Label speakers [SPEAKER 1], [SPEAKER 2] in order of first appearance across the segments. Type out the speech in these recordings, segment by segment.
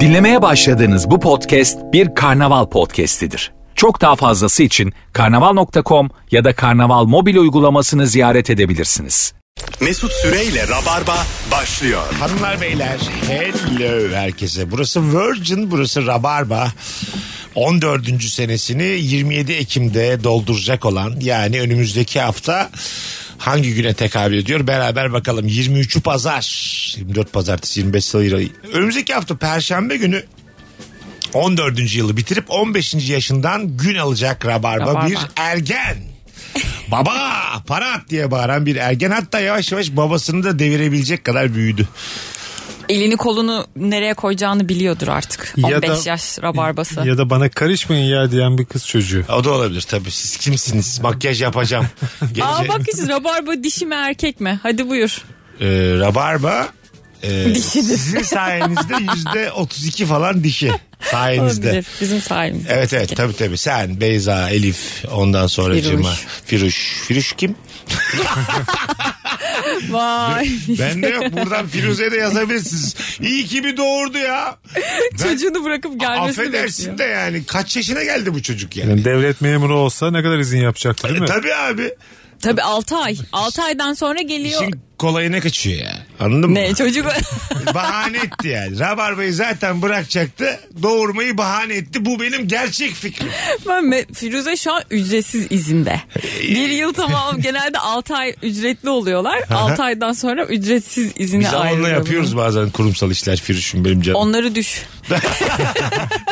[SPEAKER 1] Dinlemeye başladığınız bu podcast bir karnaval podcastidir. Çok daha fazlası için karnaval.com ya da karnaval mobil uygulamasını ziyaret edebilirsiniz.
[SPEAKER 2] Mesut Süreyle Rabarba başlıyor.
[SPEAKER 3] Hanımlar beyler hello herkese. Burası Virgin burası Rabarba. 14. senesini 27 Ekim'de dolduracak olan yani önümüzdeki hafta hangi güne tekabül ediyor beraber bakalım 23'ü pazar 24 pazartesi 25 salı önümüzdeki hafta perşembe günü 14. yılı bitirip 15. yaşından gün alacak Rabarba,
[SPEAKER 4] Rabarba.
[SPEAKER 3] bir ergen baba para at diye bağıran bir ergen hatta yavaş yavaş babasını da devirebilecek kadar büyüdü.
[SPEAKER 4] Elini kolunu nereye koyacağını biliyordur artık. 15 yaş rabarbası.
[SPEAKER 5] Ya da bana karışmayın ya diyen bir kız çocuğu.
[SPEAKER 3] O da olabilir tabii. Siz kimsiniz? Makyaj yapacağım. Gece,
[SPEAKER 4] Aa bak işte rabarba dişi mi erkek mi? Hadi buyur.
[SPEAKER 3] e, rabarba e,
[SPEAKER 4] Dişidir.
[SPEAKER 3] sizin sayenizde yüzde 32 falan dişi. Sayenizde.
[SPEAKER 4] Olabilir. Bizim sayemizde.
[SPEAKER 3] Evet evet tabii tabii. Sen, Beyza, Elif ondan sonra
[SPEAKER 4] Firuş.
[SPEAKER 3] Cima. Firuş. Firuş kim?
[SPEAKER 4] Vay.
[SPEAKER 3] Ben de yok. Buradan Firuze'ye de yazabilirsiniz. İyi ki bir doğurdu ya.
[SPEAKER 4] Çocuğunu bırakıp gelmesini
[SPEAKER 3] Affedersin
[SPEAKER 4] bekliyor.
[SPEAKER 3] de yani. Kaç yaşına geldi bu çocuk yani?
[SPEAKER 5] Yani devlet memuru olsa ne kadar izin yapacaktı değil
[SPEAKER 3] E,
[SPEAKER 5] mi?
[SPEAKER 3] tabii abi.
[SPEAKER 4] Tabii 6 ay. 6 aydan sonra geliyor.
[SPEAKER 3] İşin kolayına kaçıyor ya. Anladın mı?
[SPEAKER 4] Ne çocuk?
[SPEAKER 3] bahane etti yani. Rabarba'yı zaten bırakacaktı. Doğurmayı bahane etti. Bu benim gerçek fikrim.
[SPEAKER 4] ben me- Firuze şu an ücretsiz izinde. Bir yıl tamam genelde 6 ay ücretli oluyorlar. 6 aydan sonra ücretsiz izine
[SPEAKER 3] Biz onunla
[SPEAKER 4] ayrılıyor.
[SPEAKER 3] yapıyoruz bazen kurumsal işler Firuş'um benim canım.
[SPEAKER 4] Onları düş.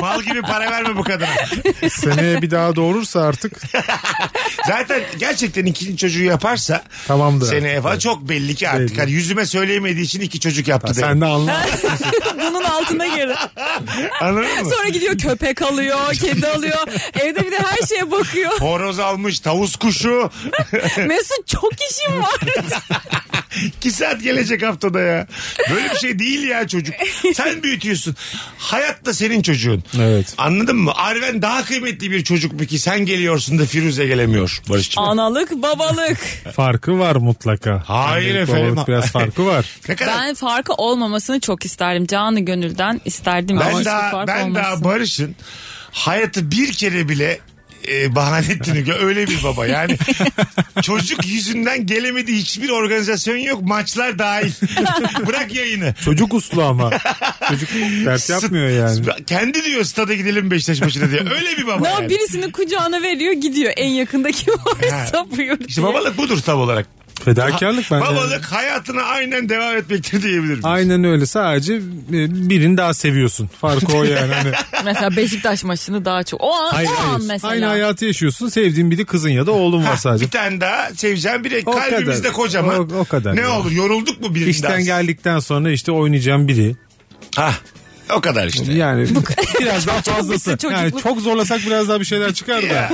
[SPEAKER 3] Mal gibi para verme bu kadına.
[SPEAKER 5] Seneye bir daha doğurursa artık
[SPEAKER 3] Zaten gerçekten ikinci çocuğu yaparsa
[SPEAKER 5] Tamamdır
[SPEAKER 3] seneye
[SPEAKER 5] artık.
[SPEAKER 3] falan çok belli ki artık.
[SPEAKER 5] Belli.
[SPEAKER 3] Hani yüzüme söyleyemediği için iki çocuk yaptı.
[SPEAKER 5] sen
[SPEAKER 3] derim.
[SPEAKER 5] de anla.
[SPEAKER 4] Bunun altına girin.
[SPEAKER 3] Anladın mı?
[SPEAKER 4] Sonra gidiyor köpek alıyor, kedi alıyor. Evde bir de her şeye bakıyor.
[SPEAKER 3] Horoz almış, tavus kuşu.
[SPEAKER 4] Mesut çok işim var.
[SPEAKER 3] İki saat gelecek haftada ya. Böyle bir şey değil ya çocuk. Sen büyütüyorsun. Hayat da senin çocuğun.
[SPEAKER 5] Evet.
[SPEAKER 3] Anladın mı? Arven daha kıymetli bir çocuk mu ki sen geliyorsun da Firuze gelemiyor Barış'cığım.
[SPEAKER 4] Analık, babalık.
[SPEAKER 5] Farkı var mutlaka.
[SPEAKER 3] Hayır
[SPEAKER 5] Annelik,
[SPEAKER 3] efendim.
[SPEAKER 5] babalık Biraz farkı var.
[SPEAKER 3] Ne kadar
[SPEAKER 4] Ben farkı olmamasını çok isterdim. Canı gönülden isterdim.
[SPEAKER 3] Ben
[SPEAKER 4] Hiçbir
[SPEAKER 3] daha
[SPEAKER 4] fark
[SPEAKER 3] ben daha
[SPEAKER 4] olmasın.
[SPEAKER 3] Barış'ın hayatı bir kere bile e, bahane ettiğini gö- öyle bir baba yani çocuk yüzünden gelemediği hiçbir organizasyon yok maçlar dahil bırak yayını
[SPEAKER 5] Çocuk uslu ama. Çocuk dert yapmıyor yani.
[SPEAKER 3] kendi diyor stada gidelim Beşiktaş maçına diye öyle bir baba
[SPEAKER 4] Ne
[SPEAKER 3] yani.
[SPEAKER 4] birisini kucağına veriyor gidiyor. En yakındaki varsa buyur.
[SPEAKER 3] İşte
[SPEAKER 4] diye.
[SPEAKER 3] babalık budur tam olarak
[SPEAKER 5] Fedakarlık bence.
[SPEAKER 3] babalık hayatına aynen devam etmektir diyebilirim
[SPEAKER 5] Aynen öyle sadece e, birini daha seviyorsun. Farkı o yani. Hani,
[SPEAKER 4] Mesela Beşiktaş maçını daha çok. O an,
[SPEAKER 5] hayır,
[SPEAKER 4] o an
[SPEAKER 5] hayır.
[SPEAKER 4] mesela.
[SPEAKER 5] Aynı hayatı yaşıyorsun. Sevdiğin biri kızın ya da oğlun var sadece.
[SPEAKER 3] bir tane daha seveceğim biri
[SPEAKER 5] O
[SPEAKER 3] kalbimizde
[SPEAKER 5] kadar.
[SPEAKER 3] kocaman
[SPEAKER 5] O- o kadar
[SPEAKER 3] ne
[SPEAKER 5] ya.
[SPEAKER 3] olur yorulduk mu birinden
[SPEAKER 5] İşten geldikten sonra işte oynayacağım biri.
[SPEAKER 3] Hah, o kadar işte
[SPEAKER 5] Yani biraz daha fazlası.
[SPEAKER 4] bitti
[SPEAKER 5] Yani
[SPEAKER 4] çocukluk.
[SPEAKER 5] çok zorlasak biraz daha bir şeyler çıkar da.
[SPEAKER 3] Ya,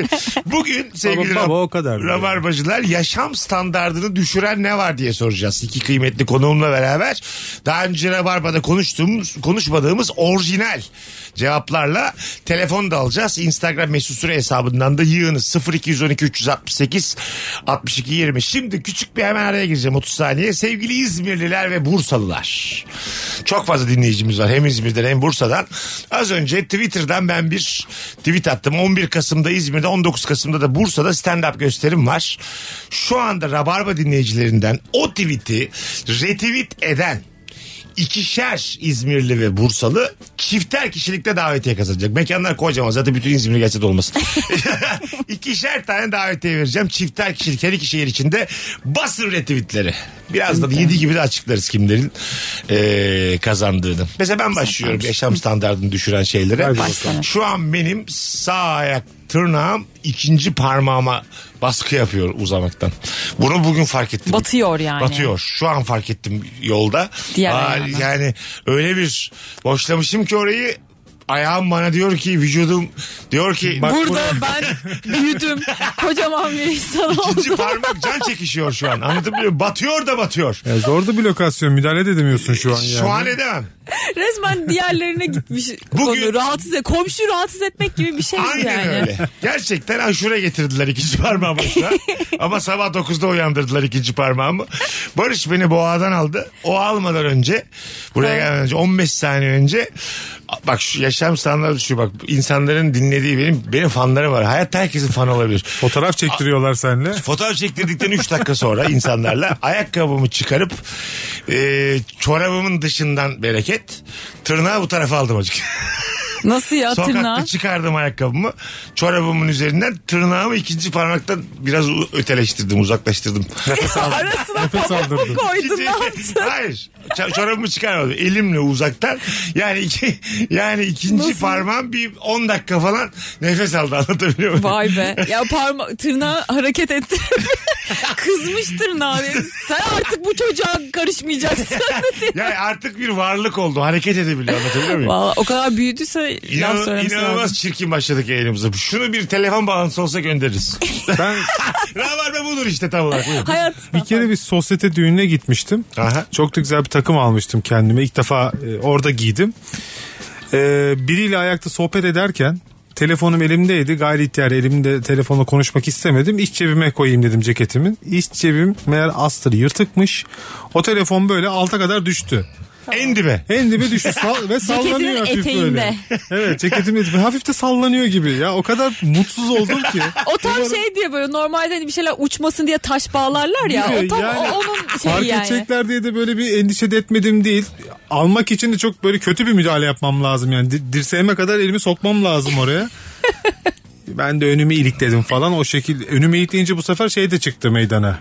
[SPEAKER 3] Bugün sevgili
[SPEAKER 5] Baba- baba
[SPEAKER 3] Rab-
[SPEAKER 5] o kadar.
[SPEAKER 3] Rabarbacılar yaşam standartını düşüren ne var diye soracağız. İki kıymetli konuğumla beraber daha önce Rabarba'da konuştuğumuz, konuşmadığımız orijinal cevaplarla telefon da alacağız. Instagram mesut süre hesabından da yığınız 0212 368 62 20. Şimdi küçük bir hemen araya gireceğim 30 saniye. Sevgili İzmirliler ve Bursalılar. Çok fazla dinleyicimiz var hem İzmir'den hem Bursa'dan. Az önce Twitter'dan ben bir tweet attım. 11 Kasım'da İzmir'de 19 Kasım'da da Bursa'da stand-up gösterim var. Şu anda Rabarba dinleyicilerinden o tweet'i retweet eden ikişer İzmirli ve Bursalı çifter kişilikte davetiye kazanacak. Mekanlar kocaman zaten bütün İzmir gelse de olmasın. ikişer tane davetiye vereceğim. Çifter kişilik her iki şehir içinde basın retweetleri. Birazdan 7 gibi de açıklarız kimlerin eee, kazandığını. Mesela ben başlıyorum yaşam standartını düşüren şeylere.
[SPEAKER 5] Hadi bakalım.
[SPEAKER 3] Şu an benim sağ ayak tırnağım ikinci parmağıma baskı yapıyor uzamaktan. Bunu bugün fark ettim.
[SPEAKER 4] Batıyor yani.
[SPEAKER 3] Batıyor. Şu an fark ettim yolda.
[SPEAKER 4] Diğer
[SPEAKER 3] Aa,
[SPEAKER 4] ayağına.
[SPEAKER 3] yani öyle bir boşlamışım ki orayı ayağım bana diyor ki vücudum diyor ki
[SPEAKER 4] Burada ben büyüdüm. Kocaman bir insan
[SPEAKER 3] ikinci
[SPEAKER 4] oldum.
[SPEAKER 3] parmak can çekişiyor şu an. Anladın mı? Batıyor da batıyor.
[SPEAKER 5] Ya zordu bir lokasyon müdahale de edemiyorsun şu an yani.
[SPEAKER 3] Şu an edemem.
[SPEAKER 4] Resmen diğerlerine gitmiş
[SPEAKER 3] Bugün-
[SPEAKER 4] konu. Rahatsız et, komşu rahatsız etmek gibi bir şey
[SPEAKER 3] Aynen
[SPEAKER 4] yani.
[SPEAKER 3] öyle. Gerçekten aşure getirdiler ikinci parmağımı şu an. Ama sabah 9'da uyandırdılar ikinci parmağımı. Barış beni boğadan aldı. O almadan önce buraya gelmeden önce 15 saniye önce bak şu yaşam standartı şu bak insanların dinlediği benim benim fanlarım var. Hayatta herkesin fanı olabilir.
[SPEAKER 5] Fotoğraf çektiriyorlar seninle.
[SPEAKER 3] Fotoğraf çektirdikten 3 dakika sonra insanlarla ayakkabımı çıkarıp e, çorabımın dışından bereket tırnağı bu tarafa aldım acık.
[SPEAKER 4] Nasıl ya tırnağı?
[SPEAKER 3] Sokakta çıkardım ayakkabımı. Çorabımın üzerinden tırnağımı ikinci parmaktan biraz u- öteleştirdim, uzaklaştırdım.
[SPEAKER 4] Arasına
[SPEAKER 5] Nefes aldırdın.
[SPEAKER 4] koydun
[SPEAKER 3] İkinci-
[SPEAKER 4] ne yaptın?
[SPEAKER 3] Hayır. Ç- çorabımı çıkarmadım. Elimle uzaktan. Yani iki, yani ikinci
[SPEAKER 4] Nasıl?
[SPEAKER 3] parmağım bir 10 dakika falan nefes aldı anlatabiliyor muyum?
[SPEAKER 4] Vay be. Ya parma tırnağı hareket etti. Kızmış tırnağı. Sen artık bu çocuğa karışmayacaksın.
[SPEAKER 3] Yani artık bir varlık oldu. Hareket edebiliyor anlatabiliyor muyum?
[SPEAKER 4] Valla o kadar büyüdüyse
[SPEAKER 3] İnan,
[SPEAKER 4] laf söylemesi
[SPEAKER 3] inanılmaz
[SPEAKER 4] lazım.
[SPEAKER 3] çirkin başladık yayınımıza. Şunu bir telefon bağlantısı olsa göndeririz.
[SPEAKER 5] Ben
[SPEAKER 3] Rabarba budur işte tam olarak. Buyurun.
[SPEAKER 4] Hayat
[SPEAKER 5] bir kere bir sosyete düğününe gitmiştim.
[SPEAKER 3] Aha.
[SPEAKER 5] Çok da güzel bir takım almıştım kendime. İlk defa e, orada giydim. E, biriyle ayakta sohbet ederken telefonum elimdeydi. Gayri ihtiyar elimde telefonla konuşmak istemedim. İç cebime koyayım dedim ceketimin. İç cebim meğer astır yırtıkmış. O telefon böyle alta kadar düştü.
[SPEAKER 3] En dibe.
[SPEAKER 5] En dibe düştü sal ve sallanıyor hafif
[SPEAKER 4] eteğinde.
[SPEAKER 5] böyle. Evet ceketimin eteğinde. hafif de sallanıyor gibi ya. O kadar mutsuz oldum ki.
[SPEAKER 4] o tam şey diye böyle normalde hani bir şeyler uçmasın diye taş bağlarlar ya. O
[SPEAKER 5] Değil mi?
[SPEAKER 4] tam
[SPEAKER 5] Yani
[SPEAKER 4] o- onun
[SPEAKER 5] Fark
[SPEAKER 4] şeyi şey yani.
[SPEAKER 5] edecekler diye de böyle bir endişe de etmedim değil. Almak için de çok böyle kötü bir müdahale yapmam lazım yani. Di- Dirseğime kadar elimi sokmam lazım oraya. ben de önümü ilikledim falan o şekil. Önümü ilikleyince bu sefer şey de çıktı meydana.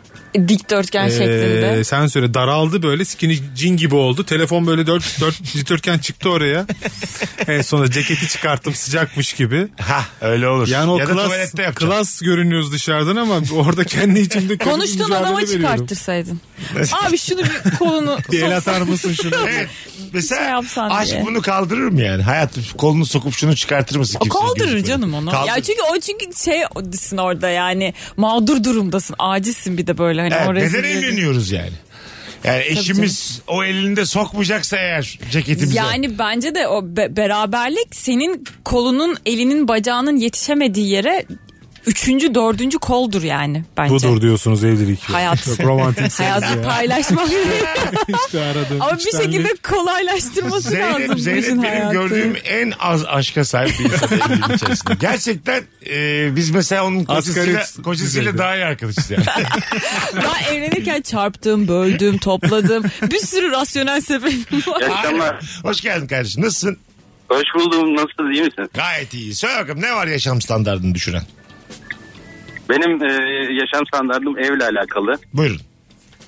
[SPEAKER 4] Dikdörtgen şeklinde.
[SPEAKER 5] Ee, sensöre daraldı böyle skinny cin gibi oldu. Telefon böyle dört, dört dikdörtgen çıktı oraya. en sonunda ceketi çıkarttım sıcakmış gibi.
[SPEAKER 3] Ha öyle olur.
[SPEAKER 5] Yani o
[SPEAKER 3] ya da
[SPEAKER 5] klas,
[SPEAKER 3] tuvalette yapacağım.
[SPEAKER 5] klas görünüyoruz dışarıdan ama orada kendi içimde kötü bir
[SPEAKER 4] Konuştuğun
[SPEAKER 5] mücadele
[SPEAKER 4] adama
[SPEAKER 5] veriyorum.
[SPEAKER 4] çıkarttırsaydın. Abi şunu bir kolunu
[SPEAKER 5] Bir el
[SPEAKER 4] soksana.
[SPEAKER 5] atar mısın şunu?
[SPEAKER 3] Evet. Mesela
[SPEAKER 4] şey yapsan
[SPEAKER 3] aşk
[SPEAKER 4] diye.
[SPEAKER 3] bunu kaldırır mı yani? Hayatım kolunu sokup şunu çıkartır mısın?
[SPEAKER 4] O
[SPEAKER 3] kimsenin
[SPEAKER 4] kaldırır
[SPEAKER 3] gözünden?
[SPEAKER 4] canım onu.
[SPEAKER 3] Kaldırır.
[SPEAKER 4] Ya çünkü o çünkü şey disin orada yani mağdur durumdasın. Acizsin bir de böyle hani
[SPEAKER 3] Evet,
[SPEAKER 4] o
[SPEAKER 3] neden
[SPEAKER 4] rezilliği-
[SPEAKER 3] evleniyoruz yani? Yani eşimiz o elinde sokmayacaksa eğer ceketimize.
[SPEAKER 4] Yani bence de o be- beraberlik senin kolunun, elinin, bacağının yetişemediği yere üçüncü, dördüncü koldur yani bence.
[SPEAKER 5] Budur diyorsunuz evlilik.
[SPEAKER 4] Hayat.
[SPEAKER 5] Çok romantik.
[SPEAKER 4] Hayatı paylaşmak.
[SPEAKER 5] işte aradığım
[SPEAKER 4] Ama bir
[SPEAKER 5] içtenlik.
[SPEAKER 4] şekilde kolaylaştırması lazım
[SPEAKER 3] Zeynep,
[SPEAKER 4] bu
[SPEAKER 3] Zeynep
[SPEAKER 4] işin
[SPEAKER 3] benim
[SPEAKER 4] hayatı.
[SPEAKER 3] gördüğüm en az aşka sahip bir insan evliliğin içerisinde. Gerçekten e, biz mesela onun
[SPEAKER 5] Asgari
[SPEAKER 3] kocasıyla,
[SPEAKER 5] ücret-
[SPEAKER 3] kocasıyla
[SPEAKER 5] düzeyde.
[SPEAKER 3] daha iyi arkadaşız yani.
[SPEAKER 4] Ben evlenirken çarptım, böldüm, topladım. Bir sürü rasyonel sebebim var.
[SPEAKER 3] Alo,
[SPEAKER 6] Yaşama.
[SPEAKER 3] Hoş geldin kardeşim. Nasılsın?
[SPEAKER 6] Hoş buldum. Nasılsınız? iyi misin?
[SPEAKER 3] Gayet iyi. Söyle bakalım ne var yaşam standartını düşüren?
[SPEAKER 6] Benim e, yaşam standartım evle alakalı.
[SPEAKER 3] Buyurun.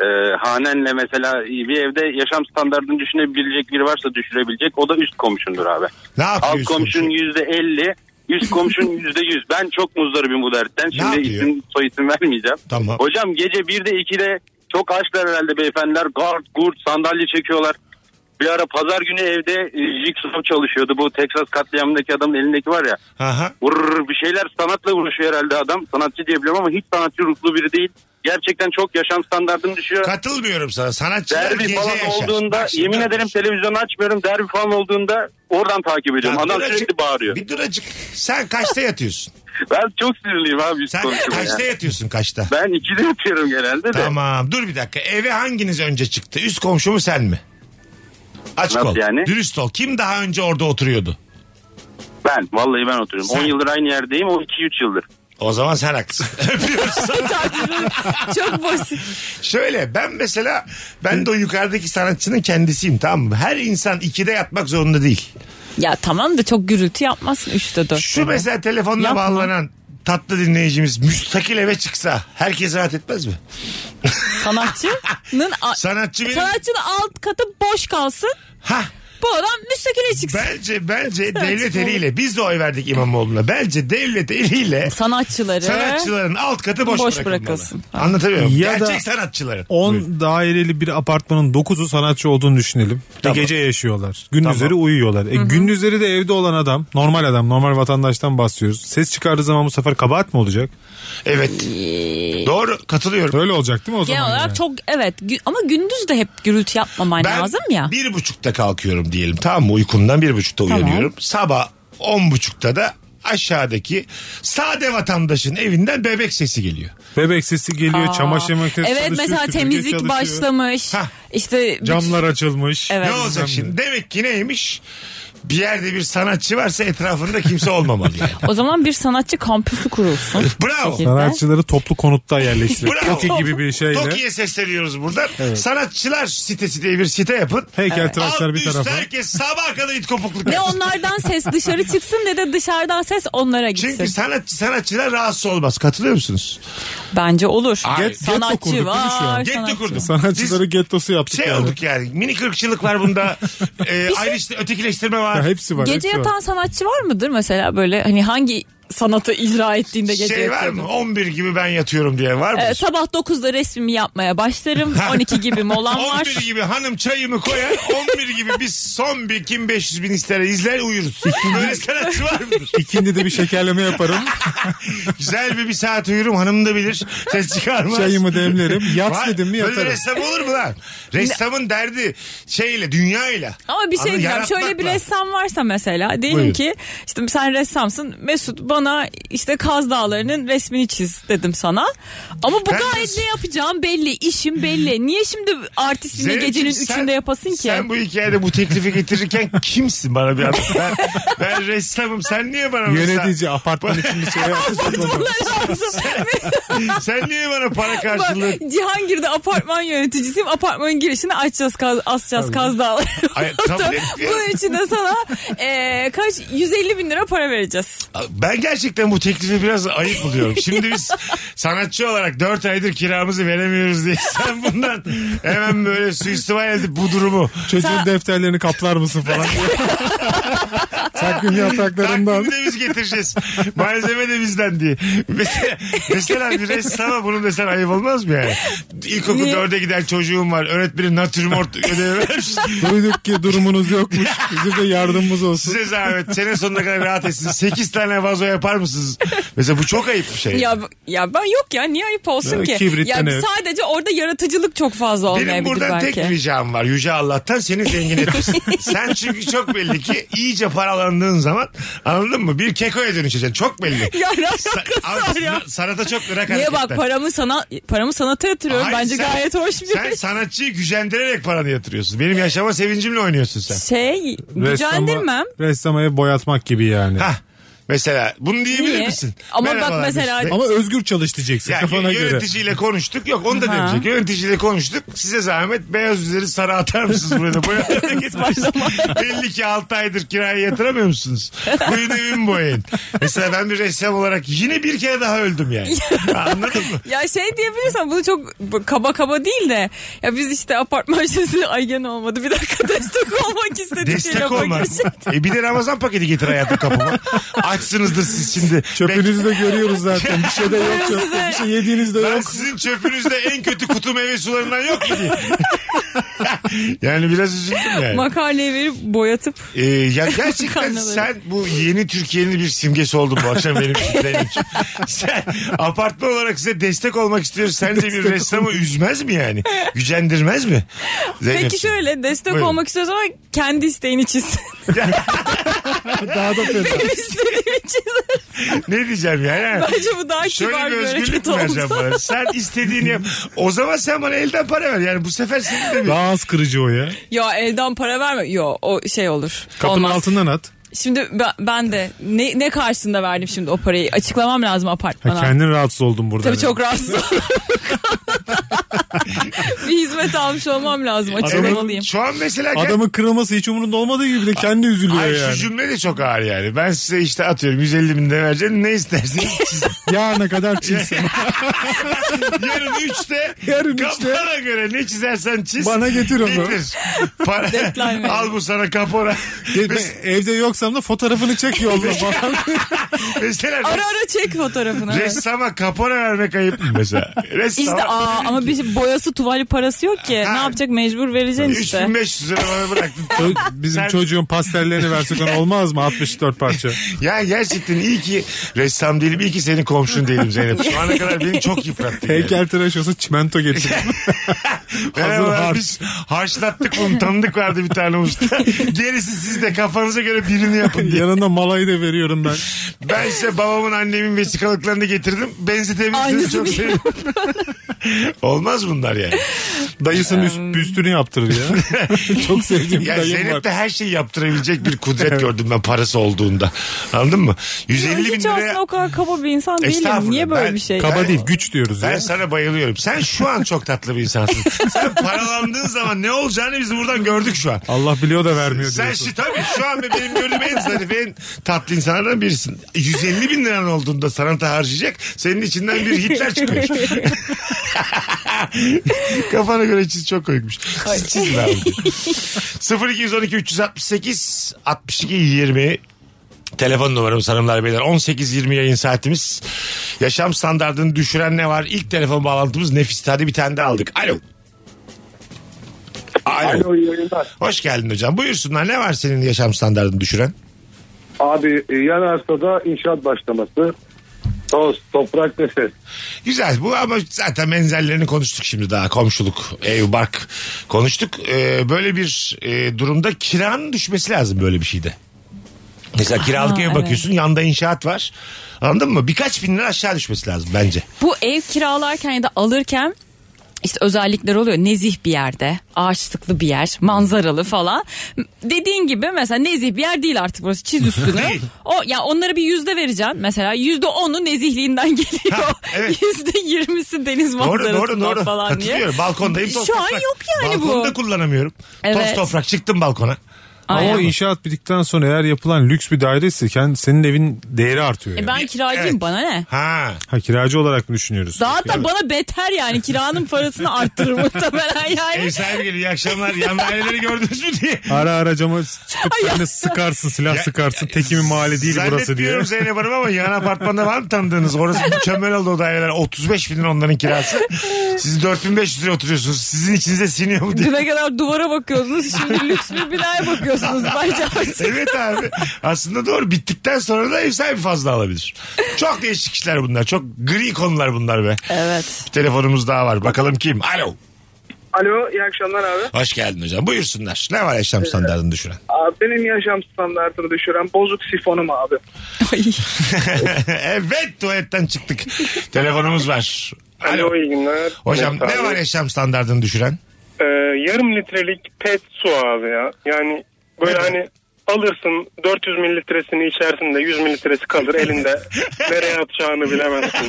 [SPEAKER 6] E, hanenle mesela bir evde yaşam standartını düşünebilecek biri varsa düşürebilecek. O da üst komşundur abi.
[SPEAKER 3] Ne yapıyor
[SPEAKER 6] Alt
[SPEAKER 3] üst
[SPEAKER 6] komşun yüzde elli. Üst komşun yüzde yüz. Ben çok muzdaribim bu dertten.
[SPEAKER 3] Ne
[SPEAKER 6] Şimdi
[SPEAKER 3] yapıyor?
[SPEAKER 6] isim soy isim vermeyeceğim.
[SPEAKER 3] Tamam.
[SPEAKER 6] Hocam gece 1'de 2'de çok açlar herhalde beyefendiler. Gard, gurt, sandalye çekiyorlar. Bir ara pazar günü evde e, jigsaw çalışıyordu. Bu Texas katliamındaki adamın elindeki var ya.
[SPEAKER 3] Aha.
[SPEAKER 6] Vurur bir şeyler sanatla uğraşıyor herhalde adam. Sanatçı diyebilirim ama hiç sanatçı ruhlu biri değil. Gerçekten çok yaşam standartım düşüyor.
[SPEAKER 3] Katılmıyorum sana. Sanatçılar
[SPEAKER 6] Derbi
[SPEAKER 3] gece
[SPEAKER 6] falan
[SPEAKER 3] yaşar.
[SPEAKER 6] olduğunda
[SPEAKER 3] Bak şimdi
[SPEAKER 6] yemin
[SPEAKER 3] bak.
[SPEAKER 6] ederim televizyonu açmıyorum. Derbi falan olduğunda oradan takip ediyorum.
[SPEAKER 3] Ya
[SPEAKER 6] Adam
[SPEAKER 3] duracık-
[SPEAKER 6] sürekli bağırıyor.
[SPEAKER 3] Bir duracık. Sen kaçta yatıyorsun?
[SPEAKER 6] Ben çok sinirliyim abi üst
[SPEAKER 3] Sen
[SPEAKER 6] konuşmaya.
[SPEAKER 3] kaçta yatıyorsun kaçta?
[SPEAKER 6] Ben ikide yatıyorum genelde de.
[SPEAKER 3] Tamam dur bir dakika. Eve hanginiz önce çıktı? Üst komşu mu sen mi? Aç
[SPEAKER 6] Nasıl
[SPEAKER 3] kol.
[SPEAKER 6] yani?
[SPEAKER 3] Dürüst ol. Kim daha önce orada oturuyordu?
[SPEAKER 6] Ben vallahi ben oturuyorum.
[SPEAKER 3] Sen-
[SPEAKER 6] 10 yıldır aynı yerdeyim. O 2-3 yıldır.
[SPEAKER 3] O zaman sen haklısın. Öpüyoruz.
[SPEAKER 4] Çok basit.
[SPEAKER 3] Şöyle ben mesela ben de o yukarıdaki sanatçının kendisiyim tamam mı? Her insan ikide yatmak zorunda değil.
[SPEAKER 4] Ya tamam da çok gürültü yapmazsın 3'te 4'te.
[SPEAKER 3] Şu mesela telefonla
[SPEAKER 4] Yapma.
[SPEAKER 3] bağlanan tatlı dinleyicimiz müstakil eve çıksa herkes rahat etmez mi?
[SPEAKER 4] Sanatçının a-
[SPEAKER 3] Sanatçı benim.
[SPEAKER 4] sanatçının alt katı boş kalsın.
[SPEAKER 3] Hah.
[SPEAKER 4] Bu adam müstakile çıksın.
[SPEAKER 3] Bence bence devlet eliyle biz de oy verdik İmamoğlu'na. Bence devlet eliyle
[SPEAKER 4] Sanatçıları.
[SPEAKER 3] sanatçıların alt katı boş,
[SPEAKER 4] Boş
[SPEAKER 3] bırakılmalı.
[SPEAKER 4] bırakılsın.
[SPEAKER 3] Anlatabiliyor muyum?
[SPEAKER 5] Ya da-
[SPEAKER 3] Gerçek sanatçıların.
[SPEAKER 5] 10 daireli bir apartmanın 9'u sanatçı olduğunu düşünelim.
[SPEAKER 3] Tamam.
[SPEAKER 5] E gece yaşıyorlar. Gündüzleri uyuyorlar. E gündüzleri de evde olan adam, normal adam, normal vatandaştan bahsediyoruz. Ses çıkardığı zaman bu sefer kabahat mı olacak?
[SPEAKER 3] Evet.
[SPEAKER 4] Ee,
[SPEAKER 3] Doğru katılıyorum.
[SPEAKER 5] Öyle olacak değil mi o zaman?
[SPEAKER 4] Genel olarak
[SPEAKER 5] yani?
[SPEAKER 4] çok evet gü- ama gündüz de hep gürültü yapmaman
[SPEAKER 3] Ben
[SPEAKER 4] Hani lazım ya.
[SPEAKER 3] bir buçukta kalkıyorum diyelim tamam mı? Uykumdan bir buçukta
[SPEAKER 4] Tamam.
[SPEAKER 3] uyanıyorum. Sabah on buçukta da aşağıdaki sade vatandaşın evinden bebek sesi geliyor.
[SPEAKER 5] Bebek sesi geliyor, çamaşır makinesi
[SPEAKER 4] Evet
[SPEAKER 5] çalışıyor,
[SPEAKER 4] mesela
[SPEAKER 5] süpürge
[SPEAKER 4] temizlik
[SPEAKER 5] çalışıyor.
[SPEAKER 4] başlamış.
[SPEAKER 3] Hah.
[SPEAKER 4] İşte
[SPEAKER 5] Camlar açılmış.
[SPEAKER 4] Evet.
[SPEAKER 3] ne olacak şimdi? Demek ki neymiş? Bir yerde bir sanatçı varsa etrafında kimse olmamalı yani.
[SPEAKER 4] O zaman bir sanatçı kampüsü kurulsun.
[SPEAKER 3] Bravo.
[SPEAKER 4] Şekilde.
[SPEAKER 5] Sanatçıları toplu konutta yerleştiriyor.
[SPEAKER 3] Bravo.
[SPEAKER 5] Toki gibi bir şeyle.
[SPEAKER 3] Toki'ye sesleniyoruz buradan. Sanatçılar sitesi diye bir site yapın.
[SPEAKER 5] Heykel tıraşlar
[SPEAKER 3] Alt
[SPEAKER 5] bir
[SPEAKER 3] üst
[SPEAKER 5] tarafa.
[SPEAKER 3] herkes sabah kadar it kopukluk.
[SPEAKER 4] Ne
[SPEAKER 3] yapsın.
[SPEAKER 4] onlardan ses dışarı çıksın ne de dışarıdan ses onlara gitsin.
[SPEAKER 3] Çünkü sanatçı sanatçılar rahatsız olmaz. Katılıyor musunuz?
[SPEAKER 4] Bence olur.
[SPEAKER 5] Get-
[SPEAKER 4] sanatçı
[SPEAKER 5] getto kurduk değil mi şu an?
[SPEAKER 4] var.
[SPEAKER 3] Getto
[SPEAKER 4] sanatçı.
[SPEAKER 3] kurduk.
[SPEAKER 5] Sanatçıları gettosu yaptık
[SPEAKER 3] Şey
[SPEAKER 5] yani.
[SPEAKER 3] olduk yani. Mini kırkçılık var bunda. ee,
[SPEAKER 4] şey-
[SPEAKER 3] ayrıştı- ötekileştirme var.
[SPEAKER 5] Ya hepsi var.
[SPEAKER 4] Gece
[SPEAKER 5] hepsi şey var.
[SPEAKER 4] yatan sanatçı var mıdır mesela böyle hani hangi sanatı icra ettiğinde gece
[SPEAKER 3] şey var
[SPEAKER 4] yatıyordu?
[SPEAKER 3] mı? 11 gibi ben yatıyorum diye var mı?
[SPEAKER 4] Ee, sabah 9'da resmimi yapmaya başlarım. 12 gibi molam
[SPEAKER 3] 11
[SPEAKER 4] var.
[SPEAKER 3] gibi hanım çayımı koyar. 11 gibi biz son bir kim 500 bin ister izler uyuruz. Böyle sanatçı var mıdır?
[SPEAKER 5] İkindi de bir şekerleme yaparım.
[SPEAKER 3] Güzel bir bir saat uyurum hanım da bilir. Ses çıkarmaz.
[SPEAKER 5] Çayımı demlerim. Yat
[SPEAKER 3] Var-
[SPEAKER 5] dedim mi
[SPEAKER 3] Böyle
[SPEAKER 5] yatarım.
[SPEAKER 3] ressam olur mu lan? Ressamın derdi şeyle dünyayla.
[SPEAKER 4] Ama bir şey
[SPEAKER 3] Anladın?
[SPEAKER 4] diyeceğim. Şöyle bir
[SPEAKER 3] Yaratmakla.
[SPEAKER 4] ressam varsa mesela diyelim
[SPEAKER 3] Buyurun.
[SPEAKER 4] ki işte sen ressamsın. Mesut bana işte Kaz Dağları'nın resmini çiz dedim sana. Ama bu
[SPEAKER 3] Ben
[SPEAKER 4] gayet
[SPEAKER 3] nasıl-
[SPEAKER 4] ne yapacağım belli, işim belli. Niye şimdi artistini
[SPEAKER 3] Zeynep'ciğim,
[SPEAKER 4] gecenin
[SPEAKER 3] sen-
[SPEAKER 4] 3'ünde yapasın ki?
[SPEAKER 3] Sen bu hikayede bu teklifi getirirken kimsin bana bir anlat. Ben, ben ressamım sen niye bana mesela-
[SPEAKER 5] Yönetici apartman içinde şey yaptı.
[SPEAKER 4] Bunlar lazım.
[SPEAKER 3] Sen niye bana para
[SPEAKER 4] Bak,
[SPEAKER 3] karşılığı?
[SPEAKER 4] Cihangir'de apartman yöneticisiyim. Apartmanın girişine açacağız, kaz, asacağız Kaz Dağları.
[SPEAKER 3] Ay, kabul etmiyorum.
[SPEAKER 4] Bunun için de sana e, kaç 150 bin lira para vereceğiz.
[SPEAKER 3] Ben gerçekten bu teklifi biraz ayıp buluyorum. Şimdi biz sanatçı olarak 4 aydır kiramızı veremiyoruz diye sen bundan hemen böyle suistimal edip bu durumu
[SPEAKER 5] Çocuğun defterlerini kaplar mısın falan. Takvim yapraklarından.
[SPEAKER 3] Takvimde biz getireceğiz. Malzeme de bizden diye. Mesela, mesela bir ressama bunu desen ayıp olmaz mı yani? İlkokul
[SPEAKER 4] Niye?
[SPEAKER 3] dörde giden çocuğum var. Öğretmenin natürmort ödevi vermiş.
[SPEAKER 5] Duyduk ki durumunuz yokmuş. Bizim de yardımımız olsun.
[SPEAKER 3] Size zahmet. Sene sonuna kadar rahat etsin. 8 tane vazo yapar mısınız? Mesela bu çok ayıp bir şey.
[SPEAKER 4] Ya ya ben yok ya niye ayıp olsun
[SPEAKER 5] Ya,
[SPEAKER 4] ki?
[SPEAKER 5] kibritten
[SPEAKER 4] ya
[SPEAKER 5] evet.
[SPEAKER 4] sadece orada yaratıcılık çok fazla
[SPEAKER 3] Benim
[SPEAKER 4] olmayabilir
[SPEAKER 3] buradan
[SPEAKER 4] belki.
[SPEAKER 3] tek şey ricam var. Yüce Allah'tan seni zengin etmesin. Sen çünkü çok belli ki iyice paralandığın zaman anladın mı? Bir kekoya dönüşeceksin. Çok belli.
[SPEAKER 4] Ya ne
[SPEAKER 3] Sa-
[SPEAKER 4] alakası var ya?
[SPEAKER 3] Sanata çok merak
[SPEAKER 4] Niye bak
[SPEAKER 3] hareketler.
[SPEAKER 4] paramı sana paramı sanata yatırıyorum
[SPEAKER 3] Hayır,
[SPEAKER 4] bence
[SPEAKER 3] sen-
[SPEAKER 4] gayet hoş bir şey.
[SPEAKER 3] Sen sanatçıyı gücendirerek paranı yatırıyorsun. Benim yaşama sevincimle oynuyorsun sen.
[SPEAKER 4] şey gücendirmem.
[SPEAKER 5] ressama ev boyatmak gibi yani.
[SPEAKER 3] Hah. Mesela bunu diyebilir
[SPEAKER 4] Niye?
[SPEAKER 3] misin?
[SPEAKER 4] Ama bak
[SPEAKER 3] Merhabalar
[SPEAKER 4] mesela-
[SPEAKER 3] Mesut Bey.
[SPEAKER 5] Ama özgür çalış diyeceksin
[SPEAKER 3] Ya,
[SPEAKER 5] kafana göre.
[SPEAKER 3] yöneticiyle konuştuk. Yok onu da
[SPEAKER 4] Ha.
[SPEAKER 3] demeyecek. Yöneticiyle konuştuk. Size zahmet beyaz üzeri sarı atar mısınız buraya? Boya Belli ki 6 aydır kiraya yatıramıyor musunuz? Buyurun evimi boyayın. Mesela ben bir ressam olarak yine bir kere daha öldüm yani. Anladın mı?
[SPEAKER 4] Ya şey diyebilirsen bunu çok bu- kaba kaba değil de ya biz işte apartman şişesi ay gene olmadı bir dakika destek olmak istedik. diye
[SPEAKER 3] Destek
[SPEAKER 4] lafa
[SPEAKER 3] olma.
[SPEAKER 4] girecek.
[SPEAKER 3] E bir de Ramazan paketi getir hayatım kapıma. Açsınızdır siz şimdi.
[SPEAKER 5] Çöpünüzü de görüyoruz zaten. Bir şey de yok çöpte. Bir şey yediğiniz de
[SPEAKER 3] Ben
[SPEAKER 5] yok.
[SPEAKER 3] sizin çöpünüzde en kötü kutu meyve sularından yok mu diye. yani biraz üzüldüm yani.
[SPEAKER 4] Makarnayı verip boyatıp
[SPEAKER 3] Ee, ya gerçekten
[SPEAKER 4] Makarnaları.
[SPEAKER 3] sen bu yeni Türkiye'nin bir simgesi oldun bu akşam benim için. benim için. sen apartman olarak size destek olmak istiyoruz. Sence bir ressamı üzmez mi yani? Gücendirmez mi?
[SPEAKER 4] Peki
[SPEAKER 3] Zeynep'ciğim.
[SPEAKER 4] şöyle destek
[SPEAKER 3] Buyurun.
[SPEAKER 4] olmak istiyorsan ama kendi isteğini çiz.
[SPEAKER 5] Daha da fena.
[SPEAKER 4] Benim istediğimi çiz.
[SPEAKER 3] Ne diyeceğim yani?
[SPEAKER 4] Bence bu daha
[SPEAKER 3] Şöyle
[SPEAKER 4] kibar
[SPEAKER 3] bir
[SPEAKER 4] bir
[SPEAKER 3] özgürlük
[SPEAKER 4] hareket
[SPEAKER 3] mü vereceğim
[SPEAKER 4] oldu.
[SPEAKER 3] bana? Sen istediğini yap. O zaman sen bana elden para ver. Yani bu sefer senin de bir...
[SPEAKER 5] Daha az kırıcı o ya.
[SPEAKER 4] Ya elden para verme. Yo o şey olur.
[SPEAKER 5] Kapının
[SPEAKER 4] Olmaz.
[SPEAKER 5] altından at.
[SPEAKER 4] Şimdi ben, ben de ne, ne karşılığında verdim şimdi o parayı? Açıklamam lazım
[SPEAKER 5] Ha,
[SPEAKER 4] apartmana.
[SPEAKER 5] kendin rahatsız oldun burada.
[SPEAKER 4] Tabii çok rahatsız oldum. bir hizmet almış olmam lazım
[SPEAKER 3] Senin,
[SPEAKER 4] açıklamalıyım.
[SPEAKER 3] şu an mesela
[SPEAKER 5] Adamın kırılması hiç umurunda olmadığı gibi de kendi üzülüyor
[SPEAKER 3] Ay şu
[SPEAKER 5] yani.
[SPEAKER 3] cümle de çok ağır yani. Ben size işte atıyorum 150 bin lira vereceğim. Ne isterseniz siz-
[SPEAKER 5] Yarına kadar çizsin.
[SPEAKER 3] yarın 3'te
[SPEAKER 5] Yarın üçte.
[SPEAKER 3] kapora göre ne çizersen çiz.
[SPEAKER 5] Bana getir onu.
[SPEAKER 3] Getir. Para,
[SPEAKER 4] Deadline
[SPEAKER 3] al bu sana kapora. Mes-
[SPEAKER 5] Evde yoksam da fotoğrafını çek yolla falan.
[SPEAKER 3] mesela
[SPEAKER 4] Ara ara çek fotoğrafını. evet.
[SPEAKER 3] ressama kapora vermek ayıp mı mesela? Ressama.
[SPEAKER 4] İşte aa, ama bir boyası tuvali parası yok ki.
[SPEAKER 3] Ha.
[SPEAKER 4] Ne yapacak mecbur vereceksin işte.
[SPEAKER 3] 3500 lira bana bıraktın.
[SPEAKER 5] Ço- Bizim
[SPEAKER 3] Sen-
[SPEAKER 5] çocuğun pastellerini versek ona olmaz mı 64 parça?
[SPEAKER 3] Ya gerçekten iyi ki ressam değilim, iyi ki senin komşun değilim Zeynep. Şu ana kadar beni çok yıprattın. yani.
[SPEAKER 5] Heykel tıraş olsa çimento getir.
[SPEAKER 3] Merhaba,
[SPEAKER 5] hazır harç.
[SPEAKER 3] Biz harçlattık bunu tanıdık vardı bir tane usta. Gerisi siz de kafanıza göre birini yapın diye.
[SPEAKER 5] Yanına malayı da veriyorum ben.
[SPEAKER 3] Ben size babamın annemin vesikalıklarını getirdim. Benzetebilirsiniz çok
[SPEAKER 4] Aynısını
[SPEAKER 3] sevinirim. Olmaz bunlar yani.
[SPEAKER 5] Dayısının üst, büstünü yaptırır ya. Çok sevdiğim bir
[SPEAKER 3] Ya
[SPEAKER 5] dayım var.
[SPEAKER 3] Zeynep de her şeyi yaptırabilecek bir kudret gördüm ben parası olduğunda. Anladın mı? 150 bin
[SPEAKER 4] Hiç aslında
[SPEAKER 3] liraya
[SPEAKER 4] o kadar kaba bir insan değilim.
[SPEAKER 3] Estağfurullah,
[SPEAKER 4] Niye böyle
[SPEAKER 3] ben-
[SPEAKER 4] bir şey?
[SPEAKER 5] Kaba değil güç diyoruz
[SPEAKER 3] ben
[SPEAKER 5] ya.
[SPEAKER 3] sana bayılıyorum. Sen şu an çok tatlı bir insansın. Sen paralandığın zaman ne olacağını biz buradan gördük şu an.
[SPEAKER 5] Allah biliyor da vermiyor
[SPEAKER 3] Sen
[SPEAKER 5] diyorsun.
[SPEAKER 3] şu, tabii şu an benim gördüğüm en zarif en tatlı insanlardan birisin. 150 bin liran olduğunda sanata harcayacak. Senin içinden bir Hitler çıkıyor. Kafana göre çiz çok koymuş. Siz çizin abi. 0212 368 62 20 Telefon numaramız hanımlar beyler 18-20 yayın saatimiz. Yaşam standartını düşüren ne var? İlk telefon bağlantımız nefis. Hadi bir tane de aldık. Alo. Alo.
[SPEAKER 7] Alo iyi yayınlar.
[SPEAKER 3] Hoş geldin hocam. Buyursunlar ne var senin yaşam standartını düşüren?
[SPEAKER 7] Abi e, yan arsada inşaat başlaması. Toz, toprak ve ses.
[SPEAKER 3] Güzel bu ama zaten benzerlerini konuştuk şimdi daha komşuluk, ev, bark konuştuk. Ee, böyle bir e, durumda kiranın düşmesi lazım böyle bir şeyde. Mesela kiralık
[SPEAKER 4] Aha,
[SPEAKER 3] eve
[SPEAKER 4] evet.
[SPEAKER 3] bakıyorsun yanda inşaat var. Anladın mı? Birkaç bin lira aşağı düşmesi lazım bence.
[SPEAKER 4] Bu ev kiralarken ya da alırken işte özellikler oluyor. Nezih bir yerde, ağaçlıklı bir yer, manzaralı falan. Dediğin gibi mesela nezih bir yer değil artık burası. Çiz üstünü. o ya onlara bir yüzde vereceğim. Mesela yüzde onu nezihliğinden
[SPEAKER 3] Ha,
[SPEAKER 4] geliyor.
[SPEAKER 3] evet.
[SPEAKER 4] Yüzde yirmisi deniz
[SPEAKER 3] Doğru
[SPEAKER 4] manzarası
[SPEAKER 3] doğru doğru.
[SPEAKER 4] falan diye.
[SPEAKER 3] Katılıyorum. Balkondayım toz
[SPEAKER 4] Şu an
[SPEAKER 3] toprak.
[SPEAKER 4] yok yani bu.
[SPEAKER 3] Balkonda kullanamıyorum. Toz
[SPEAKER 4] Evet.
[SPEAKER 3] toprak çıktım balkona.
[SPEAKER 5] Ama
[SPEAKER 4] Aynen. E
[SPEAKER 5] o inşaat bittikten sonra eğer yapılan lüks bir daire ise kend- senin evin değeri artıyor.
[SPEAKER 4] E
[SPEAKER 5] yani.
[SPEAKER 4] ben kiracıyım
[SPEAKER 3] Evet.
[SPEAKER 4] bana ne?
[SPEAKER 3] Ha.
[SPEAKER 5] Ha kiracı olarak mı düşünüyoruz?
[SPEAKER 4] Daha da bana beter yani kiranın parasını arttırır muhtemelen yani.
[SPEAKER 3] Ev sahibi geliyor. İyi akşamlar. Yan daireleri gördünüz mü diye.
[SPEAKER 5] Ara ara cama çıkıp seni sıkarsın silah
[SPEAKER 3] Ya-
[SPEAKER 5] sıkarsın. Tekimin mahalle değil burası diye.
[SPEAKER 3] Zannetmiyorum Zeynep Hanım ama yan apartmanda var mı tanıdığınız? Orası mükemmel oldu o daireler. 35 bin lira onların kirası. Siz 4500 lira oturuyorsunuz. Sizin içinize siniyor mu diye.
[SPEAKER 4] Düne kadar duvara bakıyordunuz şimdi lüks bir binaya bakıyorsunuz. Bence artık
[SPEAKER 3] Evet abi. Aslında doğru. Bittikten sonra da ev sahibi fazla alabilir. Çok değişik işler bunlar. Çok gri konular bunlar be.
[SPEAKER 4] Evet.
[SPEAKER 3] Bir telefonumuz daha var. Bakalım kim? Alo.
[SPEAKER 8] Alo iyi akşamlar abi.
[SPEAKER 3] Hoş geldin hocam. Buyursunlar. Ne var yaşam standartını düşüren?
[SPEAKER 8] abi benim yaşam standartını düşüren bozuk sifonum abi.
[SPEAKER 3] evet tuvaletten çıktık. Telefonumuz var. Alo.
[SPEAKER 9] Alo iyi günler.
[SPEAKER 3] Hocam
[SPEAKER 9] Mesut
[SPEAKER 3] ne
[SPEAKER 9] abi.
[SPEAKER 3] var yaşam standartını düşüren?
[SPEAKER 9] Ee, yarım litrelik pet su abi ya. Yani böyle
[SPEAKER 3] Evet.
[SPEAKER 9] hani alırsın 400 mililitresini içersin de 100 mililitresi kalır elinde. Nereye atacağını bilemezsin.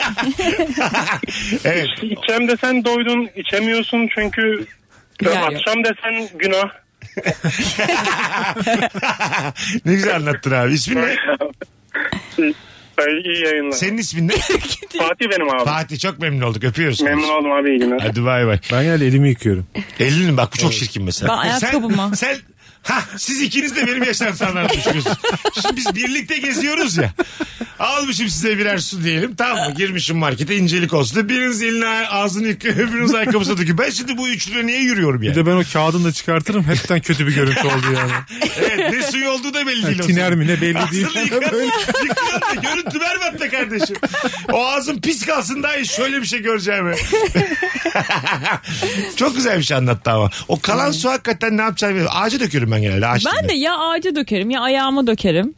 [SPEAKER 3] Evet.
[SPEAKER 9] İçem desen doydun içemiyorsun çünkü
[SPEAKER 4] Yer yok.
[SPEAKER 9] akşam desen günah.
[SPEAKER 3] ne güzel anlattın abi. İsmin ne?
[SPEAKER 9] Ay, iyi yayınlar.
[SPEAKER 3] Senin ismin ne?
[SPEAKER 9] Fatih benim abi.
[SPEAKER 3] Fatih çok memnun olduk. Öpüyoruz.
[SPEAKER 9] Memnun oldum abi iyi günler.
[SPEAKER 3] Hadi bay bay.
[SPEAKER 5] Ben yani elimi yıkıyorum.
[SPEAKER 3] Elinin bak bu çok şirkin mesela.
[SPEAKER 4] Ben ayakkabıma.
[SPEAKER 3] Sen, sen Ha siz ikiniz de benim yaşam standartımı düşürüyorsunuz. Şimdi biz birlikte geziyoruz ya. Almışım size birer su diyelim. Tamam mı? Girmişim markete incelik olsun. diye. Biriniz eline ağzını yıkıyor, öbürünüz ayakkabısına döküyor. Ben şimdi bu üçlüyle niye yürüyorum
[SPEAKER 5] Bir
[SPEAKER 3] yani?
[SPEAKER 5] de ben o kağıdını da çıkartırım. Hepten kötü bir görüntü oldu yani.
[SPEAKER 3] Evet, ne suyu olduğu da belli değil. o
[SPEAKER 5] Tiner
[SPEAKER 3] zaman.
[SPEAKER 5] mi ne belli değil.
[SPEAKER 3] Aslında yıkan, yıkıyor da görüntü berbat da kardeşim. O ağzın pis kalsın daha iyi. Şöyle bir şey göreceğimi. Çok güzel bir şey anlattı ama. O kalan su hakikaten ne yapacağını bilmiyorum. Ağaca döküyorum ben genelde. Ağaç
[SPEAKER 4] Ben de ya ağaca dökerim ya ayağıma dökerim.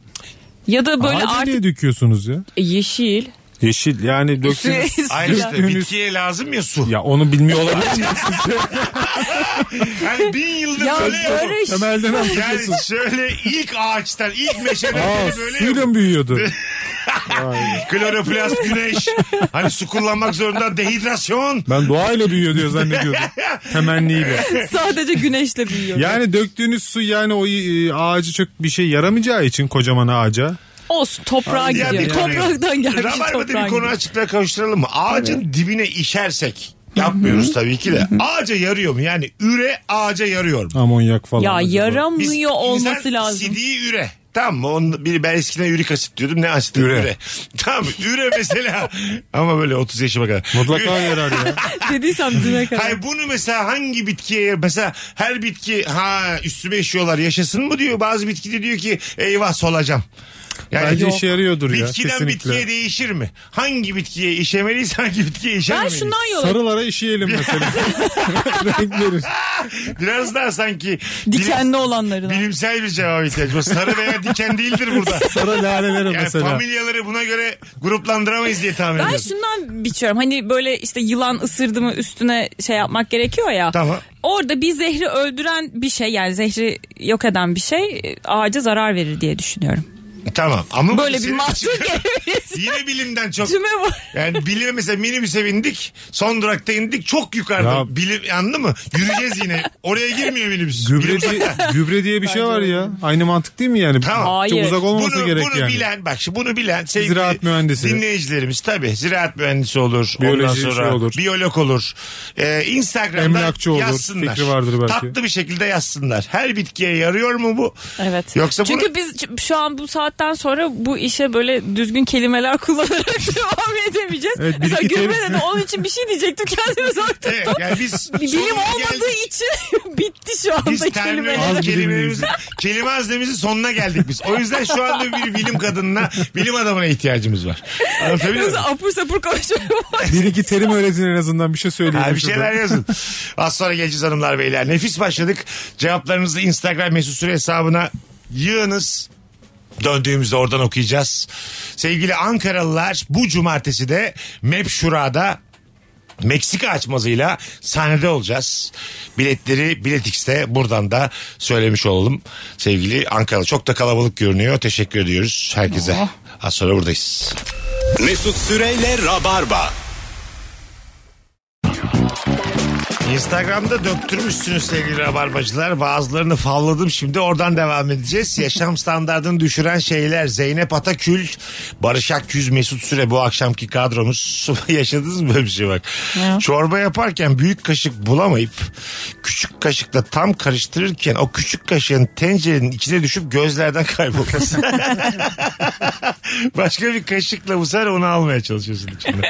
[SPEAKER 4] Ya da böyle
[SPEAKER 5] Ağaca
[SPEAKER 4] artık
[SPEAKER 5] niye döküyorsunuz ya?
[SPEAKER 4] yeşil.
[SPEAKER 5] Yeşil yani
[SPEAKER 4] Şey-
[SPEAKER 5] dökseniz.
[SPEAKER 3] Ayrıca
[SPEAKER 4] Siyah.
[SPEAKER 5] Dümdüz.
[SPEAKER 3] bitkiye lazım ya su.
[SPEAKER 5] ya onu bilmiyor olabilir mi?
[SPEAKER 3] Yani bin yıldır
[SPEAKER 4] Ya
[SPEAKER 3] böyle yapıyor.
[SPEAKER 4] böyle şey ş-
[SPEAKER 5] Temelden
[SPEAKER 3] Yani
[SPEAKER 5] anlıyorsun.
[SPEAKER 3] şöyle ilk ağaçtan, ilk meşeden
[SPEAKER 5] Aa
[SPEAKER 3] beri böyle
[SPEAKER 5] suyla
[SPEAKER 3] yapıyor.
[SPEAKER 5] mı büyüyordu?
[SPEAKER 3] Kloroplast, güneş. Hani su kullanmak zorunda dehidrasyon.
[SPEAKER 5] Ben doğayla büyüyor diyor zannediyordum. Temenniyle.
[SPEAKER 4] Sadece güneşle büyüyor.
[SPEAKER 5] Yani döktüğünüz su yani o e, ağacı çok bir şey yaramayacağı için kocaman ağaca.
[SPEAKER 4] Olsun toprağa
[SPEAKER 3] Ya
[SPEAKER 4] gidiyor.
[SPEAKER 3] bir konuyu-
[SPEAKER 4] Topraktan gelmiş
[SPEAKER 3] Rabarba'da
[SPEAKER 4] toprağa
[SPEAKER 3] bir konu
[SPEAKER 4] gidiyor.
[SPEAKER 3] açıklığa kavuşturalım mı? Ağacın dibine işersek yapmıyoruz tabii ki de. Ağaca yarıyor mu? Yani üre ağaca yarıyor mu?
[SPEAKER 5] Amonyak falan.
[SPEAKER 4] Ya
[SPEAKER 5] acaba.
[SPEAKER 4] yaramıyor olması
[SPEAKER 3] insan
[SPEAKER 4] lazım.
[SPEAKER 3] sidiği üre. Tamam mı? Onun, biri ben eskiden ürik asit diyordum. Ne asit? Üre.
[SPEAKER 5] Üre.
[SPEAKER 3] Tamam üre mesela. Ama böyle 30 yaşıma kadar.
[SPEAKER 5] Mutlaka
[SPEAKER 3] Üre-
[SPEAKER 5] yarar ya.
[SPEAKER 4] Dediysem düne kadar.
[SPEAKER 3] Hayır bunu mesela hangi bitkiye mesela her bitki ha üstüme işiyorlar yaşasın mı diyor. Bazı bitki de diyor ki eyvah solacağım.
[SPEAKER 5] Bence işe yarıyordur ya,
[SPEAKER 3] Bitkiden
[SPEAKER 5] kesinlikle.
[SPEAKER 3] bitkiye değişir mi? Hangi bitkiye işemeliyiz hangi bitkiye
[SPEAKER 4] Ben
[SPEAKER 3] işememeyiz?
[SPEAKER 4] şundan yola
[SPEAKER 5] Sarılara işeyelim mesela. Renk verir.
[SPEAKER 3] Biraz daha sanki bilim-
[SPEAKER 4] dikenli olanlarına.
[SPEAKER 3] bilimsel bir cevap ihtiyacı var. Sarı veya diken değildir burada.
[SPEAKER 5] Sarı lalelere
[SPEAKER 3] Yani
[SPEAKER 5] mesela.
[SPEAKER 3] familyaları buna göre gruplandıramayız diye tahmin
[SPEAKER 4] Ben
[SPEAKER 3] ediyorum.
[SPEAKER 4] şundan biçiyorum. Hani böyle işte yılan ısırdı mı üstüne şey yapmak gerekiyor ya.
[SPEAKER 3] Tamam.
[SPEAKER 4] Orada bir zehri öldüren bir şey yani zehri yok eden bir şey e, ağaca zarar verir diye düşünüyorum.
[SPEAKER 3] Tamam ama
[SPEAKER 4] Böyle
[SPEAKER 3] bu
[SPEAKER 4] bir
[SPEAKER 3] senin-
[SPEAKER 4] mahsur gelemeyiz.
[SPEAKER 3] Yine bilimden çok
[SPEAKER 4] Tüme var.
[SPEAKER 3] Yani bilime mesela minibüse bindik. Son durakta indik. Çok yukarıda.
[SPEAKER 5] Ya-
[SPEAKER 3] Bilim anladın mı? Yürüyeceğiz yine. Oraya girmiyor minibüs.
[SPEAKER 5] Gübre
[SPEAKER 3] Bilim-
[SPEAKER 5] diye, gübre diye bir şey var ya. Aynı mantık değil mi yani?
[SPEAKER 3] Tamam.
[SPEAKER 5] Çok
[SPEAKER 4] Hayır.
[SPEAKER 5] uzak olması
[SPEAKER 3] bunu,
[SPEAKER 5] gerek
[SPEAKER 3] bunu
[SPEAKER 5] yani.
[SPEAKER 3] bilen bak şimdi bunu bilen sevgili
[SPEAKER 5] Ziraat mühendisi.
[SPEAKER 3] dinleyicilerimiz tabii ziraat mühendisi olur ondan
[SPEAKER 5] Biyoloji
[SPEAKER 3] sonra
[SPEAKER 5] şey olur.
[SPEAKER 3] biyolog olur Ee, Instagram'dan
[SPEAKER 5] Emlakçı olur.
[SPEAKER 3] yazsınlar
[SPEAKER 5] Fikri vardır belki.
[SPEAKER 3] tatlı bir şekilde yazsınlar her bitkiye yarıyor mu bu
[SPEAKER 4] Evet.
[SPEAKER 3] yoksa
[SPEAKER 4] Çünkü
[SPEAKER 3] bunu
[SPEAKER 4] biz ç- şu an bu saatten sonra bu işe böyle düzgün kelimeler kullanarak devam edemeyeceğiz.
[SPEAKER 5] Evet, bir
[SPEAKER 4] Mesela
[SPEAKER 5] iki
[SPEAKER 4] gübre
[SPEAKER 5] terim-
[SPEAKER 4] dedi onun için bir şey diyecektim kendimi zor tuttum.
[SPEAKER 3] Evet, yani biz
[SPEAKER 4] Bir Bilim
[SPEAKER 3] sonuna
[SPEAKER 4] olmadığı
[SPEAKER 3] geldik.
[SPEAKER 4] için bitti şu
[SPEAKER 3] Biz
[SPEAKER 4] anda
[SPEAKER 3] terminoloji
[SPEAKER 5] Az
[SPEAKER 4] kelimeler.
[SPEAKER 3] kelimelerimizin, kelime haznemizin sonuna geldik biz. O yüzden şu anda bir bilim kadınına, bilim adamına ihtiyacımız var. Anlatabiliyor muyum?
[SPEAKER 4] Yoksa apur sapur konuşuyorum.
[SPEAKER 5] Bir iki terim öğretin en azından bir şey söyleyin.
[SPEAKER 3] Ha, bir
[SPEAKER 5] şurada.
[SPEAKER 3] şeyler yazın. Az sonra geleceğiz hanımlar beyler. Nefis başladık. Cevaplarınızı Instagram mesut süre hesabına yığınız. Döndüğümüzde oradan okuyacağız. Sevgili Ankaralılar bu cumartesi de Mep Şura'da Meksika açmazıyla sahnede olacağız. Biletleri Bilet X'te buradan da söylemiş olalım. Sevgili Ankara çok da kalabalık görünüyor. Teşekkür ediyoruz herkese. Az sonra buradayız.
[SPEAKER 2] Mesut Süreyle Rabarba.
[SPEAKER 3] Instagram'da döktürmüşsünüz sevgili rabarbacılar. Bazılarını favladım şimdi oradan devam edeceğiz. Yaşam standartını düşüren şeyler. Zeynep Atakül, Barış Akyüz, Mesut Süre bu akşamki kadromuz. Yaşadınız mı böyle bir şey bak. Çorba yaparken büyük kaşık bulamayıp küçük kaşıkla tam karıştırırken o küçük kaşığın tencerenin içine düşüp gözlerden kaybolması. Başka bir kaşıkla bu sefer onu almaya çalışıyorsun içinde.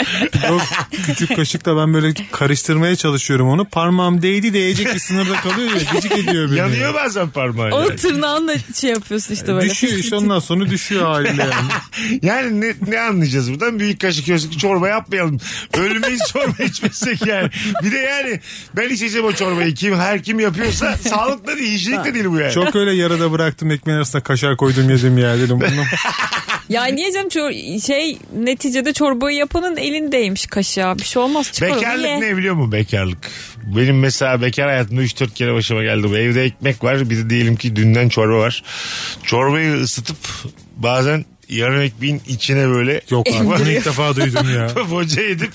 [SPEAKER 5] Yok, küçük kaşıkla ben böyle karıştırmaya çalışıyorum onu. Parmağım değdi değecek bir sınırda kalıyor ya. Gıcık ediyor beni.
[SPEAKER 3] Yanıyor bazen parmağıyla.
[SPEAKER 4] Onu tırnağınla şey yapıyorsun işte böyle.
[SPEAKER 5] Ee, Düşüyor işte ondan sonra düşüyor haliyle yani.
[SPEAKER 3] Yani ne, ne anlayacağız buradan? Büyük kaşık gözlük çorba yapmayalım. Ölmeyiz çorba içmesek yani. Bir de yani ben içeceğim o çorbayı. Kim her kim yapıyorsa sağlıklı değil, hijyenik de değil bu yani.
[SPEAKER 5] Çok öyle yarada bıraktım ekmeğin arasına kaşar koydum yedim ya dedim. Bunu
[SPEAKER 4] Ya niye canım çor- şey neticede çorbayı yapanın elindeymiş kaşığa. Bir şey olmaz çıkar onu
[SPEAKER 3] Bekarlık
[SPEAKER 4] ye.
[SPEAKER 3] ne biliyor musun bekarlık? Benim mesela bekar hayatımda 3-4 kere başıma geldi. bu. Evde ekmek var bir de diyelim ki dünden çorba var. Çorbayı ısıtıp bazen yarım ekmeğin içine böyle
[SPEAKER 5] Yok artık bunu ilk defa duydum ya.
[SPEAKER 3] boca edip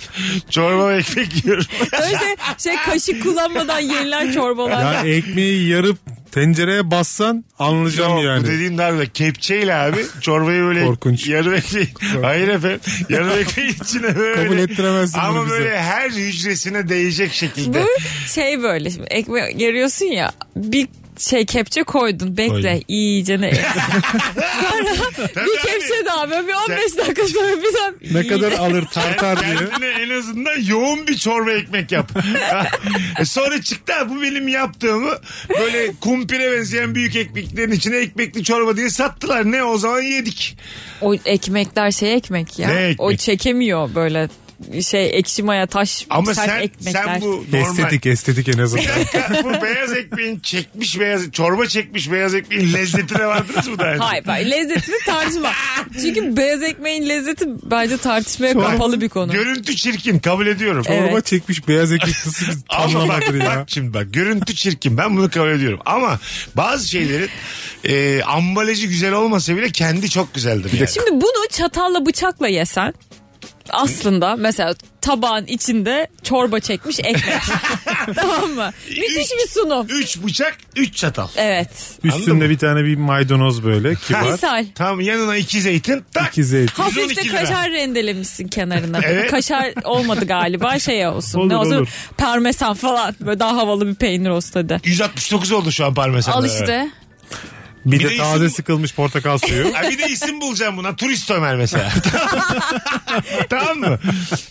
[SPEAKER 3] çorba ve ekmek yiyorum.
[SPEAKER 4] Öyle şey kaşık kullanmadan yenilen çorbalar.
[SPEAKER 5] Yani ekmeği yarıp tencereye bassan anlayacağım
[SPEAKER 3] Yok, Bu
[SPEAKER 5] yani.
[SPEAKER 3] dediğin darbe kepçeyle abi çorbayı böyle
[SPEAKER 5] Korkunç.
[SPEAKER 3] yarım ekmeği. Hayır efendim. Yarım ekmeğin içine böyle.
[SPEAKER 5] Kabul ettiremezsin bunu
[SPEAKER 3] Ama
[SPEAKER 5] bize.
[SPEAKER 3] böyle her hücresine değecek şekilde.
[SPEAKER 4] Bu şey böyle şimdi ekmek yarıyorsun ya bir şey kepçe koydun bekle
[SPEAKER 3] Koydum.
[SPEAKER 4] iyice ne sonra bir
[SPEAKER 3] abi. Şey
[SPEAKER 4] kepçe daha böyle bir 15 dakika sonra bir daha
[SPEAKER 5] Ne kadar alır tartar diye.
[SPEAKER 3] Kendine en azından yoğun bir çorba ekmek yap. E Sonra çıktı ha, bu benim yaptığımı böyle kumpire benzeyen büyük ekmeklerin içine ekmekli çorba diye sattılar. Ne o zaman yedik.
[SPEAKER 4] o ekmekler şey ekmek ya
[SPEAKER 3] Ne ekmek?
[SPEAKER 4] o çekemiyor böyle şey ekşi maya taş
[SPEAKER 3] Ama
[SPEAKER 4] sert
[SPEAKER 3] sen
[SPEAKER 4] ekmekler.
[SPEAKER 3] sen bu normal.
[SPEAKER 5] Estetik estetik en azından.
[SPEAKER 3] Bir dakika, bu beyaz ekmeğin çekmiş beyaz çorba çekmiş beyaz ekmeğin lezzetine vardınız mı daha önce?
[SPEAKER 4] Hayır hayır lezzetini tartışma. Çünkü beyaz ekmeğin lezzeti bence tartışmaya kapalı bir konu.
[SPEAKER 3] Görüntü çirkin kabul ediyorum.
[SPEAKER 5] Torba
[SPEAKER 4] Evet.
[SPEAKER 5] çekmiş beyaz ekmek nasıl bir
[SPEAKER 3] Ama bak,
[SPEAKER 5] tamlamadır ya.
[SPEAKER 3] bak şimdi bak görüntü çirkin ben bunu kabul ediyorum ama bazı şeylerin e, ambalajı güzel olmasa bile kendi çok güzeldir yani.
[SPEAKER 4] Şimdi bunu çatalla bıçakla yesen aslında mesela tabağın içinde çorba çekmiş ekmek. tamam mı? Müthiş bir sunum.
[SPEAKER 3] Üç bıçak üç çatal.
[SPEAKER 4] Evet.
[SPEAKER 5] Üstünde bir tane bir maydanoz böyle kibar.
[SPEAKER 4] Misal.
[SPEAKER 3] Tam yanına iki zeytin tak.
[SPEAKER 5] İki zeytin.
[SPEAKER 4] Hafif
[SPEAKER 3] 112
[SPEAKER 4] de
[SPEAKER 3] lira.
[SPEAKER 4] kaşar rendelemişsin kenarına.
[SPEAKER 3] Evet.
[SPEAKER 4] Kaşar olmadı galiba şey olsun.
[SPEAKER 5] Olur,
[SPEAKER 4] ne olsun?
[SPEAKER 5] olur.
[SPEAKER 4] Parmesan falan. Böyle daha havalı bir peynir olsun hadi.
[SPEAKER 3] 169 oldu şu an parmesan.
[SPEAKER 4] Al işte.
[SPEAKER 5] Bir,
[SPEAKER 3] Bir de
[SPEAKER 5] de taze
[SPEAKER 3] isim-
[SPEAKER 5] sıkılmış portakal suyu.
[SPEAKER 3] Ha bir de isim bulacağım buna. Turist Ömer mesela. tamam mı?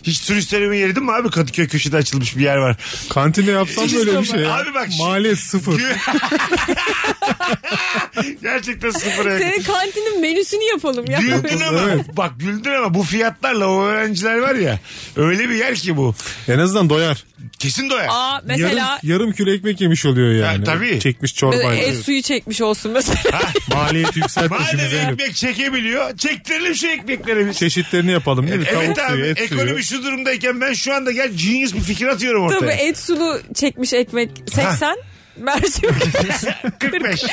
[SPEAKER 3] Hiç turist Ömer'i yedin mi abi? Kadıköy köşede açılmış bir yer var.
[SPEAKER 5] Kantinde yapsam böyle bir şey ya.
[SPEAKER 3] Abi bak şu-
[SPEAKER 5] Maliyet sıfır.
[SPEAKER 3] Gerçekten sıfıra yakın.
[SPEAKER 4] Senin kantinin menüsünü yapalım ya.
[SPEAKER 3] Güldün ama
[SPEAKER 5] Evet.
[SPEAKER 3] bak güldün ama bu fiyatlarla o öğrenciler var ya öyle bir yer ki bu.
[SPEAKER 5] En azından doyar.
[SPEAKER 3] Kesin doyar.
[SPEAKER 4] Aa mesela
[SPEAKER 5] Yarım, yarım kilo ekmek yemiş oluyor yani.
[SPEAKER 3] Ya, tabii.
[SPEAKER 5] Çekmiş çorbayla.
[SPEAKER 4] el suyu çekmiş olsun mesela.
[SPEAKER 5] Maliyet yükseltmiş
[SPEAKER 3] Madem
[SPEAKER 5] bize herif.
[SPEAKER 3] ekmek çekebiliyor çektirelim şu ekmekleri biz.
[SPEAKER 5] Çeşitlerini yapalım değil mi?
[SPEAKER 3] Evet
[SPEAKER 5] Tavuk
[SPEAKER 3] abi
[SPEAKER 5] suyu, et
[SPEAKER 3] ekonomi
[SPEAKER 5] suyu.
[SPEAKER 3] şu durumdayken ben şu anda gel genius bir fikir atıyorum
[SPEAKER 4] Tabii
[SPEAKER 3] ortaya.
[SPEAKER 4] et sulu çekmiş ekmek 80. Mercimek.
[SPEAKER 3] 45.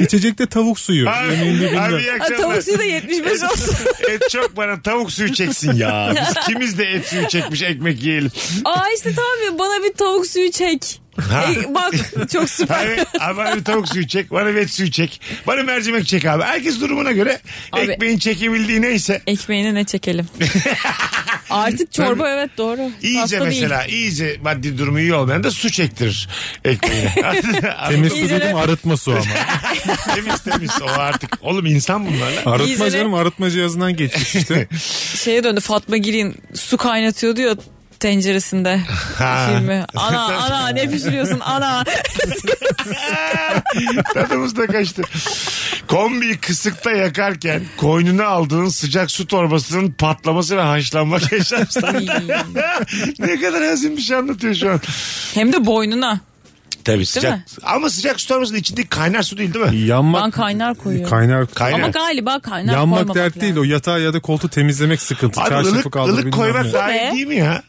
[SPEAKER 5] İçecekte tavuk suyu. Yemeğinde
[SPEAKER 3] abi,
[SPEAKER 5] bilmem.
[SPEAKER 3] abi iyi
[SPEAKER 4] Ha,
[SPEAKER 3] akşamlar.
[SPEAKER 4] tavuk suyu da 75 olsun.
[SPEAKER 3] et çok bana tavuk suyu çeksin ya. Biz kimiz de et suyu çekmiş ekmek yiyelim.
[SPEAKER 4] Aa işte tamam ya bana bir tavuk suyu çek. E, bak çok süper.
[SPEAKER 3] Abi, abi bana bir tavuk suyu çek, bana bir et suyu çek, bana mercimek çek abi. Herkes durumuna göre
[SPEAKER 4] Abi-
[SPEAKER 3] ekmeğin çekebildiği neyse.
[SPEAKER 4] Ekmeğine ne çekelim? Artık çorba evet doğru.
[SPEAKER 3] İyice
[SPEAKER 4] Pasta
[SPEAKER 3] mesela iyice maddi durumu iyi olmayan da su çektirir ekmeğine.
[SPEAKER 5] Temiz su
[SPEAKER 4] İyice-
[SPEAKER 5] dedim arıtma su ama.
[SPEAKER 3] temiz temiz o artık. Oğlum insan bunlarla.
[SPEAKER 5] Arıtma
[SPEAKER 4] İyice-
[SPEAKER 5] canım arıtma cihazından geçmiş işte.
[SPEAKER 4] değil. Şeye döndü Fatma Girin su kaynatıyordu ya tenceresinde filmi. Ana ana ne pişiriyorsun ana.
[SPEAKER 3] Tadımız da kaçtı. Kombiyi kısıkta yakarken koynuna aldığın sıcak su torbasının patlaması ve haşlanma yaşarsın. ne kadar hazin bir şey anlatıyor şu an.
[SPEAKER 4] Hem de boynuna.
[SPEAKER 3] Tabii sıcak.
[SPEAKER 4] mi?
[SPEAKER 3] Ama sıcak su torbasının içindeki kaynar su değil değil mi?
[SPEAKER 5] Yanmak.
[SPEAKER 4] Ben kaynar koyuyorum.
[SPEAKER 5] Kaynar.
[SPEAKER 3] Kaynar.
[SPEAKER 4] Ama galiba kaynar
[SPEAKER 5] Yanmak
[SPEAKER 4] koymamak
[SPEAKER 5] dert değil o yatağı ya da koltuğu temizlemek sıkıntı.
[SPEAKER 3] Abi
[SPEAKER 5] Çarşafı
[SPEAKER 3] ılık,
[SPEAKER 5] kaldır
[SPEAKER 3] ılık
[SPEAKER 5] bilmem
[SPEAKER 3] koymak
[SPEAKER 5] ne.
[SPEAKER 3] daha iyi
[SPEAKER 4] Be.
[SPEAKER 3] değil mi ya?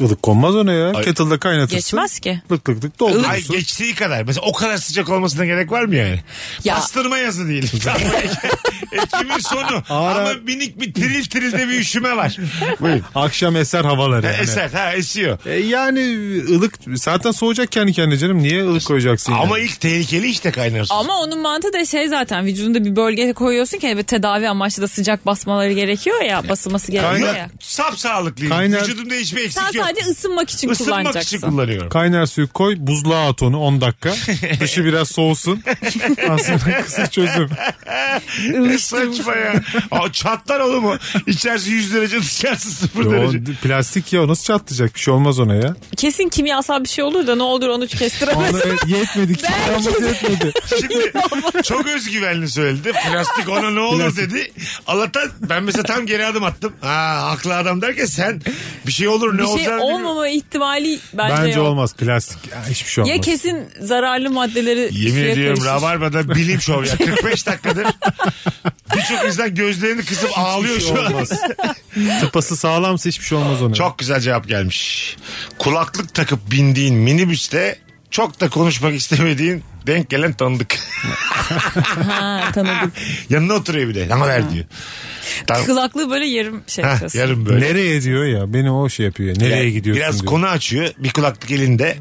[SPEAKER 5] Ilık konmaz ona ya.
[SPEAKER 3] Ay-
[SPEAKER 5] Kettle'da kaynatırsın.
[SPEAKER 4] Geçmez ki.
[SPEAKER 5] Lık lık lık
[SPEAKER 3] Ay
[SPEAKER 5] doldurursun.
[SPEAKER 3] geçtiği kadar. Mesela o kadar sıcak olmasına gerek var mı yani?
[SPEAKER 4] Ya.
[SPEAKER 3] Bastırma yazı değil. Ekimin sonu.
[SPEAKER 5] Ağır-
[SPEAKER 3] Ama minik bir tril trilde bir üşüme var. Buyurun.
[SPEAKER 5] Akşam eser havaları yani.
[SPEAKER 3] Eser ha esiyor.
[SPEAKER 5] E yani ılık zaten soğuyacak kendi kendine canım. Niye ılık koyacaksın?
[SPEAKER 3] Ama
[SPEAKER 5] yani?
[SPEAKER 3] ilk tehlikeli işte kaynar su.
[SPEAKER 4] Ama onun mantığı da şey zaten vücudunda bir bölge koyuyorsun ki evet, tedavi amaçlı da sıcak basmaları gerekiyor ya basılması gerekiyor ya.
[SPEAKER 3] Kaynar, sap sağlıklıyım.
[SPEAKER 5] Kaynar-
[SPEAKER 3] Vücudumda hiçbir eksik
[SPEAKER 4] Sen
[SPEAKER 3] yok.
[SPEAKER 4] sadece ısınmak için
[SPEAKER 3] Isınmak
[SPEAKER 4] kullanacaksın.
[SPEAKER 3] için kullanıyorum.
[SPEAKER 5] Kaynar suyu koy buzluğa at onu 10 dakika. Dışı biraz soğusun. Aslında kısa çözüm.
[SPEAKER 3] Ne saçma ya. Aa, çatlar oğlum o. İçerisi 100 derece dışarısı 0
[SPEAKER 5] Yo,
[SPEAKER 3] derece.
[SPEAKER 5] plastik ya o nasıl çatlayacak bir şey olmaz ona ya.
[SPEAKER 4] Kesin kimyasal bir şey olur da ne olur onu kestiremez.
[SPEAKER 5] Ona e, yetmedi ki. Yalnız yetmedi.
[SPEAKER 3] Şimdi çok özgüvenli söyledi. Plastik ona ne olur
[SPEAKER 5] Plastik.
[SPEAKER 3] dedi. Allah'tan ben mesela tam geri adım attım. Ha haklı adam derken sen bir şey olur ne
[SPEAKER 4] bir şey
[SPEAKER 3] olacağını bilmiyorum.
[SPEAKER 4] olmama ihtimali bence,
[SPEAKER 5] Bence,
[SPEAKER 4] yok.
[SPEAKER 5] olmaz plastik. Ya, hiçbir şey olmaz.
[SPEAKER 4] Ya kesin zararlı maddeleri
[SPEAKER 3] Yemin
[SPEAKER 4] suya
[SPEAKER 3] ediyorum
[SPEAKER 4] karışır.
[SPEAKER 3] Rabarba'da bilim şov ya. 45 dakikadır birçok insan gözlerini kısıp ağlıyor şu an.
[SPEAKER 5] şey olmaz. Tıpası sağlamsa hiçbir şey olmaz ona.
[SPEAKER 3] Çok güzel cevap gelmiş. Kulaklık takıp bindiğin minibüste çok da konuşmak istemediğin denk gelen tanıdık.
[SPEAKER 4] Ha, tanıdık.
[SPEAKER 3] Yanına oturuyor bir de. Ne haber diyor. Tam,
[SPEAKER 4] Kulaklığı böyle yarım şey
[SPEAKER 3] Heh,
[SPEAKER 4] yapıyorsun.
[SPEAKER 3] yarın böyle.
[SPEAKER 5] Nereye diyor ya. Beni o şey yapıyor. ya, Nereye
[SPEAKER 3] Yani
[SPEAKER 5] gidiyorsun
[SPEAKER 3] Biraz
[SPEAKER 5] diyor.
[SPEAKER 3] konu açıyor. Bir kulaklık elinde.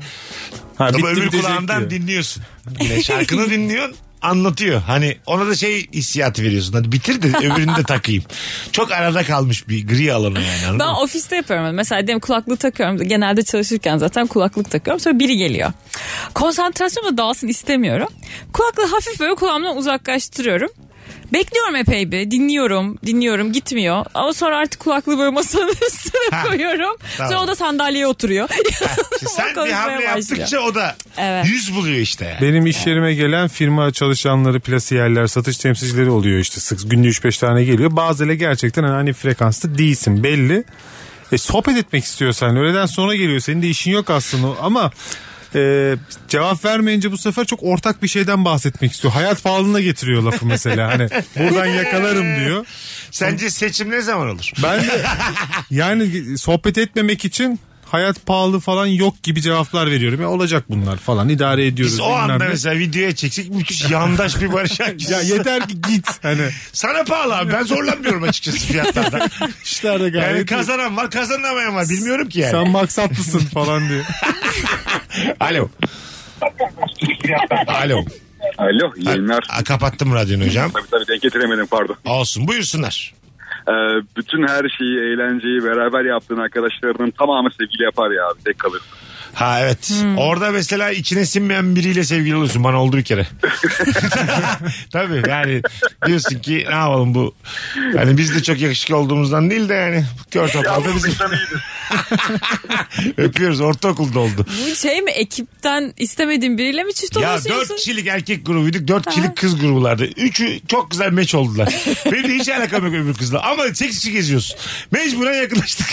[SPEAKER 5] ha,
[SPEAKER 3] Ama
[SPEAKER 5] bitti
[SPEAKER 3] öbür
[SPEAKER 5] bitecek
[SPEAKER 3] kulağından
[SPEAKER 5] diyor.
[SPEAKER 3] dinliyorsun. Yine şarkını dinliyorsun anlatıyor. Hani ona da şey hissiyatı veriyorsun. Hadi bitir de öbürünü de takayım. Çok arada kalmış bir gri alanı yani. anladın
[SPEAKER 4] Ben
[SPEAKER 3] mı?
[SPEAKER 4] ofiste yapıyorum. Hani Mesela diyelim kulaklığı takıyorum. Genelde çalışırken zaten kulaklık takıyorum. Sonra biri geliyor. Konsantrasyonum da dağılsın istemiyorum. Kulaklığı hafif böyle kulağımdan uzaklaştırıyorum. Bekliyorum epey bir. Dinliyorum. Dinliyorum. Gitmiyor. Ama sonra artık kulaklığı böyle masanın üstüne
[SPEAKER 3] Ha,
[SPEAKER 4] koyuyorum.
[SPEAKER 3] tamam.
[SPEAKER 4] Sonra o da sandalyeye oturuyor.
[SPEAKER 3] İşte sen bir
[SPEAKER 4] Konuşmaya
[SPEAKER 3] hamle
[SPEAKER 4] başlıyor.
[SPEAKER 3] yaptıkça o da
[SPEAKER 4] Evet.
[SPEAKER 3] yüz buluyor işte. yani.
[SPEAKER 5] Benim iş yerime gelen firma çalışanları, plasiyerler, satış temsilcileri oluyor işte. Sık günde 3-5 tane geliyor. Bazıları gerçekten hani aynı frekansta değilsin belli. E, sohbet etmek istiyorsan öğleden sonra geliyor. Senin de işin yok aslında ama e, cevap vermeyince bu sefer çok ortak bir şeyden bahsetmek istiyor. Hayat pahalılığına getiriyor lafı mesela. Hani buradan yakalarım diyor.
[SPEAKER 3] Sence seçim ne zaman olur?
[SPEAKER 5] Ben de yani sohbet etmemek için hayat pahalı falan yok gibi cevaplar veriyorum. Ya olacak bunlar falan idare ediyoruz.
[SPEAKER 3] Biz o
[SPEAKER 5] bilmem
[SPEAKER 3] anda
[SPEAKER 5] ne.
[SPEAKER 3] mesela videoya çeksek müthiş yandaş bir Barış Akgüz.
[SPEAKER 5] Ya yeter ki git. Hani
[SPEAKER 3] Sana pahalı abi ben zorlanmıyorum açıkçası fiyatlardan.
[SPEAKER 5] işlerde gayet.
[SPEAKER 3] Yani kazanan var kazanamayan var bilmiyorum ki yani.
[SPEAKER 5] Sen maksatlısın falan diyor.
[SPEAKER 3] Alo. Alo.
[SPEAKER 6] Alo yayınlar.
[SPEAKER 3] Aa, kapattım radyonu hocam.
[SPEAKER 6] Tabii tabii denk getiremedim pardon.
[SPEAKER 3] Olsun buyursunlar.
[SPEAKER 6] Ee, bütün her şeyi eğlenceyi beraber yaptığın arkadaşlarının tamamı sevgili yapar ya abi tek kalır.
[SPEAKER 3] Ha evet. Orada mesela içine sinmeyen biriyle sevgili olursun. Bana oldu bir kere. Tabii yani diyorsun ki ne yapalım bu. Hani biz de çok yakışıklı olduğumuzdan değil de yani kör topalda bizim. Öpüyoruz ortaokulda oldu.
[SPEAKER 4] Bu şey mi ekipten istemediğin biriyle mi çift
[SPEAKER 3] Ya
[SPEAKER 4] oluyorsun?
[SPEAKER 3] dört
[SPEAKER 4] yoksa-
[SPEAKER 3] kişilik erkek grubuyduk. Dört kişilik kız grubulardı. Üçü çok güzel meç oldular. Benim de hiç alakam yok öbür kızla. Ama tek kişi geziyoruz. Mecburen yakınlaştık.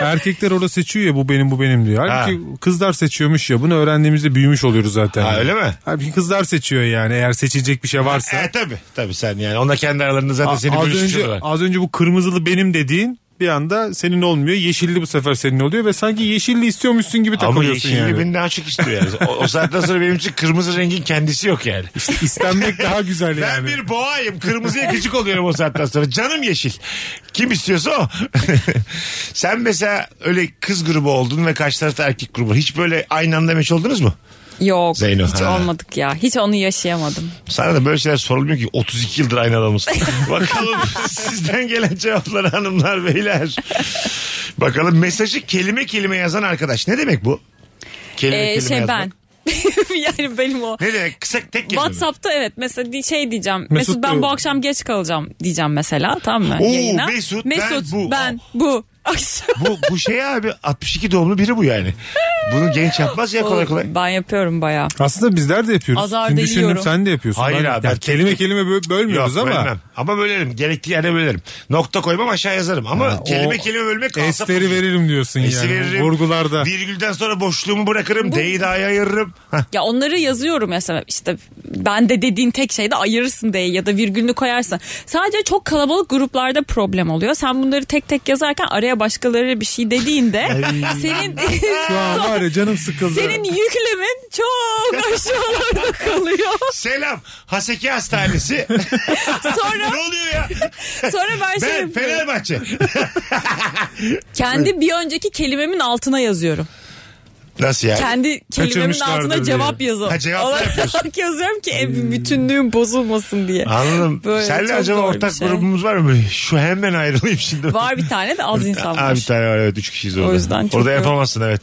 [SPEAKER 5] Erkekler orada seçiyor ya bu benim bu benim diyor. Halbuki kızlar seçiyormuş ya bunu öğrendiğimizde büyümüş oluyoruz zaten.
[SPEAKER 3] Ha, öyle mi?
[SPEAKER 5] Halbuki kızlar seçiyor yani eğer seçilecek bir şey varsa.
[SPEAKER 3] e tabi tabi sen yani. Onlar kendi aralarında zaten
[SPEAKER 5] A-
[SPEAKER 3] seni
[SPEAKER 5] az önce
[SPEAKER 3] bölüştürüyorlar.
[SPEAKER 5] az önce bu kırmızılı benim dediğin bir anda senin olmuyor. Yeşilli bu sefer senin oluyor ve sanki yeşilli istiyormuşsun gibi
[SPEAKER 3] Ama
[SPEAKER 5] takılıyorsun
[SPEAKER 3] yeşilli
[SPEAKER 5] yani.
[SPEAKER 3] beni daha çok istiyor yani. O, o saatten sonra benim için kırmızı rengin kendisi yok yani.
[SPEAKER 5] İstenmek daha güzel
[SPEAKER 3] Ben
[SPEAKER 5] yani.
[SPEAKER 3] bir boğayım. Kırmızıya gıcık oluyorum o saatten sonra. Canım yeşil. Kim istiyorsa o. Sen mesela öyle kız grubu oldun ve karşı tarafta erkek grubu. Hiç böyle aynı anda meç oldunuz mu?
[SPEAKER 4] Yok
[SPEAKER 3] Zeyno,
[SPEAKER 4] hiç
[SPEAKER 3] ha.
[SPEAKER 4] olmadık ya. Hiç onu yaşayamadım.
[SPEAKER 3] Sana da böyle şeyler sorulmuyor ki 32 yıldır aynı adamız. Bakalım sizden gelen cevapları hanımlar beyler. Bakalım mesajı kelime kelime yazan arkadaş. Ne demek bu? Kelime
[SPEAKER 4] Ee,
[SPEAKER 3] kelime
[SPEAKER 4] şey
[SPEAKER 3] yazmak.
[SPEAKER 4] ben. yani benim o.
[SPEAKER 3] Ne demek? Kısa tek kelime. mi?
[SPEAKER 4] WhatsApp'ta evet mesela di- şey diyeceğim. Mesut,
[SPEAKER 5] Mesut
[SPEAKER 4] ben bu
[SPEAKER 5] diyor.
[SPEAKER 4] akşam geç kalacağım diyeceğim mesela tamam mı?
[SPEAKER 3] Oo,
[SPEAKER 4] Yayına.
[SPEAKER 3] Mesut, ben
[SPEAKER 4] Mesut
[SPEAKER 3] bu.
[SPEAKER 4] ben bu. Akşam.
[SPEAKER 3] Bu, bu şey abi 62 doğumlu biri bu yani. Bunu genç yapmaz ya kolay kolay.
[SPEAKER 4] Ben yapıyorum bayağı.
[SPEAKER 5] Aslında bizler de yapıyoruz.
[SPEAKER 4] Azar
[SPEAKER 5] Şimdi
[SPEAKER 4] da
[SPEAKER 5] düşündüm
[SPEAKER 4] yiyorum.
[SPEAKER 5] sen de yapıyorsun.
[SPEAKER 3] Hayır
[SPEAKER 5] Ben-
[SPEAKER 3] abi,
[SPEAKER 5] ya
[SPEAKER 3] ben-
[SPEAKER 5] kelime kelime bö- bölmüyoruz ama.
[SPEAKER 3] bölmem. Ama bölerim. Gerektiği yere bölerim. Nokta koymam aşağı yazarım. Ama
[SPEAKER 5] o
[SPEAKER 3] kelime kelime bölmek kalsa...
[SPEAKER 5] Esleri veririm diyorsun yani. Vurgularda.
[SPEAKER 3] Virgülden sonra boşluğumu bırakırım. D'yi ayırırım. Hah.
[SPEAKER 4] Ya onları yazıyorum mesela işte ben de dediğin tek şeyde ayırırsın diye ya da virgülünü koyarsın. Sadece çok kalabalık gruplarda problem oluyor. Sen bunları tek tek yazarken araya başkaları bir şey dediğinde senin
[SPEAKER 5] Şu an var ya canım sıkıldı.
[SPEAKER 4] senin yüklemin çok aşağılarda kalıyor.
[SPEAKER 3] Selam. Haseki Hastanesi.
[SPEAKER 4] Sonra
[SPEAKER 3] ne oluyor ya?
[SPEAKER 4] sonra ben şey
[SPEAKER 3] Ben
[SPEAKER 4] yapıyorum.
[SPEAKER 3] Fenerbahçe.
[SPEAKER 4] Kendi bir önceki kelimemin altına yazıyorum.
[SPEAKER 3] Nasıl yani?
[SPEAKER 4] Kendi kelimemin
[SPEAKER 5] Kaçırmışlardır
[SPEAKER 4] altına
[SPEAKER 5] diye.
[SPEAKER 4] cevap yazıyorum.
[SPEAKER 3] Ha, cevap da yapıyorsun. Hmm.
[SPEAKER 4] yazıyorum ki ev bütünlüğüm bozulmasın diye.
[SPEAKER 3] Anladım.
[SPEAKER 4] Böyle
[SPEAKER 3] Senle
[SPEAKER 4] çok
[SPEAKER 3] acaba
[SPEAKER 4] zor bir
[SPEAKER 3] ortak
[SPEAKER 4] şey.
[SPEAKER 3] grubumuz var mı? Şu hemen ayrılayım şimdi.
[SPEAKER 4] Var bir tane de az
[SPEAKER 3] Aa,
[SPEAKER 4] insan var.
[SPEAKER 3] bir tane var evet. Üç kişiyiz orada.
[SPEAKER 4] yüzden çok
[SPEAKER 3] orada
[SPEAKER 4] yok.
[SPEAKER 3] yapamazsın evet.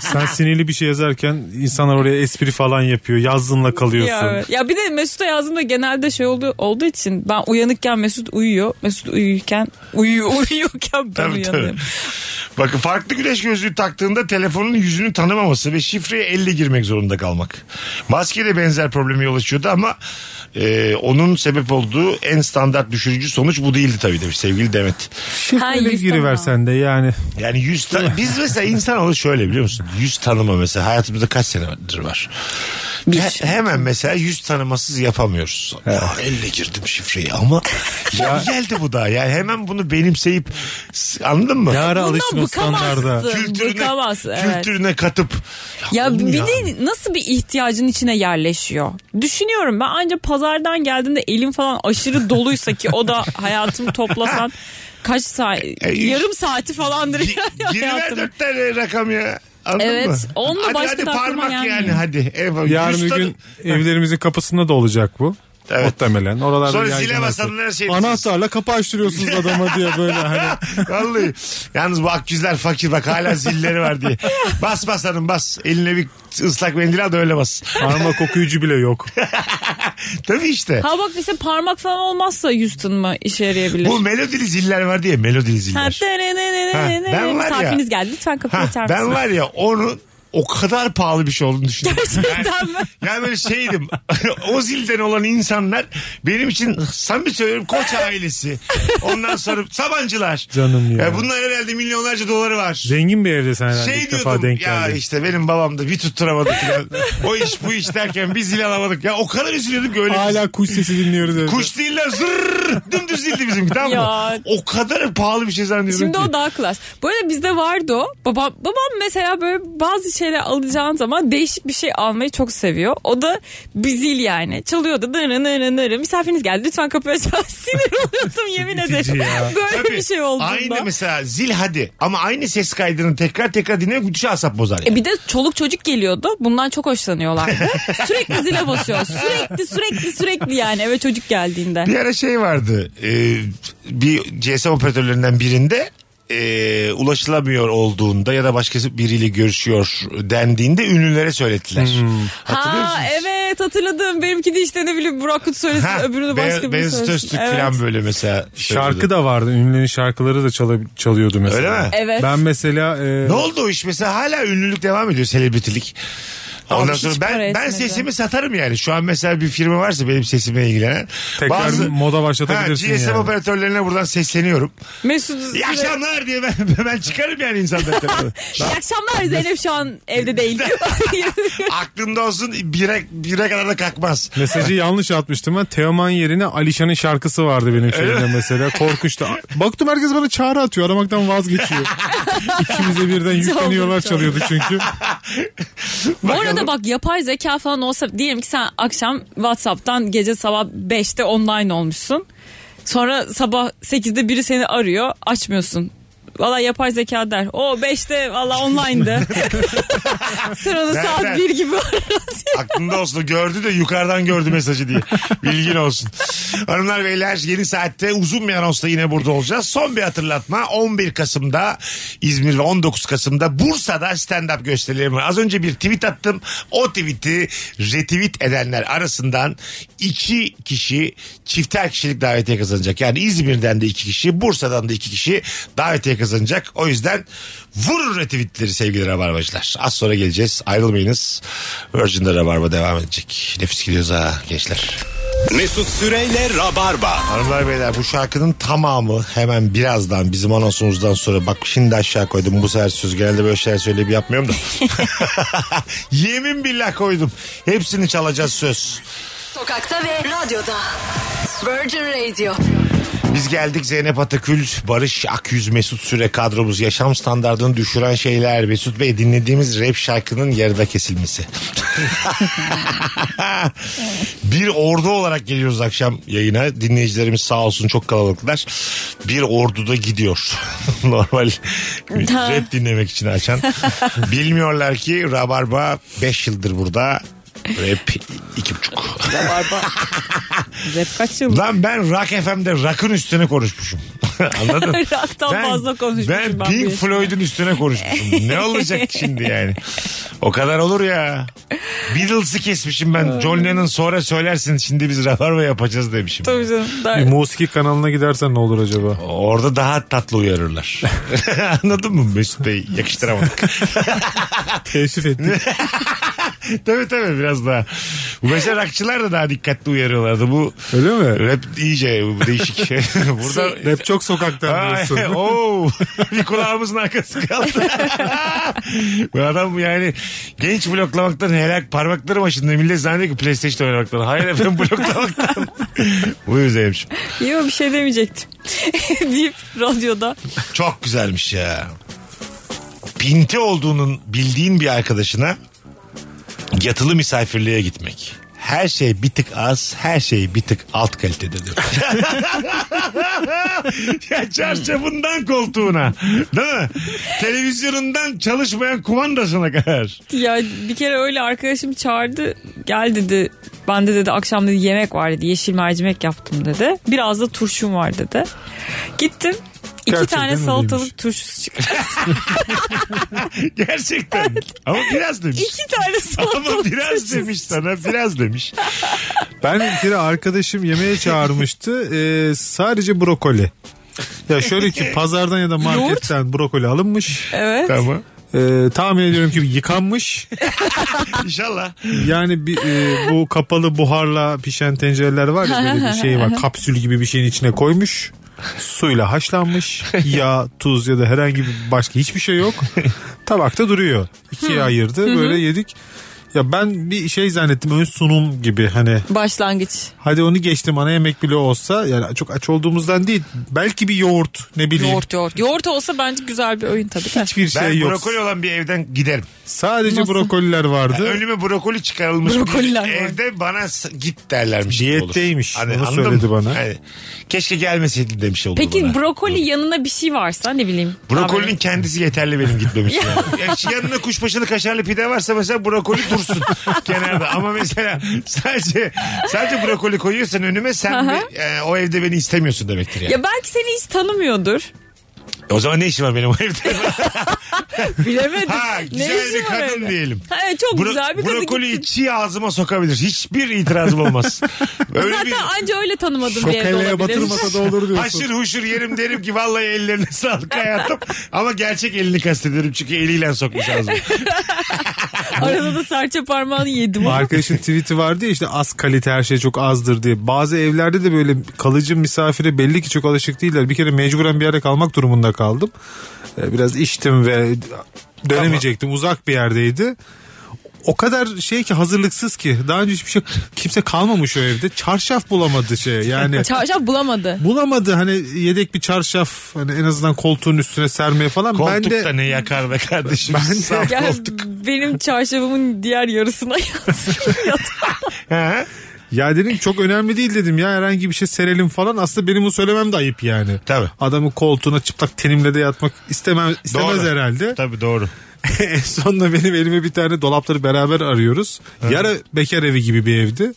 [SPEAKER 5] Sen sinirli bir şey yazarken insanlar oraya espri falan yapıyor. Yazdığınla kalıyorsun.
[SPEAKER 4] Ya, evet. ya bir de Mesut'a yazdığımda genelde şey oldu, olduğu için ben uyanıkken Mesut uyuyor. Mesut uyurken uyuyor, uyuyorken ben
[SPEAKER 3] Tabii,
[SPEAKER 4] uyanıyorum.
[SPEAKER 3] Bakın farklı güneş gözlüğü taktığında telefonun yüzünü tanımaması ve şifreye elle girmek zorunda kalmak. Maske de benzer probleme yol açıyordu ama e, onun sebep olduğu en standart düşürücü sonuç bu değildi tabii demiş sevgili Demet.
[SPEAKER 4] Ha,
[SPEAKER 5] Şifreli
[SPEAKER 4] yüz
[SPEAKER 5] giriversen de yani.
[SPEAKER 3] Yani yüz ta- biz mesela insan şöyle biliyor musun? Yüz tanıma mesela hayatımızda kaç senedir var? He- hemen mesela yüz tanımasız yapamıyoruz. Ya, elle girdim şifreyi ama ya. geldi bu da. Yani hemen bunu benimseyip s- anladın mı?
[SPEAKER 5] Ne ara
[SPEAKER 4] Bundan
[SPEAKER 5] alıştın o standarda.
[SPEAKER 4] bıkamazsın. Bıkamaz. Evet.
[SPEAKER 3] kültürüne katıp.
[SPEAKER 4] Ya
[SPEAKER 3] oğlum
[SPEAKER 4] bir de nasıl bir ihtiyacın içine yerleşiyor? Düşünüyorum ben ancak pazardan geldiğimde elim falan aşırı doluysa ki o da hayatımı toplasan kaç saat yarım saati falandır
[SPEAKER 3] Gi-
[SPEAKER 4] yani
[SPEAKER 3] Giriver
[SPEAKER 4] hayatım.
[SPEAKER 3] dört tane rakam ya. Anladın
[SPEAKER 4] Evet,
[SPEAKER 3] mı?
[SPEAKER 4] onunla
[SPEAKER 3] hadi,
[SPEAKER 4] başka
[SPEAKER 3] hadi
[SPEAKER 4] da aklıma
[SPEAKER 3] parmak yani.
[SPEAKER 4] gelmiyor.
[SPEAKER 3] hadi. Eyvallah.
[SPEAKER 5] Yarın
[SPEAKER 3] Yüz
[SPEAKER 5] bir
[SPEAKER 3] tanı-
[SPEAKER 5] gün evlerimizin kapısında da olacak bu.
[SPEAKER 3] Evet.
[SPEAKER 5] Muhtemelen. Oralarda
[SPEAKER 3] Sonra
[SPEAKER 5] yaygın
[SPEAKER 3] zile
[SPEAKER 5] olsun.
[SPEAKER 3] basanlar şey-
[SPEAKER 5] Anahtarla kapı açtırıyorsunuz adama diye böyle hani.
[SPEAKER 3] Vallahi. Yalnız bu akgüzler fakir bak hala zilleri var diye. Bas bas hanım bas. Eline bir ıslak mendil al da öyle bas.
[SPEAKER 5] Parmak okuyucu bile yok.
[SPEAKER 3] Tabii işte.
[SPEAKER 4] Ha bak işte parmak falan olmazsa Houston mı işe yarayabilir?
[SPEAKER 3] Bu melodili ziller var diye melodili
[SPEAKER 4] Ha,
[SPEAKER 3] ziller.
[SPEAKER 4] tırınırınırınır.
[SPEAKER 3] Ha, ben var ya-
[SPEAKER 4] Misafiriniz geldi lütfen kapıyı
[SPEAKER 3] Ha,
[SPEAKER 4] açar
[SPEAKER 3] ben
[SPEAKER 4] mısınız?
[SPEAKER 3] var ya onu o kadar pahalı bir şey olduğunu düşünüyorum.
[SPEAKER 4] Gerçekten mi?
[SPEAKER 3] Yani böyle şeydim. o zilden olan insanlar benim için samimi söylüyorum koç ailesi. Ondan sonra Sabancılar.
[SPEAKER 5] Canım ya.
[SPEAKER 3] Bunlar herhalde milyonlarca doları var.
[SPEAKER 5] Zengin bir evde sen herhalde
[SPEAKER 3] Şey
[SPEAKER 5] ilk
[SPEAKER 3] diyordum
[SPEAKER 5] defa denk
[SPEAKER 3] ya
[SPEAKER 5] geldin.
[SPEAKER 3] işte benim babam da bir tutturamadı filan. o iş bu iş derken biz zil alamadık. Ya o kadar üzülüyordum ki öyle.
[SPEAKER 5] Hala kuş sesi dinliyoruz evde.
[SPEAKER 3] Kuş değil lan zırrrr dümdüz zildi bizimki tamam mı?
[SPEAKER 4] Ya.
[SPEAKER 3] O kadar pahalı bir şey zannediyordum
[SPEAKER 4] Şimdi
[SPEAKER 3] ki.
[SPEAKER 4] o daha klas. Bu arada bizde vardı o. Babam, babam mesela böyle bazı şeyler alacağın zaman değişik bir şey almayı çok seviyor. O da bir zil yani. Çalıyordu. Dırı nırı nırı. Misafiriniz geldi. Lütfen kapıyı açar. Sinir oluyordum yemin ederim. Böyle
[SPEAKER 3] Tabii.
[SPEAKER 4] bir şey olduğunda.
[SPEAKER 3] Aynı mesela zil hadi ama aynı ses kaydını tekrar tekrar dinlemek müthiş asap bozar. yani.
[SPEAKER 4] E bir de çoluk çocuk geliyordu. Bundan çok hoşlanıyorlardı. sürekli zile basıyor. Sürekli sürekli sürekli yani eve çocuk geldiğinde.
[SPEAKER 3] Bir ara şey vardı. e, bir CSM operatörlerinden birinde e, ulaşılamıyor olduğunda ya da başkası biriyle görüşüyor dendiğinde ünlülere söylettiler.
[SPEAKER 5] Hmm.
[SPEAKER 3] Hatırlıyor
[SPEAKER 4] Ha
[SPEAKER 3] musunuz?
[SPEAKER 4] evet hatırladım. Benimki de işte ne bileyim Burak Kut söylesin
[SPEAKER 3] Ha,
[SPEAKER 4] öbürünü
[SPEAKER 3] Be-
[SPEAKER 4] başka biri
[SPEAKER 3] Beyaz
[SPEAKER 4] söylesin.
[SPEAKER 3] Öztürk
[SPEAKER 4] Evet.
[SPEAKER 3] falan böyle mesela.
[SPEAKER 5] Şarkı
[SPEAKER 3] söylüyordu.
[SPEAKER 5] da vardı. Ünlülerin şarkıları da çala- çalıyordu mesela.
[SPEAKER 3] Öyle mi?
[SPEAKER 4] Evet.
[SPEAKER 5] Ben mesela e,
[SPEAKER 3] Ne oldu o iş mesela hala ünlülük devam ediyor selebritilik.
[SPEAKER 4] Abi
[SPEAKER 3] Ondan
[SPEAKER 4] hiç
[SPEAKER 3] sonra
[SPEAKER 4] para
[SPEAKER 3] ben, ben
[SPEAKER 4] etmedi.
[SPEAKER 3] sesimi satarım yani. Şu an mesela bir firma varsa benim sesimle ilgilenen.
[SPEAKER 5] Tekrar moda başlatabilirsin
[SPEAKER 3] Ha, GSM
[SPEAKER 5] yani.
[SPEAKER 3] operatörlerine buradan sesleniyorum.
[SPEAKER 4] Mesut
[SPEAKER 3] İyi
[SPEAKER 4] Süre-
[SPEAKER 3] akşamlar diye ben, ben çıkarım yani insanlar
[SPEAKER 4] İyi akşamlar Zeynep şu an evde değil.
[SPEAKER 3] Aklımda olsun bire, bire kadar da kalkmaz.
[SPEAKER 5] Mesajı yanlış atmıştım ben. Teoman yerine Alişan'ın şarkısı vardı benim şeyimde mesela. Korkuştu. Baktım herkes bana çağrı atıyor. Aramaktan vazgeçiyor. İkimize birden yükleniyorlar
[SPEAKER 4] Çaldı,
[SPEAKER 5] çalıyordu çünkü.
[SPEAKER 4] Bu
[SPEAKER 3] Bakalım.
[SPEAKER 4] arada bak yapay zeka falan olsa diyelim ki sen akşam Whatsapp'tan gece sabah 5'te online olmuşsun. Sonra sabah 8'de biri seni arıyor açmıyorsun. Valla yapay zeka der. O 5'te valla online'dı. Sonra onu
[SPEAKER 3] Nereden?
[SPEAKER 4] saat 1 gibi arar.
[SPEAKER 3] Aklımda olsun gördü de yukarıdan gördü mesajı diye. Bilgin olsun. Hanımlar beyler yeni saatte uzun bir anonsla yine burada olacağız. Son bir hatırlatma 11 Kasım'da İzmir ve 19 Kasım'da Bursa'da stand-up gösterilerim var. Az önce bir tweet attım. O tweet'i retweet edenler arasından iki kişi çifter kişilik davetiye kazanacak. Yani İzmir'den de iki kişi Bursa'dan da iki kişi davetiye kazanacak. O yüzden vurun retweetleri sevgili rabarbacılar. Az sonra geleceğiz ayrılmayınız. Virgin'de Rabarba devam edecek. Nefis gidiyoruz ha gençler.
[SPEAKER 2] Mesut Süreyle Rabarba.
[SPEAKER 3] Hanımlar beyler bu şarkının tamamı hemen birazdan bizim anonsumuzdan sonra bak şimdi aşağı koydum bu sefer söz genelde böyle şeyler söyleyip yapmıyorum da. Yemin billah koydum. Hepsini çalacağız söz.
[SPEAKER 10] Sokakta ve radyoda. Virgin Radio.
[SPEAKER 3] Biz geldik Zeynep Atakül, Barış Akyüz, Mesut Süre kadromuz. Yaşam standartını düşüren şeyler. Mesut Bey dinlediğimiz rap şarkının yarıda kesilmesi. bir ordu olarak geliyoruz akşam yayına. Dinleyicilerimiz sağ olsun çok kalabalıklar. Bir orduda gidiyor. Normal rap dinlemek için açan. Bilmiyorlar ki Rabarba 5 yıldır burada. Rap 2,5.
[SPEAKER 4] Rap kaç yıl?
[SPEAKER 3] Lan ben Rock FM'de rock'ın üstüne konuşmuşum. Anladın? mı?
[SPEAKER 4] Rock'tan fazla konuşmuşum
[SPEAKER 3] Ben,
[SPEAKER 4] ben bu
[SPEAKER 3] Pink
[SPEAKER 4] yaşımda.
[SPEAKER 3] Floyd'un üstüne konuşmuşum. ne olacak şimdi yani? O kadar olur ya. Beatles'ı kesmişim ben. John Lennon sonra söylersin şimdi biz rabarba yapacağız demişim.
[SPEAKER 4] Tabii canım. Der.
[SPEAKER 5] Bir musiki kanalına gidersen ne olur acaba?
[SPEAKER 3] Orada daha tatlı uyarırlar. Anladın mı Mesut Bey? Yakıştıramadık.
[SPEAKER 5] Teessüf ettim.
[SPEAKER 3] tabii tabii biraz daha. Bu mesela rockçılar da daha dikkatli uyarıyorlardı. Bu
[SPEAKER 5] Öyle mi?
[SPEAKER 3] rap iyice değişik. şey. Burada
[SPEAKER 4] Şey,
[SPEAKER 5] Rap çok sokaktan
[SPEAKER 3] Ay,
[SPEAKER 5] diyorsun.
[SPEAKER 3] Oo, bir kulağımızın arkası kaldı. Bu adam yani genç bloklamaktan helak parmakları başında millet zannediyor ki PlayStation oynamaktan. Hayır efendim bloklamaktan. Buyur Zeynep'ciğim.
[SPEAKER 4] Yok bir şey demeyecektim. deyip radyoda.
[SPEAKER 3] Çok güzelmiş ya. Pinti olduğunun bildiğin bir arkadaşına yatılı misafirliğe gitmek. Her şey bir tık az, her şey bir tık alt kalitede diyor. ya çarşafından koltuğuna. Değil mi? Televizyonundan çalışmayan kumandasına kadar.
[SPEAKER 4] Ya bir kere öyle arkadaşım çağırdı. Gel dedi. Ben de dedi akşam dedi yemek var dedi. Yeşil mercimek yaptım dedi. Biraz da turşum var dedi. Gittim. İki
[SPEAKER 5] Gerçekten
[SPEAKER 4] tane
[SPEAKER 5] öyleymiş.
[SPEAKER 4] salatalık turşusu çıktı.
[SPEAKER 3] Gerçekten. Ama biraz demiş.
[SPEAKER 4] İki tane
[SPEAKER 3] Ama
[SPEAKER 4] salatalık
[SPEAKER 3] biraz
[SPEAKER 4] turşusu.
[SPEAKER 3] demiş sana biraz demiş.
[SPEAKER 5] Ben bir kere arkadaşım yemeğe çağırmıştı. Ee, sadece brokoli. Ya şöyle ki pazardan ya da marketten brokoli alınmış.
[SPEAKER 4] Evet.
[SPEAKER 3] Tamam.
[SPEAKER 5] Ee, tahmin ediyorum ki yıkanmış.
[SPEAKER 3] İnşallah.
[SPEAKER 5] Yani bir, e, bu kapalı buharla pişen tencereler var ya böyle bir şey var. Kapsül gibi bir şeyin içine koymuş. Suyla haşlanmış. Yağ, tuz ya da herhangi bir başka hiçbir şey yok. Tabakta duruyor. İkiye ayırdı. Böyle yedik. Ya ben bir şey zannettim ön sunum gibi hani
[SPEAKER 4] Başlangıç.
[SPEAKER 5] hadi onu geçtim ana yemek bile olsa yani çok aç olduğumuzdan değil belki bir yoğurt ne bileyim
[SPEAKER 4] Yoğurt yoğurt. Yoğurt olsa bence güzel bir oyun tabii de.
[SPEAKER 5] hiçbir
[SPEAKER 3] Ben
[SPEAKER 5] şey yok
[SPEAKER 3] brokoli olan bir evden giderim.
[SPEAKER 5] sadece
[SPEAKER 4] Nasıl?
[SPEAKER 5] brokoliler vardı
[SPEAKER 3] Önüme brokoli çıkarılmış
[SPEAKER 4] Brokoliler
[SPEAKER 3] bir
[SPEAKER 4] var.
[SPEAKER 3] evde bana s- git derlermiş. gibi olur. Hani
[SPEAKER 5] Diyetteymiş, onu
[SPEAKER 3] anladın
[SPEAKER 5] söyledi
[SPEAKER 3] mı?
[SPEAKER 5] bana.
[SPEAKER 3] Yani keşke gelmeseydin demiş oldu
[SPEAKER 4] Peki
[SPEAKER 3] bana.
[SPEAKER 4] brokoli yanına bir şey varsa ne bileyim.
[SPEAKER 3] Brokolinin kendisi yeterli benim gitmemiş. yani. Ya şu yanına kuşbaşılı kaşarlı pide varsa mesela brokoli dursun kenarda. Ama mesela sadece sadece brokoli koyuyorsan önüme sen bir- e, o evde beni istemiyorsun demektir yani.
[SPEAKER 4] Ya belki seni hiç tanımıyordur.
[SPEAKER 3] O zaman ne işim var benim o evde?
[SPEAKER 4] Bilemedim.
[SPEAKER 3] ha,
[SPEAKER 4] Ne
[SPEAKER 3] güzel
[SPEAKER 4] işi
[SPEAKER 3] bir
[SPEAKER 4] var
[SPEAKER 3] kadın
[SPEAKER 4] öyle?
[SPEAKER 3] diyelim.
[SPEAKER 4] Ha, evet, çok
[SPEAKER 3] Bro-
[SPEAKER 4] güzel bir kadın
[SPEAKER 3] brokoliyi
[SPEAKER 4] gittin.
[SPEAKER 3] çiğ ağzıma sokabilir. Hiçbir itirazım olmaz. Öyle
[SPEAKER 4] Zaten
[SPEAKER 3] bir
[SPEAKER 4] anca öyle tanımadım bir evde
[SPEAKER 5] Şokelleye
[SPEAKER 4] olabilir.
[SPEAKER 5] batırmasa da olur diyorsun.
[SPEAKER 3] haşır huşur yerim derim ki vallahi ellerine sağlık hayatım. Ama gerçek elini kastediyorum çünkü eliyle sokmuş ağzıma.
[SPEAKER 4] Arada da serçe parmağını yedim.
[SPEAKER 5] Arkadaşın tweet'i vardı ya işte az kalite her şey çok azdır diye. Bazı evlerde de böyle kalıcı misafire belli ki çok alışık değiller. Bir kere mecburen bir yerde kalmak durumunda kaldım. Ee, Biraz içtim ve dönemeyecektim. Uzak bir yerdeydi. O kadar şey ki hazırlıksız ki daha önce hiçbir şey kimse kalmamış o evde. Çarşaf bulamadı şey yani.
[SPEAKER 4] Çarşaf bulamadı.
[SPEAKER 5] bulamadı hani yedek bir çarşaf hani en azından koltuğun üstüne sermeye falan.
[SPEAKER 3] Koltuk
[SPEAKER 5] ben de
[SPEAKER 3] da ne yakar be kardeşim.
[SPEAKER 5] Ben de-
[SPEAKER 3] Sağ ol.
[SPEAKER 4] Gel benim çarşafımın diğer yarısına yat.
[SPEAKER 3] Ha?
[SPEAKER 5] Ya dedim çok önemli değil dedim ya herhangi bir şey serelim falan. Aslında benim bunu söylemem de ayıp yani.
[SPEAKER 3] Tabii.
[SPEAKER 5] Adamın koltuğuna çıplak tenimle de yatmak istemem, istemez
[SPEAKER 3] Doğru.
[SPEAKER 5] herhalde.
[SPEAKER 3] Tabii doğru.
[SPEAKER 5] en sonunda benim elime bir tane dolapları beraber arıyoruz. Yara bekar evi gibi bir evdi.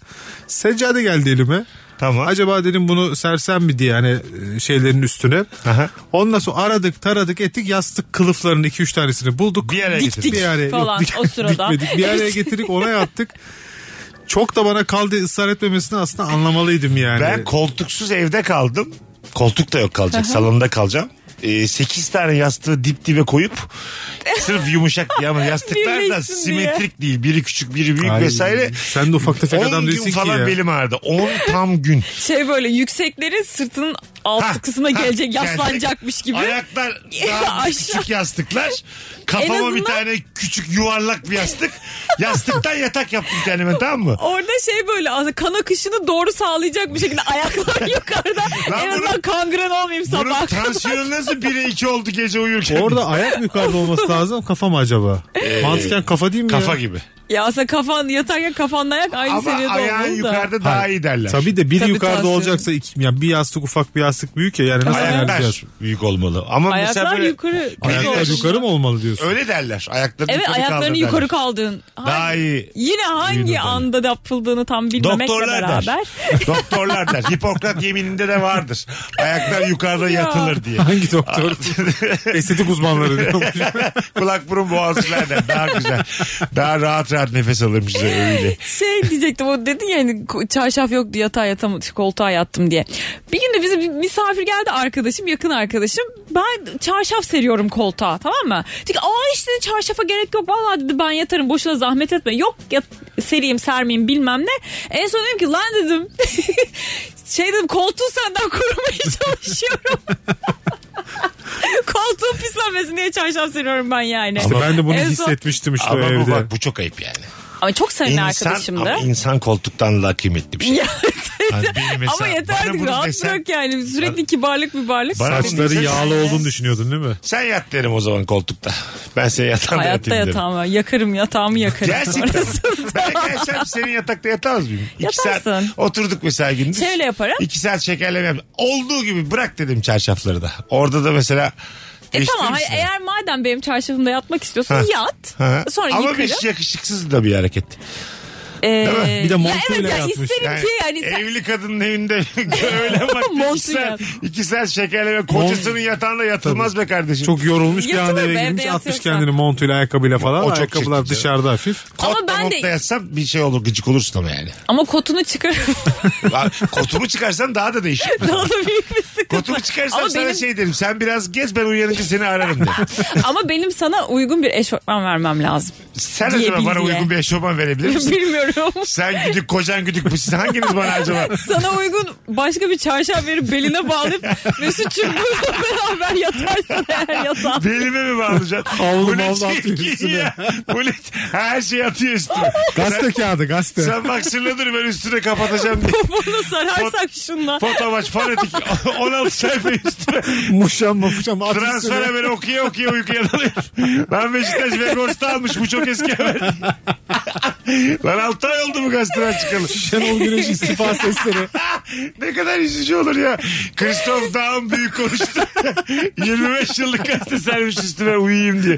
[SPEAKER 5] Seccade geldi elime.
[SPEAKER 3] Tamam.
[SPEAKER 5] Acaba dedim bunu sersem mi diye hani e, şeylerin üstüne.
[SPEAKER 3] Aha.
[SPEAKER 5] Ondan sonra aradık taradık ettik yastık kılıflarının 2-3 tanesini bulduk.
[SPEAKER 3] Bir araya
[SPEAKER 5] Diktik.
[SPEAKER 3] getirdik.
[SPEAKER 5] Bir araya- yok,
[SPEAKER 4] Falan
[SPEAKER 5] dik-
[SPEAKER 4] o sırada.
[SPEAKER 5] dikmedik. Bir araya getirdik ona yattık. Çok da bana kaldı ısrar etmemesini aslında anlamalıydım yani.
[SPEAKER 3] Ben koltuksuz evde kaldım. Koltuk da yok kalacak. Salonda kalacağım. 8 tane yastığı dip dibe koyup sırf yumuşak ama yastıklar da
[SPEAKER 4] Birleşsin
[SPEAKER 3] simetrik değil. Biri küçük biri büyük
[SPEAKER 5] Ay,
[SPEAKER 3] vesaire.
[SPEAKER 5] Sen de ufak tefek
[SPEAKER 3] 10
[SPEAKER 5] adam
[SPEAKER 3] gün
[SPEAKER 5] değilsin ki
[SPEAKER 3] falan
[SPEAKER 5] ya.
[SPEAKER 3] belim ağrıdı. 10 tam gün.
[SPEAKER 4] Şey böyle yüksekleri sırtının alt
[SPEAKER 3] Ha,
[SPEAKER 4] kısmına
[SPEAKER 3] ha,
[SPEAKER 4] gelecek yaslanacakmış gibi.
[SPEAKER 3] Ayaklar daha
[SPEAKER 4] Aşağı.
[SPEAKER 3] küçük yastıklar. Kafama
[SPEAKER 4] En
[SPEAKER 3] bir
[SPEAKER 4] azından-
[SPEAKER 3] tane küçük yuvarlak bir yastık. Yastıktan yatak yaptım kendime tamam mı?
[SPEAKER 4] Orada şey böyle aslında kan akışını doğru sağlayacak bir şekilde ayaklar yukarıda.
[SPEAKER 3] Lan
[SPEAKER 4] en
[SPEAKER 3] bunun-
[SPEAKER 4] azından kangren olmayayım
[SPEAKER 3] Bunun
[SPEAKER 4] sabah.
[SPEAKER 3] tansiyonu nasıl 1'e 2 oldu gece uyurken?
[SPEAKER 5] Orada ayak mı yukarıda olması lazım kafa mı acaba? Mantıken kafa değil mi ya?
[SPEAKER 3] Ee, Kafa gibi.
[SPEAKER 4] Ya aslında kafan yatarken kafanla ayak aynı
[SPEAKER 3] Ama
[SPEAKER 4] seviyede
[SPEAKER 3] ayağın
[SPEAKER 4] olmalı da.
[SPEAKER 3] yukarıda daha
[SPEAKER 5] Hayır.
[SPEAKER 3] iyi derler.
[SPEAKER 5] Tabii de biri
[SPEAKER 4] Tabii
[SPEAKER 5] yukarıda
[SPEAKER 4] tansiyon.
[SPEAKER 5] olacaksa iki, yani bir yastık ufak bir yastık büyük ya yani nasıl ayarlayacağız?
[SPEAKER 3] Ayaklar büyük olmalı. Ama mesela
[SPEAKER 4] Ayaklar
[SPEAKER 3] böyle
[SPEAKER 4] yukarı.
[SPEAKER 5] Ayaklar
[SPEAKER 4] Yukarı.
[SPEAKER 5] yukarı mı olmalı diyorsun?
[SPEAKER 3] öyle derler. Ayakları
[SPEAKER 4] Evet
[SPEAKER 3] yukarı kaldır
[SPEAKER 4] ayaklarını
[SPEAKER 3] derler.
[SPEAKER 4] yukarı kaldığın.
[SPEAKER 3] Daha
[SPEAKER 4] Hangi-
[SPEAKER 3] iyi.
[SPEAKER 4] Yine hangi
[SPEAKER 3] Yürüdüm.
[SPEAKER 4] anda yapıldığını tam bilmemekle
[SPEAKER 3] Doktorlar
[SPEAKER 4] beraber.
[SPEAKER 3] der. Doktorlar der. Hipokrat yemininde de vardır. Ayaklar yukarıda
[SPEAKER 4] Ya.
[SPEAKER 3] yatılır diye.
[SPEAKER 5] Hangi doktor? Estetik uzmanları diyormuş.
[SPEAKER 3] Kulak burun boğazcılar der. Daha güzel. Daha rahat rahat nefes alırmış da öyle.
[SPEAKER 4] Şey diyecektim o dedin ya hani ko- çarşaf yoktu yatağa yatam koltuğa yattım diye. Bir gün de bize bir misafir geldi arkadaşım yakın arkadaşım. Ben çarşaf seriyorum koltuğa tamam mı? Dedi ki, aa işte çarşafa gerek yok vallahi dedi ben yatarım boşuna zahmet etme. Yok yat, sereyim sermeyeyim bilmem ne. En son dedim ki lan dedim şey dedim koltuğu senden korumaya çalışıyorum. Koltuğum pislenmesin diye çarşaf seriyorum ben yani.
[SPEAKER 5] İşte ben de bunu
[SPEAKER 4] En son-
[SPEAKER 5] hissetmiştim işte o
[SPEAKER 3] Ama bu,
[SPEAKER 5] evde.
[SPEAKER 3] bak, bu çok ayıp yani.
[SPEAKER 4] Ama çok sevimli
[SPEAKER 3] İnsan,
[SPEAKER 4] arkadaşımdı.
[SPEAKER 3] ama insan koltuktan daha kıymetli bir şey. Yani benim mesela-
[SPEAKER 4] Ama yeter
[SPEAKER 3] bana
[SPEAKER 4] artık
[SPEAKER 3] bunu
[SPEAKER 4] rahat
[SPEAKER 3] desen-
[SPEAKER 4] bırak yani sürekli kibarlık mübarlık.
[SPEAKER 3] Bana-
[SPEAKER 5] Saçları
[SPEAKER 3] Sen-
[SPEAKER 5] yağlı olduğunu düşünüyordun değil mi?
[SPEAKER 3] Sen yat derim o zaman koltukta. Ben seni yatağında
[SPEAKER 4] Hayatta
[SPEAKER 3] yatayım derim.
[SPEAKER 4] yatağımı yakarım yatağımı yakarım.
[SPEAKER 3] Gerçekten.
[SPEAKER 4] Sonrasında-
[SPEAKER 3] ben gelsem senin yatakta yatamaz mıyım? İki
[SPEAKER 4] Yatarsın.
[SPEAKER 3] saat oturduk mesela gündüz.
[SPEAKER 4] Şöyle yaparım.
[SPEAKER 3] İki saat şekerleme yap. Olduğu gibi bırak dedim çarşafları da. Orada da mesela
[SPEAKER 4] E tamam hayır,
[SPEAKER 3] değiştirirsin.
[SPEAKER 4] eğer madem benim çarşafımda yatmak istiyorsun
[SPEAKER 3] şey Ha.
[SPEAKER 4] yat.
[SPEAKER 3] Ha.
[SPEAKER 4] Sonra
[SPEAKER 3] Ama şey-
[SPEAKER 4] yıkarım.
[SPEAKER 3] bir yakışıksız da bir hareket.
[SPEAKER 4] Ee,
[SPEAKER 5] Bir de
[SPEAKER 4] ya
[SPEAKER 5] montuyla
[SPEAKER 4] evet ya
[SPEAKER 5] yatmış.
[SPEAKER 4] isterim ki yani hani sen-
[SPEAKER 3] Evli kadının evinde öyle bak iki
[SPEAKER 4] Montu
[SPEAKER 3] sen,
[SPEAKER 4] yap.
[SPEAKER 3] iki sen şekerleme kocasının yatağında yatılmaz be kardeşim.
[SPEAKER 5] Çok yorulmuş bir
[SPEAKER 4] Yatılır
[SPEAKER 5] anda
[SPEAKER 4] be,
[SPEAKER 5] eve girmiş
[SPEAKER 4] evde
[SPEAKER 5] atmış
[SPEAKER 4] yatıyorsa.
[SPEAKER 5] kendini montuyla ayakkabıyla falan.
[SPEAKER 3] O çok
[SPEAKER 5] Ayakkabılar
[SPEAKER 3] çirkin
[SPEAKER 5] dışarıda hafif.
[SPEAKER 3] Kotla
[SPEAKER 4] Ama ben
[SPEAKER 3] motla
[SPEAKER 4] de-
[SPEAKER 3] yatsam bir şey olur gıcık olursun ama yani.
[SPEAKER 4] Ama kotunu çıkar.
[SPEAKER 3] Lan Kotumu çıkarsan daha da değişir.
[SPEAKER 4] Daha da büyük bir sıkıntı.
[SPEAKER 3] Kotumu çıkarsam
[SPEAKER 4] Ama
[SPEAKER 3] sana
[SPEAKER 4] benim-
[SPEAKER 3] şey derim. Sen biraz gez ben uyanınca seni ararım de.
[SPEAKER 4] Ama benim sana uygun bir eşofman vermem lazım.
[SPEAKER 3] Sen
[SPEAKER 4] Diye
[SPEAKER 3] acaba
[SPEAKER 4] bil
[SPEAKER 3] bana
[SPEAKER 4] diye.
[SPEAKER 3] uygun bir eşofman verebilir misin?
[SPEAKER 4] Bilmiyorum.
[SPEAKER 3] Sen güdük kocan güdük bu siz hanginiz bana acaba?
[SPEAKER 4] Sana uygun başka bir çarşaf verip beline bağlayıp Mesut'cum bununla beraber yatarsan eğer yatağa.
[SPEAKER 3] Belime mi bağlayacaksın?
[SPEAKER 5] Havlu
[SPEAKER 3] Bu ne
[SPEAKER 5] mavlu atıyor
[SPEAKER 3] çirkin
[SPEAKER 5] üstüne.
[SPEAKER 3] ya? Bu ne- Her şey atıyor üstüne.
[SPEAKER 5] Gazete kağıdı gazete.
[SPEAKER 3] Sen baksırla dur ben üstüne kapatacağım diye.
[SPEAKER 4] Bunu sararsak şunla.
[SPEAKER 3] Foto maç fanatik 16 sayfa üstüne.
[SPEAKER 5] Muşam muşam at
[SPEAKER 3] Transfer
[SPEAKER 5] üstüne.
[SPEAKER 3] haberi okuya okuya uykuya dalıyor. Ben Beşiktaş Vegors'ta almış bu çok eski haber. Lan 6 ay oldu bu gazeteden çıkalı.
[SPEAKER 5] Şenol Güneş istifa sesleri.
[SPEAKER 3] ne kadar üzücü olur ya. Christoph Daum büyük konuştu. 25 yıllık gazete sermiş üstüme uyuyayım diye.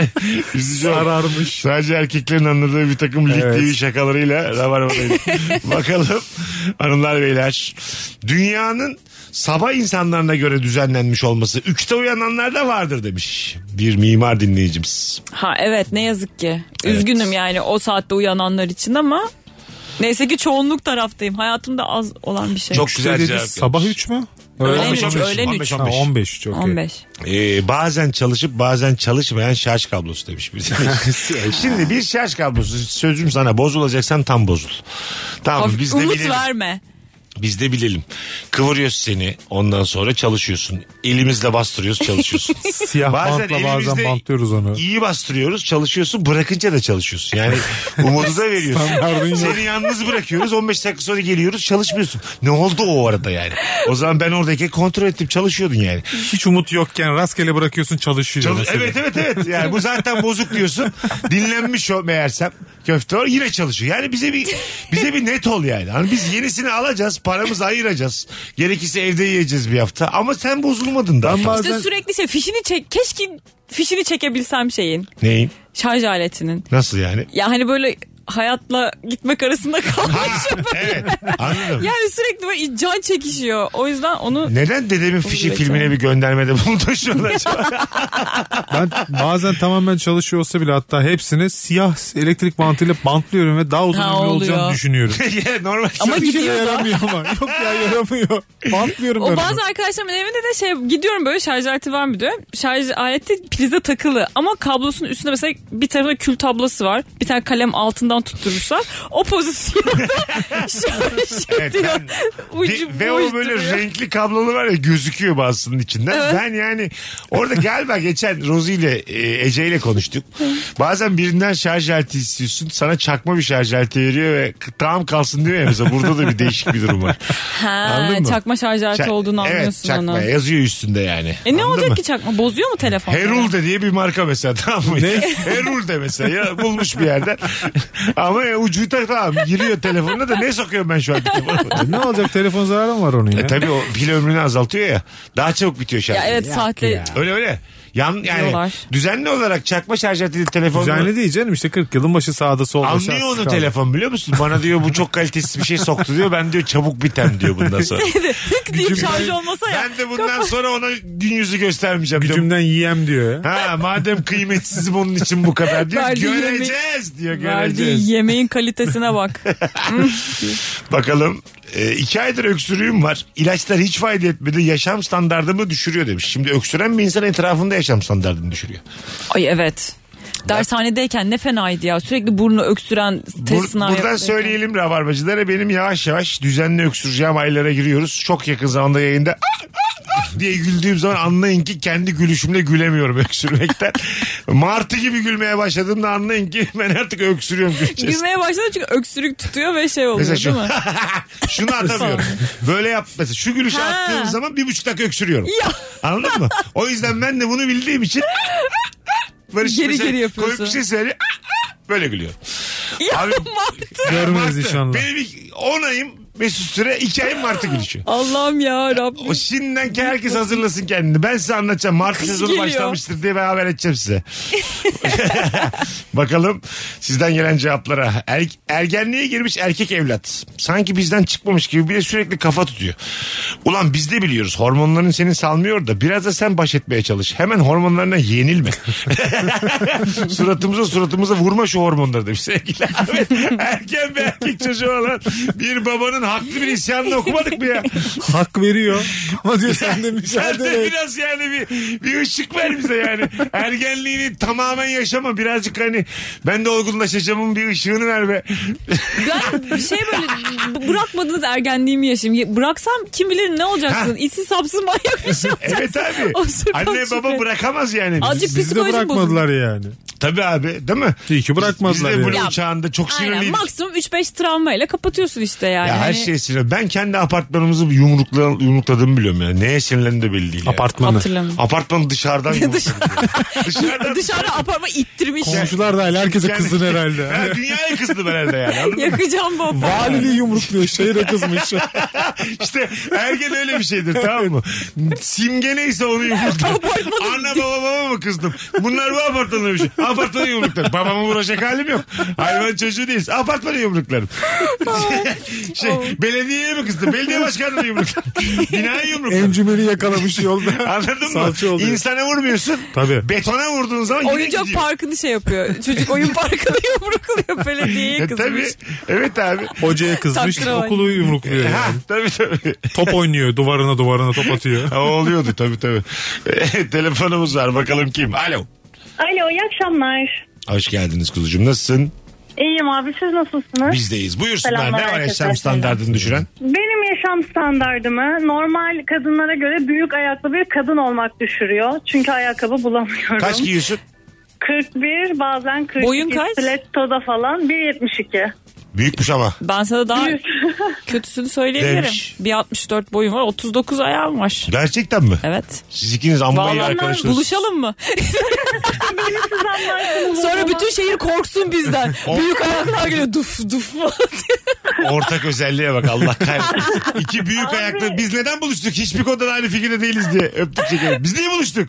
[SPEAKER 3] üzücü olur.
[SPEAKER 5] Sararmış.
[SPEAKER 3] Sadece erkeklerin anladığı bir takım lig
[SPEAKER 5] Evet.
[SPEAKER 3] TV şakalarıyla rabarbadayız. Bakalım hanımlar beyler. Dünyanın sabah insanlarına göre düzenlenmiş olması. Üçte uyananlar da vardır demiş bir mimar dinleyicimiz.
[SPEAKER 4] Ha evet ne yazık ki. Üzgünüm yani o saatte uyananlar için ama neyse ki çoğunluk taraftayım. Hayatımda az olan bir şey.
[SPEAKER 3] Çok
[SPEAKER 5] Üçte
[SPEAKER 3] güzel
[SPEAKER 5] dedi,
[SPEAKER 3] cevap
[SPEAKER 5] Sabah 3 mü?
[SPEAKER 4] Öğlen
[SPEAKER 5] mi?
[SPEAKER 4] üç, öğlen üç.
[SPEAKER 5] Ha, 15 3 okey.
[SPEAKER 4] 15.
[SPEAKER 3] Ee, bazen çalışıp bazen çalışmayan şarj kablosu demiş bir dinleyici. Şimdi bir şarj kablosu sözüm sana bozulacaksan tam bozul. Tamam
[SPEAKER 4] Of,
[SPEAKER 3] biz de
[SPEAKER 4] umut
[SPEAKER 3] bilelim.
[SPEAKER 4] verme.
[SPEAKER 3] Biz de bilelim. Kıvırıyoruz seni ondan sonra çalışıyorsun. Elimizle bastırıyoruz çalışıyorsun.
[SPEAKER 5] Siyah bantla bazen
[SPEAKER 3] elimizde
[SPEAKER 5] bantlıyoruz onu.
[SPEAKER 3] İyi bastırıyoruz çalışıyorsun bırakınca da çalışıyorsun. Yani umudu da veriyorsun.
[SPEAKER 5] Standardın yok.
[SPEAKER 3] Seni yalnız bırakıyoruz 15 dakika sonra geliyoruz çalışmıyorsun. Ne oldu o arada yani? O zaman ben oradaki kontrol ettim çalışıyordun yani.
[SPEAKER 5] Hiç umut yokken rastgele bırakıyorsun çalışıyor.
[SPEAKER 3] Çalış-
[SPEAKER 5] Şey mesela.
[SPEAKER 3] evet evet evet yani bu zaten bozuk diyorsun. Dinlenmiş o meğersem köfte var yine çalışıyor. Yani bize bir bize bir net ol yani. Hani biz yenisini alacağız paramızı ayıracağız. Gerekirse evde yiyeceğiz bir hafta ama sen bozulmadın da.
[SPEAKER 5] Ben
[SPEAKER 4] İşte
[SPEAKER 5] bazen
[SPEAKER 4] sürekli şey fişini çek. Keşke fişini çekebilsem şeyin.
[SPEAKER 3] Neyin?
[SPEAKER 4] Şarj aletinin.
[SPEAKER 3] Nasıl yani?
[SPEAKER 4] Ya hani böyle hayatla gitmek arasında
[SPEAKER 3] Ha,
[SPEAKER 4] kalmış.
[SPEAKER 3] evet anladım.
[SPEAKER 4] yani sürekli böyle can çekişiyor. O yüzden onu
[SPEAKER 3] Neden dedemin fişi
[SPEAKER 4] Olacak.
[SPEAKER 3] filmine bir göndermede bulundun şu an acaba?
[SPEAKER 5] ben bazen tamamen çalışıyor olsa bile hatta hepsini siyah elektrik bantıyla bantlıyorum ve daha uzun
[SPEAKER 4] Ha,
[SPEAKER 5] ömürlü olacağını
[SPEAKER 4] oluyor.
[SPEAKER 5] düşünüyorum.
[SPEAKER 3] Ya, normal.
[SPEAKER 4] ama
[SPEAKER 5] Bir şey
[SPEAKER 4] gidiyor da.
[SPEAKER 5] yaramıyor ama. Yok ya yaramıyor. Bantlıyorum ben
[SPEAKER 4] O
[SPEAKER 5] onu.
[SPEAKER 4] bazı arkadaşlarımın evinde de şey gidiyorum böyle şarj aleti var mı diyor. Şarj aleti prize takılı ama kablosunun üstünde mesela bir tarafında kül tablası var. Bir tane kalem altından tutturursa o pozisyonda şarj
[SPEAKER 3] Evet,
[SPEAKER 4] ediyor.
[SPEAKER 3] ben- Ve-
[SPEAKER 4] Ucu
[SPEAKER 3] ve o
[SPEAKER 4] boş
[SPEAKER 3] böyle şey-
[SPEAKER 4] duruyor.
[SPEAKER 3] renkli kablolu var ya gözüküyor bazısının içinden. Ben yani orada galiba geçen Rozi ile e, Ece ile konuştuk. Bazen birinden şarj aleti istiyorsun. Sana çakma bir şarj aleti veriyor ve k- tamam kalsın diyor ya mesela. Burada da bir değişik bir durum var.
[SPEAKER 4] Ha,
[SPEAKER 3] Anladın mı?
[SPEAKER 4] çakma şarj aleti
[SPEAKER 3] Çak-
[SPEAKER 4] olduğunu
[SPEAKER 3] evet,
[SPEAKER 4] anlıyorsun
[SPEAKER 3] çakma
[SPEAKER 4] onu.
[SPEAKER 3] yazıyor üstünde yani.
[SPEAKER 4] E ne
[SPEAKER 3] Anladın
[SPEAKER 4] olacak
[SPEAKER 3] mı?
[SPEAKER 4] ki çakma? Bozuyor mu telefon?
[SPEAKER 3] Herulde diye bir marka mesela tamam mı? Herulde mesela ya, bulmuş bir yerden. Ama ya, ucu tak tamam giriyor telefonuna da ne sokuyorum ben şu an? telefonuma?
[SPEAKER 5] E, Ne olacak telefon zararı mı var onun ya?
[SPEAKER 3] e tabii o pil ömrünü azaltıyor ya. Daha çabuk bitiyor şarj.
[SPEAKER 4] Ya evet saatle
[SPEAKER 3] Öyle öyle. Yan, yani
[SPEAKER 4] Diyorlar.
[SPEAKER 3] düzenli olarak çakma şarj aleti telefonu
[SPEAKER 5] Düzenli değil canım işte 40 yılın başı sağda solda.
[SPEAKER 3] anlıyor
[SPEAKER 5] şartsız
[SPEAKER 3] onu
[SPEAKER 5] kaldı.
[SPEAKER 3] telefon biliyor musun? Bana diyor bu çok kalitesiz bir şey soktu diyor. Ben diyor çabuk bitem diyor bundan sonra.
[SPEAKER 4] deyip şarj olmasa ya.
[SPEAKER 3] ben de bundan sonra ona gün yüzü göstermeyeceğim. diyor.
[SPEAKER 5] Gücümden yiyem diyor ya.
[SPEAKER 3] Ha madem kıymetsizim onun için bu kadar diyor.
[SPEAKER 4] Verdiği
[SPEAKER 3] göreceğiz diyor göreceğiz.
[SPEAKER 4] Verdiği yemeğin kalitesine bak.
[SPEAKER 3] Bakalım. E, iki aydır öksürüğüm var. İlaçlar hiç fayda etmedi. Yaşam standartımı düşürüyor demiş. Şimdi öksüren bir insan etrafında yaşam standartını düşürüyor.
[SPEAKER 4] Ay evet. Dershanedeyken ne fenaydı ya. Sürekli burnu öksüren
[SPEAKER 3] Bur-
[SPEAKER 4] test sınavı
[SPEAKER 3] buradan
[SPEAKER 4] yapıyordu.
[SPEAKER 3] söyleyelim rabarbacılara benim yavaş yavaş düzenli öksüreceğim aylara giriyoruz. Çok yakın zamanda yayında diye güldüğüm zaman anlayın ki kendi gülüşümle gülemiyorum öksürmekten. Martı gibi gülmeye başladığımda anlayın ki ben artık öksürüyorum güleceğiz.
[SPEAKER 4] Gülmeye başladı çünkü öksürük tutuyor ve şey oluyor
[SPEAKER 3] Mesela şu,
[SPEAKER 4] değil mi?
[SPEAKER 3] şunu atamıyorum. Böyle yap mesela şu gülüşü
[SPEAKER 4] Ha.
[SPEAKER 3] attığım zaman bir buçuk dakika öksürüyorum.
[SPEAKER 4] Ya.
[SPEAKER 3] Anladın mı? O yüzden ben de bunu bildiğim için Barış
[SPEAKER 4] Geri
[SPEAKER 3] mesela
[SPEAKER 4] geri yapıyorsun.
[SPEAKER 3] Koyup bir şey söyle böyle gülüyorum.
[SPEAKER 4] Ya
[SPEAKER 3] Abi-
[SPEAKER 4] Martı.
[SPEAKER 5] Görmeniz
[SPEAKER 3] Baktı.
[SPEAKER 5] inşallah.
[SPEAKER 3] Benim ilk onayım Mesut Süre iki ayın Martı gülüşü.
[SPEAKER 4] Allah'ım ya Rabbim.
[SPEAKER 3] O şey- şimdiden ki herkes hazırlasın kendini. Ben size anlatacağım. Mart
[SPEAKER 4] Kış
[SPEAKER 3] sezonu
[SPEAKER 4] geliyor.
[SPEAKER 3] başlamıştır diye ben haber edeceğim size. Bakalım sizden gelen cevaplara. Er, ergenliğe girmiş erkek evlat. Sanki bizden çıkmamış gibi bile sürekli kafa tutuyor. Ulan biz de biliyoruz hormonların seni salmıyor da biraz da sen baş etmeye çalış. Hemen hormonlarına yenilme. suratımıza suratımıza vurma şu hormonları demiş sevgili Ahmet. Erken bir erkek çocuğu olan bir babanın haklı bir isyanını okumadık mı ya?
[SPEAKER 5] Hak veriyor. Ama diyor sen de
[SPEAKER 3] Sen
[SPEAKER 5] mücadele
[SPEAKER 3] de
[SPEAKER 5] et.
[SPEAKER 3] biraz yani bir, bir ışık ver bize yani. Ergenliğini tamamen yaşama. Birazcık hani ben de olgunlaşacağımın bir ışığını ver be.
[SPEAKER 4] Ben bir şey böyle b- bırakmadınız ergenliğimi yaşayayım. Ya Bıraksam kim bilir ne olacaksın? İçsiz sapsız manyak bir şey olacaksın.
[SPEAKER 3] Evet abi.
[SPEAKER 4] O şey- Sürpan
[SPEAKER 3] Anne baba
[SPEAKER 4] Şükrü.
[SPEAKER 3] bırakamaz yani. bizi.
[SPEAKER 4] Azıcık
[SPEAKER 5] Bizi de
[SPEAKER 4] psikolojim bozuldu.
[SPEAKER 5] bırakmadılar yani.
[SPEAKER 3] Tabii abi değil mi?
[SPEAKER 5] İyi ki bırakmadılar
[SPEAKER 3] Biz de bunun
[SPEAKER 5] yani.
[SPEAKER 3] uçağında çok
[SPEAKER 4] Aynen
[SPEAKER 3] sinirliydik.
[SPEAKER 4] maksimum 3-5 travmayla kapatıyorsun işte yani.
[SPEAKER 3] Ya her
[SPEAKER 4] Hani
[SPEAKER 3] şey sinir. Ben kendi apartmanımızı yumrukla, yumrukladığımı biliyorum ya. Neye sinirlendim de belli değil. ya.
[SPEAKER 5] Apartmanı.
[SPEAKER 4] hatırlamıyorum.
[SPEAKER 3] Apartmanı dışarıdan yumrukladım. dışarıdan
[SPEAKER 4] Dışarı apartma ittirmiş.
[SPEAKER 5] Komşular da herkese
[SPEAKER 3] Yani-
[SPEAKER 5] kızın herhalde.
[SPEAKER 3] Ha, dünyaya kızdım herhalde yani. Anladın mı?
[SPEAKER 4] Yakacağım bu apartmanı.
[SPEAKER 5] Valiliği yumrukluyor şehire kızmış.
[SPEAKER 3] İşte ergen öyle bir şeydir tamam mı? Simge neyse onu yumruklar. Anne baba baba mı kızdım? Bunlar bu apartmanda bir şey. Apartmanı yumruklarım. Babama vuracak halim yok. Hayvan çocuğu değiliz. Apartmanı yumruklarım. şey, belediyeye mi kızdım? Belediye başkanına yumruklarım. Binaya yumruklarım.
[SPEAKER 5] Encümeni yakalamış yolda.
[SPEAKER 3] Anladın
[SPEAKER 5] Salça
[SPEAKER 3] mı?
[SPEAKER 5] oluyor.
[SPEAKER 3] İnsana vurmuyorsun.
[SPEAKER 5] Tabii.
[SPEAKER 3] Betona vurduğun zaman yine
[SPEAKER 4] Oyuncak
[SPEAKER 3] gidiyor.
[SPEAKER 4] parkını şey yapıyor. Çocuk oyun parkını yumrukluyor belediyeye
[SPEAKER 3] E,
[SPEAKER 4] kızmış.
[SPEAKER 3] tabii. Evet abi.
[SPEAKER 5] Hocaya kızmış
[SPEAKER 4] Takdire bak.
[SPEAKER 5] okulu yumrukluyor
[SPEAKER 3] Ha,
[SPEAKER 5] yani.
[SPEAKER 3] tabii tabii.
[SPEAKER 5] Top oynuyor duvarına duvarına top atıyor.
[SPEAKER 3] Ha, oluyordu tabii tabii. telefonumuz var bakalım kim? Alo.
[SPEAKER 11] Alo iyi akşamlar.
[SPEAKER 3] Hoş geldiniz kuzucuğum. Nasılsın?
[SPEAKER 11] İyiyim abi siz nasılsınız?
[SPEAKER 3] Bizdeyiz. Buyursunlar.
[SPEAKER 11] Selamlar
[SPEAKER 3] Ne var
[SPEAKER 11] herkese.
[SPEAKER 3] yaşam standartını düşüren?
[SPEAKER 11] Benim yaşam standardımı normal kadınlara göre büyük ayaklı bir kadın olmak düşürüyor. Çünkü ayakkabı bulamıyorum.
[SPEAKER 3] Kaç giyiyorsun?
[SPEAKER 11] 41 bazen 42.
[SPEAKER 4] Boyun kaç?
[SPEAKER 11] Stiletto'da falan 1.72.
[SPEAKER 3] Büyükmüş ama.
[SPEAKER 4] Ben sana daha kötüsünü söyleyebilirim.
[SPEAKER 3] Demiş.
[SPEAKER 4] Bir 64 boyum var 39 ayağım var.
[SPEAKER 3] Gerçekten mi?
[SPEAKER 4] Evet.
[SPEAKER 3] Siz ikiniz amma iyi
[SPEAKER 4] Vallahi
[SPEAKER 3] arkadaşsınız.
[SPEAKER 4] buluşalım mı? Sonra bütün şehir korksun bizden. Büyük ayaklar geliyor duf duf falan diye.
[SPEAKER 3] Ortak özelliğe bak Allah kahretsin. İki büyük ayaklı. Biz neden buluştuk? Hiçbir konuda da aynı fikirde değiliz diye öptük çekelim. Biz niye buluştuk?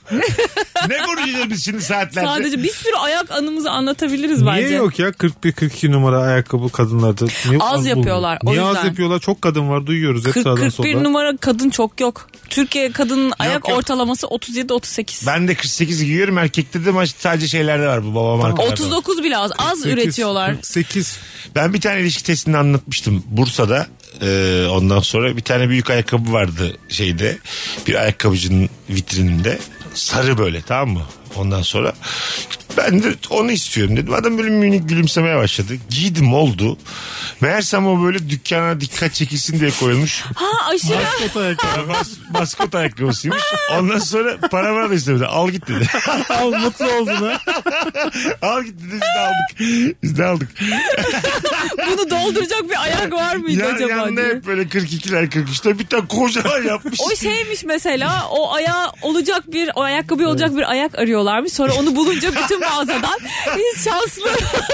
[SPEAKER 3] ne konuşacağız biz şimdi saatlerce?
[SPEAKER 4] Sadece bir sürü ayak anımızı anlatabiliriz bence.
[SPEAKER 5] Niye yok ya 41-42 numara ayakkabı kadınlarda? Niye
[SPEAKER 4] Az
[SPEAKER 5] bulmuyor?
[SPEAKER 4] yapıyorlar, o
[SPEAKER 5] Niye az
[SPEAKER 4] yüzden.
[SPEAKER 5] yapıyorlar? Çok kadın var duyuyoruz hep sağdan
[SPEAKER 4] 40-41
[SPEAKER 5] soldan.
[SPEAKER 4] numara kadın çok yok. Türkiye kadının ayak
[SPEAKER 3] yok.
[SPEAKER 4] ortalaması 37-38.
[SPEAKER 3] Ben de 48 giyiyorum. Erkekte de maç sadece şeylerde var bu babam arkadaşlar.
[SPEAKER 4] 39 bile az. Az
[SPEAKER 5] 48,
[SPEAKER 4] üretiyorlar.
[SPEAKER 5] 48.
[SPEAKER 3] Ben bir tane ilişki testini anlatmıştım Bursa'da. Ee, ondan sonra bir tane büyük ayakkabı vardı şeyde. Bir ayakkabıcının vitrininde. Sarı böyle tamam mı? Ondan sonra ben de onu istiyorum dedim. Adam böyle minik gülümsemeye başladı. Giydim oldu. Meğersem o böyle dükkana dikkat çekilsin diye koyulmuş.
[SPEAKER 4] Ha aşırı.
[SPEAKER 5] Kot ayakkabı.
[SPEAKER 3] Mas maskot ayakkabısıymış. Ondan sonra para bana da istemedi. Al git dedi.
[SPEAKER 5] Al mutlu oldun ha.
[SPEAKER 3] Al git dedi biz de aldık. Biz de aldık.
[SPEAKER 4] Bunu dolduracak bir ayak var mıydı
[SPEAKER 3] Yan,
[SPEAKER 4] acaba
[SPEAKER 3] yanında
[SPEAKER 4] diye.
[SPEAKER 3] hep böyle 42'ler 43'ler bir tane kocaman yapmış.
[SPEAKER 4] O şeymiş mesela o ayağı olacak bir o ayakkabı olacak bir ayak arıyorlarmış. Sonra onu bulunca bütün mağazadan biz şanslı.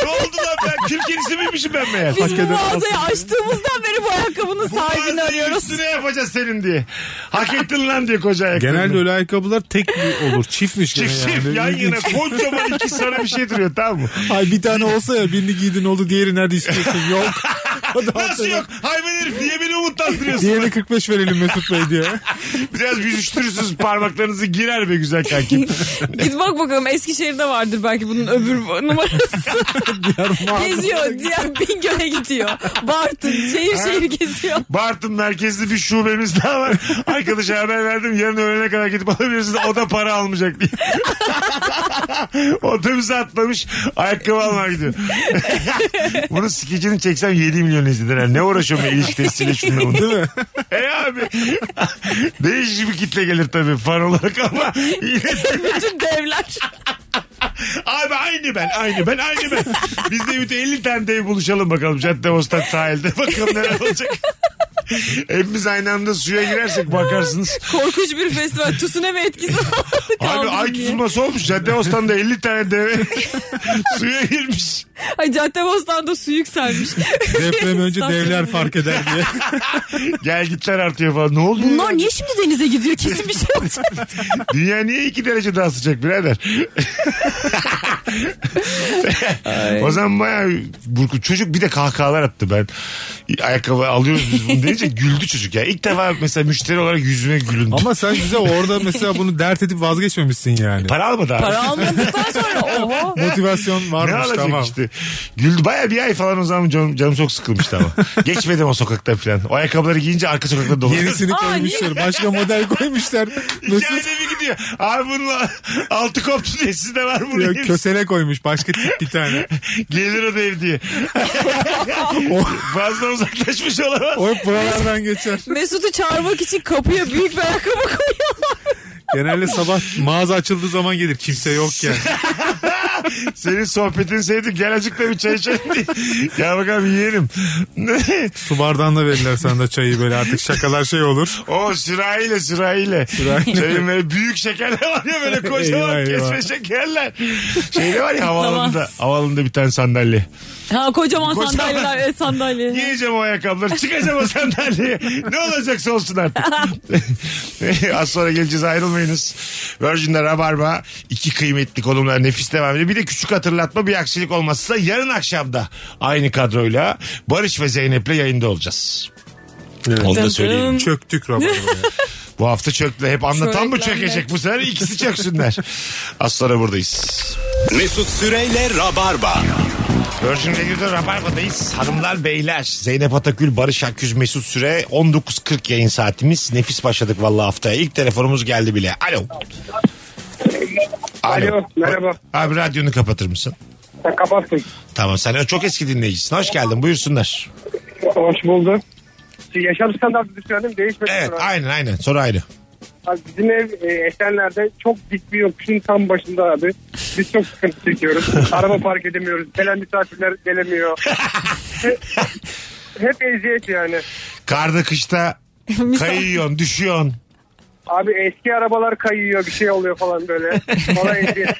[SPEAKER 3] ne oldu lan ben? 47'si miymişim ben meğer?
[SPEAKER 4] Biz bu
[SPEAKER 5] eden
[SPEAKER 4] mağazayı açtığımızdan beri bu ayakkabının sahibini
[SPEAKER 3] Bazı
[SPEAKER 4] arıyoruz.
[SPEAKER 3] Üstüne yapacağız senin diye. Hak ettin lan diye koca ayakkabını.
[SPEAKER 5] Genelde öyle ayakkabılar tek bir olur. Çiftmiş gene
[SPEAKER 3] Çift
[SPEAKER 5] yani.
[SPEAKER 3] çift yan yana kocaman iki sana bir şey duruyor tamam mı?
[SPEAKER 5] Ay bir tane olsa ya birini giydin oldu diğeri nerede istiyorsun yok. O da
[SPEAKER 3] Nasıl
[SPEAKER 5] altına-
[SPEAKER 3] yok? Hayvan herif niye beni umutlandırıyorsun?
[SPEAKER 5] Diğerini 45 verelim Mesut Bey diye.
[SPEAKER 3] Biraz büzüştürürsünüz parmaklarınızı girer be güzel kankim.
[SPEAKER 4] Git bak bakalım Eskişehir'de vardır belki bunun öbür numarası. geziyor diğer Bingöl'e gidiyor. Bartın şehir şehir geziyor.
[SPEAKER 3] Bartın merkezli bir şubemiz daha var. Arkadaşa haber verdim yarın öğlene kadar gidip alabilirsiniz. O da para almayacak diye. Otobüse atlamış ayakkabı almaya gidiyor. Bunu skecini çeksem 7 milyon izlenir. Yani ne uğraşıyorum ben ilişki testiyle şununla bunu.
[SPEAKER 5] Değil mi?
[SPEAKER 3] E abi. Değişik bir kitle gelir tabii fan olarak ama yine de-
[SPEAKER 4] Bütün devler.
[SPEAKER 3] abi aynı ben aynı ben aynı ben. Biz de bir de 50 tane dev buluşalım bakalım cadde ostat sahilde. Bakalım neler olacak. Hepimiz aynı anda suya girersek bakarsınız.
[SPEAKER 4] Korkunç bir festival. Tusuna mı etkisi vardı?
[SPEAKER 3] Abi
[SPEAKER 4] Kaldı
[SPEAKER 3] ay
[SPEAKER 4] diye.
[SPEAKER 3] tutulması olmuş. Cadde Ostan'da 50 tane deve suya girmiş.
[SPEAKER 4] Ay Caddebostan'da su yükselmiş.
[SPEAKER 5] Deprem önce
[SPEAKER 4] İstanbul'da.
[SPEAKER 5] devler fark eder diye.
[SPEAKER 3] Gel gitler artıyor falan. Ne oldu? ya?
[SPEAKER 4] Bunlar niye şimdi denize gidiyor? Kesin bir şey olacak.
[SPEAKER 3] Dünya niye 2 derece daha sıcak birader? o zaman bayağı burku. Çocuk bir de kahkahalar attı ben. Ayakkabı alıyoruz biz bunu deyince güldü çocuk ya. İlk defa mesela müşteri olarak yüzüme gülündü.
[SPEAKER 5] Ama sen güzel orada mesela bunu dert edip vazgeçmemişsin yani.
[SPEAKER 3] Para almadı abi.
[SPEAKER 4] Para almadıktan sonra oho.
[SPEAKER 5] Motivasyon
[SPEAKER 3] Ne
[SPEAKER 5] varmış
[SPEAKER 3] alacak
[SPEAKER 5] tamam.
[SPEAKER 3] işte. Güldü baya bir ay falan o zaman canım, canım çok sıkılmıştı ama. Geçmedim o sokakta falan. O ayakkabıları giyince arka sokakta dolanıyor.
[SPEAKER 5] Yenisini
[SPEAKER 4] Aa,
[SPEAKER 5] koymuşlar. Başka model koymuşlar. Mesut
[SPEAKER 3] Hikayede bir gidiyor. Abi bununla altı koptu diye sizde var mı? bunun
[SPEAKER 5] diyor,
[SPEAKER 3] yenisi?
[SPEAKER 5] kösele koymuş. Başka tip bir tane.
[SPEAKER 3] Gelir o dev diye.
[SPEAKER 5] O,
[SPEAKER 3] Fazla uzaklaşmış olamaz.
[SPEAKER 5] o hep buralardan geçer.
[SPEAKER 4] Mesut'u çağırmak için kapıya büyük bir ayakkabı koyuyorlar.
[SPEAKER 5] Genelde sabah mağaza açıldığı zaman gelir. Kimse yok yani.
[SPEAKER 3] Senin sohbetini sevdim. Gel azıcık da bir çay içelim diye. Gel bakalım yiyelim.
[SPEAKER 5] Su bardağında verirler sana da çayı böyle artık şakalar şey olur.
[SPEAKER 3] o sürahiyle sürahiyle.
[SPEAKER 5] Sürahiyle.
[SPEAKER 3] Senin böyle büyük şekerler var ya böyle kocaman
[SPEAKER 5] Eyvah, eyvah.
[SPEAKER 3] kesme şekerler. Şeyde var ya havaalanında, havaalanında bir tane sandalye.
[SPEAKER 4] Ha kocaman,
[SPEAKER 3] Kocaman.
[SPEAKER 4] sandalyeler. Evet sandalye.
[SPEAKER 3] Giyeceğim o ayakkabıları. Çıkacağım o sandalyeye. ne olacaksa olsun artık. Az sonra geleceğiz ayrılmayınız. Virgin'de Rabarba. iki kıymetli konumlar nefis devam ediyor. Bir de küçük hatırlatma bir aksilik olmazsa yarın akşamda aynı kadroyla Barış ve Zeynep'le yayında olacağız. Onu da
[SPEAKER 4] Dım
[SPEAKER 3] söyleyeyim.
[SPEAKER 4] dım.
[SPEAKER 5] Çöktük rabarba.
[SPEAKER 3] Bu hafta çöktü. Hep anlatan mı
[SPEAKER 4] Çöreklenmek.
[SPEAKER 3] çökecek? Bu sefer ikisi çöksünler. Az sonra buradayız.
[SPEAKER 2] Mesut Süreyle Rabarba.
[SPEAKER 3] Virgin Radio'da Rabarba'dayız. Hanımlar, beyler. Zeynep Atakül, Barış Akküz, Mesut Süre. 19.40 yayın saatimiz. Nefis başladık vallahi haftaya. İlk telefonumuz geldi bile. Alo.
[SPEAKER 9] Alo, merhaba.
[SPEAKER 3] Abi radyonu kapatır mısın?
[SPEAKER 9] Sen kapattın.
[SPEAKER 3] Tamam sen çok eski dinleyicisin. Hoş geldin buyursunlar.
[SPEAKER 9] Hoş buldum. Yaşam standartı düşünelim değişmedi.
[SPEAKER 3] Evet aynen aynen soru ayrı.
[SPEAKER 9] Abi Bizim ev e, Esenler'de çok dik bir yokuşun tam başında abi. Biz çok sıkıntı çekiyoruz. Araba park edemiyoruz. Gelen misafirler gelemiyor. Hep- Hep eziyet yani.
[SPEAKER 3] Karda kışta kayıyorsun düşüyorsun.
[SPEAKER 9] Abi eski arabalar kayıyor bir şey oluyor falan böyle. Bana eziyet.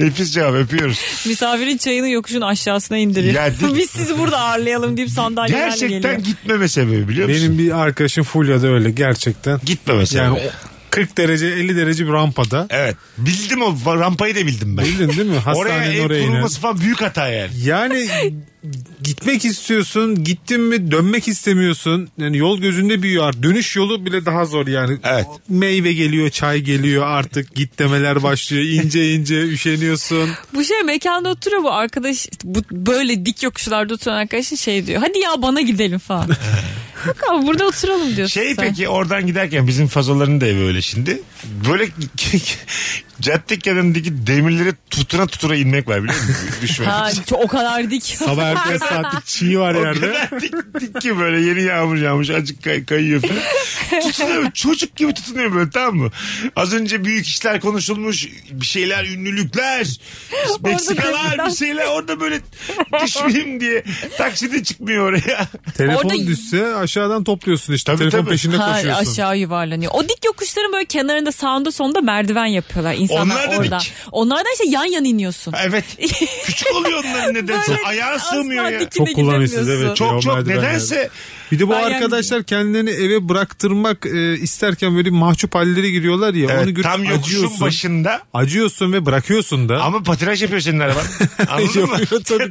[SPEAKER 3] Nefis cevap öpüyoruz.
[SPEAKER 4] Misafirin çayını yokuşun aşağısına indiriyor.
[SPEAKER 3] Ya değil mi?
[SPEAKER 4] Biz sizi burada ağırlayalım deyip sandalyelerle
[SPEAKER 3] Gerçekten
[SPEAKER 4] geliyor.
[SPEAKER 3] gitmeme sebebi biliyor musun?
[SPEAKER 5] Benim bir arkadaşım Fulya'da öyle gerçekten.
[SPEAKER 3] Gitmeme sebebi.
[SPEAKER 5] Yani o 40 derece 50 derece bir rampada.
[SPEAKER 3] Evet bildim o rampayı da bildim ben.
[SPEAKER 5] Bildin değil mi?
[SPEAKER 3] Oraya
[SPEAKER 5] Hastanenin
[SPEAKER 3] ev
[SPEAKER 5] oraya inen.
[SPEAKER 3] kurulması falan büyük hata yani.
[SPEAKER 5] Yani gitmek istiyorsun, gittin mi dönmek istemiyorsun. Yani yol gözünde büyüyor. Dönüş yolu bile daha zor yani.
[SPEAKER 3] Evet.
[SPEAKER 5] Meyve geliyor, çay geliyor artık git demeler başlıyor. İnce ince üşeniyorsun.
[SPEAKER 4] Bu şey mekanda oturuyor bu arkadaş. Bu böyle dik yokuşlarda oturan arkadaşın şey diyor. Hadi ya bana gidelim falan. Yok abi burada oturalım diyorsun
[SPEAKER 3] Şey
[SPEAKER 4] sen.
[SPEAKER 3] peki oradan giderken bizim fazoların da evi öyle şimdi. Böyle cadde kenarındaki demirleri tutuna tutura inmek var biliyor musun? Düşmek
[SPEAKER 4] Ha,
[SPEAKER 3] için.
[SPEAKER 4] ço- o kadar dik.
[SPEAKER 5] Sabah erken saatte çiğ var
[SPEAKER 3] O
[SPEAKER 5] yerde.
[SPEAKER 3] kadar dik, dik ki böyle yeni yağmur yağmış acık kay, kayıyor falan. Tutunuyor çocuk gibi tutunuyor böyle tamam mı? Az önce büyük işler konuşulmuş bir şeyler ünlülükler Meksikalar
[SPEAKER 4] demirden-
[SPEAKER 3] bir şeyler orada böyle düşmeyeyim diye takside çıkmıyor oraya.
[SPEAKER 5] Telefon
[SPEAKER 4] Orada-
[SPEAKER 5] düşse aşağıdan topluyorsun işte.
[SPEAKER 3] Tabii,
[SPEAKER 5] Telefon
[SPEAKER 3] tabii.
[SPEAKER 5] peşinde
[SPEAKER 4] Ha,
[SPEAKER 5] koşuyorsun.
[SPEAKER 4] aşağı yuvarlanıyor. O dik yokuşların böyle kenarında sağında sonunda merdiven yapıyorlar insanlar
[SPEAKER 3] Onlar da
[SPEAKER 4] orada.
[SPEAKER 3] dik.
[SPEAKER 4] Onlardan işte yan yan iniyorsun.
[SPEAKER 3] Evet küçük oluyor onların nedense
[SPEAKER 4] Böyle
[SPEAKER 3] ayağa
[SPEAKER 4] asla
[SPEAKER 3] sığmıyor ya.
[SPEAKER 4] dikine
[SPEAKER 5] Çok kullanıyorsunuz,
[SPEAKER 4] gidemiyorsun.
[SPEAKER 5] evet.
[SPEAKER 3] Çok
[SPEAKER 5] Yo,
[SPEAKER 3] çok
[SPEAKER 5] merdivenler.
[SPEAKER 3] nedense
[SPEAKER 5] Bir de bu
[SPEAKER 4] Ben yani-
[SPEAKER 5] arkadaşlar kendilerini eve bıraktırmak e, isterken böyle mahcup hallere giriyorlar ya.
[SPEAKER 3] Evet,
[SPEAKER 5] onu görüp
[SPEAKER 3] tam yokuşun
[SPEAKER 5] acıyorsun.
[SPEAKER 3] başında
[SPEAKER 5] Acıyorsun ve bırakıyorsun da.
[SPEAKER 3] ama patinaj yapıyor senin araban. Anladın mı?
[SPEAKER 5] Yapıyor tabii.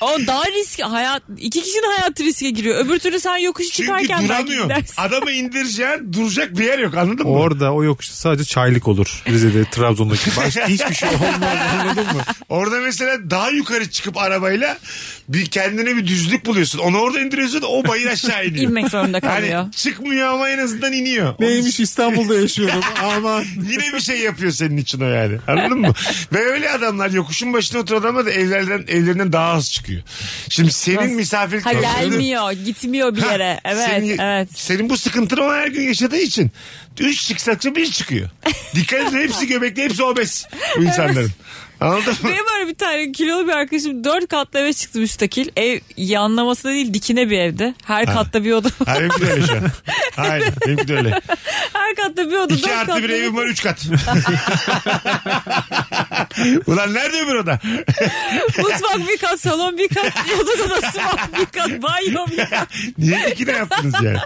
[SPEAKER 4] O daha risk hayat iki kişinin hayatı riske giriyor. Öbür türlü sen yokuş
[SPEAKER 3] Çünkü
[SPEAKER 4] çıkarken belki
[SPEAKER 3] duramıyor.
[SPEAKER 4] gidersin.
[SPEAKER 3] Adamı indireceğin duracak bir yer yok anladın mı?
[SPEAKER 5] Orada o yokuş sadece çaylık olur. Rize'de, Trabzon'daki. Başka hiçbir şey olmaz anladın mı?
[SPEAKER 3] Orada mesela daha yukarı çıkıp arabayla bir kendine bir düzlük buluyorsun. Onu orada indiriyorsun o bayır aşağı iniyor.
[SPEAKER 4] İnmek zorunda kalıyor.
[SPEAKER 3] Hani çıkmıyor ama en azından iniyor.
[SPEAKER 5] Neymiş İstanbul'da yaşıyorum aman.
[SPEAKER 3] Yine bir şey yapıyor senin için o yani. Anladın mı? Ve öyle adamlar yokuşun başına oturan adamlar da evlerden, evlerinden daha az çıkıyor. Şimdi senin misafirlik...
[SPEAKER 4] Ha
[SPEAKER 3] Tabii.
[SPEAKER 4] gelmiyor, gitmiyor bir
[SPEAKER 3] Ha,
[SPEAKER 4] yere. Evet,
[SPEAKER 3] senin,
[SPEAKER 4] evet.
[SPEAKER 3] Senin bu sıkıntını o her gün yaşadığı için. Üç çıksakça bir çıkıyor. Dikkat edin hepsi göbekli hepsi obez bu insanların. Anladın mı?
[SPEAKER 4] Benim böyle bir tane kilolu bir arkadaşım dört katlı eve çıktı müstakil. Ev yanlamasına değil dikine bir evde. Her
[SPEAKER 3] Ha.
[SPEAKER 4] katta bir oda.
[SPEAKER 3] Ha, benimki de öyle şu an. Aynen benimki de öyle.
[SPEAKER 4] Her katta bir oda. dört
[SPEAKER 3] İki artı
[SPEAKER 4] katlı
[SPEAKER 3] bir evim var üç kat. Ulan nerede öbür oda?
[SPEAKER 4] Mutfak bir kat, salon bir kat, yatak odası var bir kat, banyo bir kat.
[SPEAKER 3] Niye dikine yaptınız yani?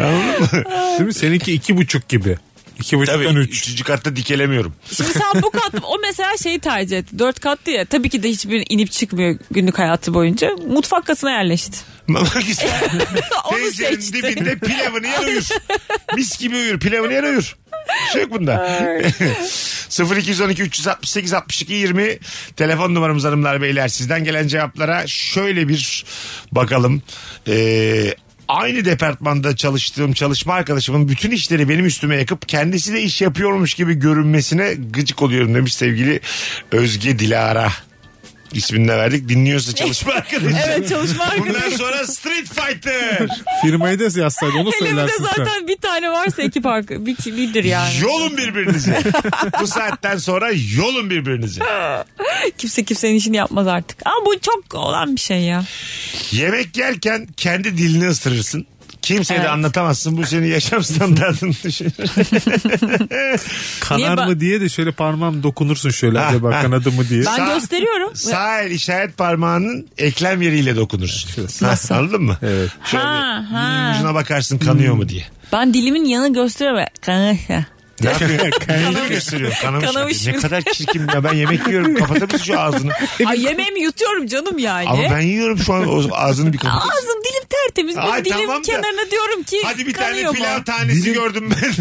[SPEAKER 3] Anladın mı?
[SPEAKER 5] Değil mi? Seninki iki buçuk gibi. İki buçuktan
[SPEAKER 3] Tabii
[SPEAKER 5] üç.
[SPEAKER 3] üçüncü katta dikelemiyorum.
[SPEAKER 4] Şimdi sen bu kat, o mesela şeyi tercih etti. Dört katlı ya. Tabii ki de hiçbir inip çıkmıyor günlük hayatı boyunca. Mutfak katına yerleşti.
[SPEAKER 3] Bak işte.
[SPEAKER 4] Onu
[SPEAKER 3] Tencerenin
[SPEAKER 4] seçti.
[SPEAKER 3] dibinde pilavını yer uyur. Mis gibi uyur. Pilavını yer uyur. Bir şey yok bunda. 0212 368 62 20 telefon numaramız hanımlar beyler. Sizden gelen cevaplara şöyle bir bakalım. Ee, aynı departmanda çalıştığım çalışma arkadaşımın bütün işleri benim üstüme yakıp kendisi de iş yapıyormuş gibi görünmesine gıcık oluyorum demiş sevgili Özge Dilara. İsmini de verdik. Dinliyorsa çalışma arkadaşı.
[SPEAKER 4] Evet, çalışma
[SPEAKER 3] Bundan
[SPEAKER 4] arkadaşı.
[SPEAKER 3] sonra Street Fighter.
[SPEAKER 5] Firmayı da yazsaydı onu
[SPEAKER 4] Hele bir de
[SPEAKER 5] söylersin sen.
[SPEAKER 4] zaten bir tane varsa iki park bir, birdir yani.
[SPEAKER 3] Yolun birbirinizi. Bu saatten sonra yolun birbirinizi.
[SPEAKER 4] Kimse kimsenin işini yapmaz artık. Ama bu çok olan bir şey ya.
[SPEAKER 3] Yemek yerken kendi dilini ısırırsın. Kimseye de anlatamazsın. Bu senin yaşam standartını düşürür.
[SPEAKER 4] Niye
[SPEAKER 5] Kanar
[SPEAKER 4] ba-
[SPEAKER 5] mı diye de şöyle parmağım dokunursun şöyle acaba
[SPEAKER 3] ha.
[SPEAKER 5] kanadı mı diye.
[SPEAKER 4] Ben
[SPEAKER 3] Sağ-
[SPEAKER 4] gösteriyorum.
[SPEAKER 3] Sağ el işaret parmağının eklem yeriyle dokunursun. Ha, Anladın mı? Evet. Şöyle
[SPEAKER 4] Ha, ha.
[SPEAKER 3] ucuna bakarsın kanıyor mu diye.
[SPEAKER 4] Ben dilimin yanı gösteriyorum. Kanka.
[SPEAKER 3] Ne yapıyorsun? Kanını gösteriyor. Kanamış.
[SPEAKER 4] Hmm. Kanamış.
[SPEAKER 3] Ne kadar çirkin ya. Ben yemek yiyorum. Kapatır mısın şu ağzını?
[SPEAKER 4] Ay yemeğimi yutuyorum canım yani.
[SPEAKER 3] Ama ben yiyorum şu an o ağzını bir kapat.
[SPEAKER 4] Ağzım dilim tertemiz.
[SPEAKER 3] Ay,
[SPEAKER 4] Benim dilim
[SPEAKER 3] tamam da-
[SPEAKER 4] kenarına diyorum ki
[SPEAKER 3] Hadi bir tane
[SPEAKER 4] kanıyor
[SPEAKER 3] pilav
[SPEAKER 4] mu?
[SPEAKER 3] tanesi gördüm ben.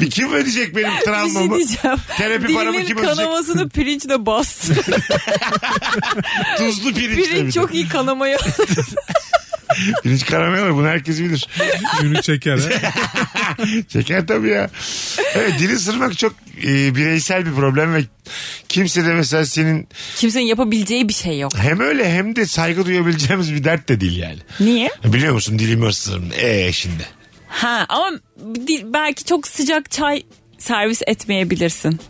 [SPEAKER 3] bir kim ödeyecek benim
[SPEAKER 4] Bir şey
[SPEAKER 3] travmamı?
[SPEAKER 4] diyeceğim.
[SPEAKER 3] Terapi paramı
[SPEAKER 4] Dilimin
[SPEAKER 3] kim ödeyecek?
[SPEAKER 4] kanamasını pirinçle bas.
[SPEAKER 3] Tuzlu pirinç.
[SPEAKER 4] Pirinç çok iyi kanamaya.
[SPEAKER 3] Pirinç karamıyorlar bunu herkes bilir.
[SPEAKER 5] Ünü çeker. ha.
[SPEAKER 3] Şeker tabii ya. Evet dili sırmak çok e, bireysel bir problem ve kimse de mesela senin
[SPEAKER 4] Kimsenin yapabileceği bir şey yok.
[SPEAKER 3] hem öyle hem de saygı duyabileceğimiz bir dert de değil yani.
[SPEAKER 4] Niye?
[SPEAKER 3] Biliyor musun dilimi ısırırım. Eee şimdi.
[SPEAKER 4] E, Ha ama di- belki çok sıcak çay servis etmeyebilirsin.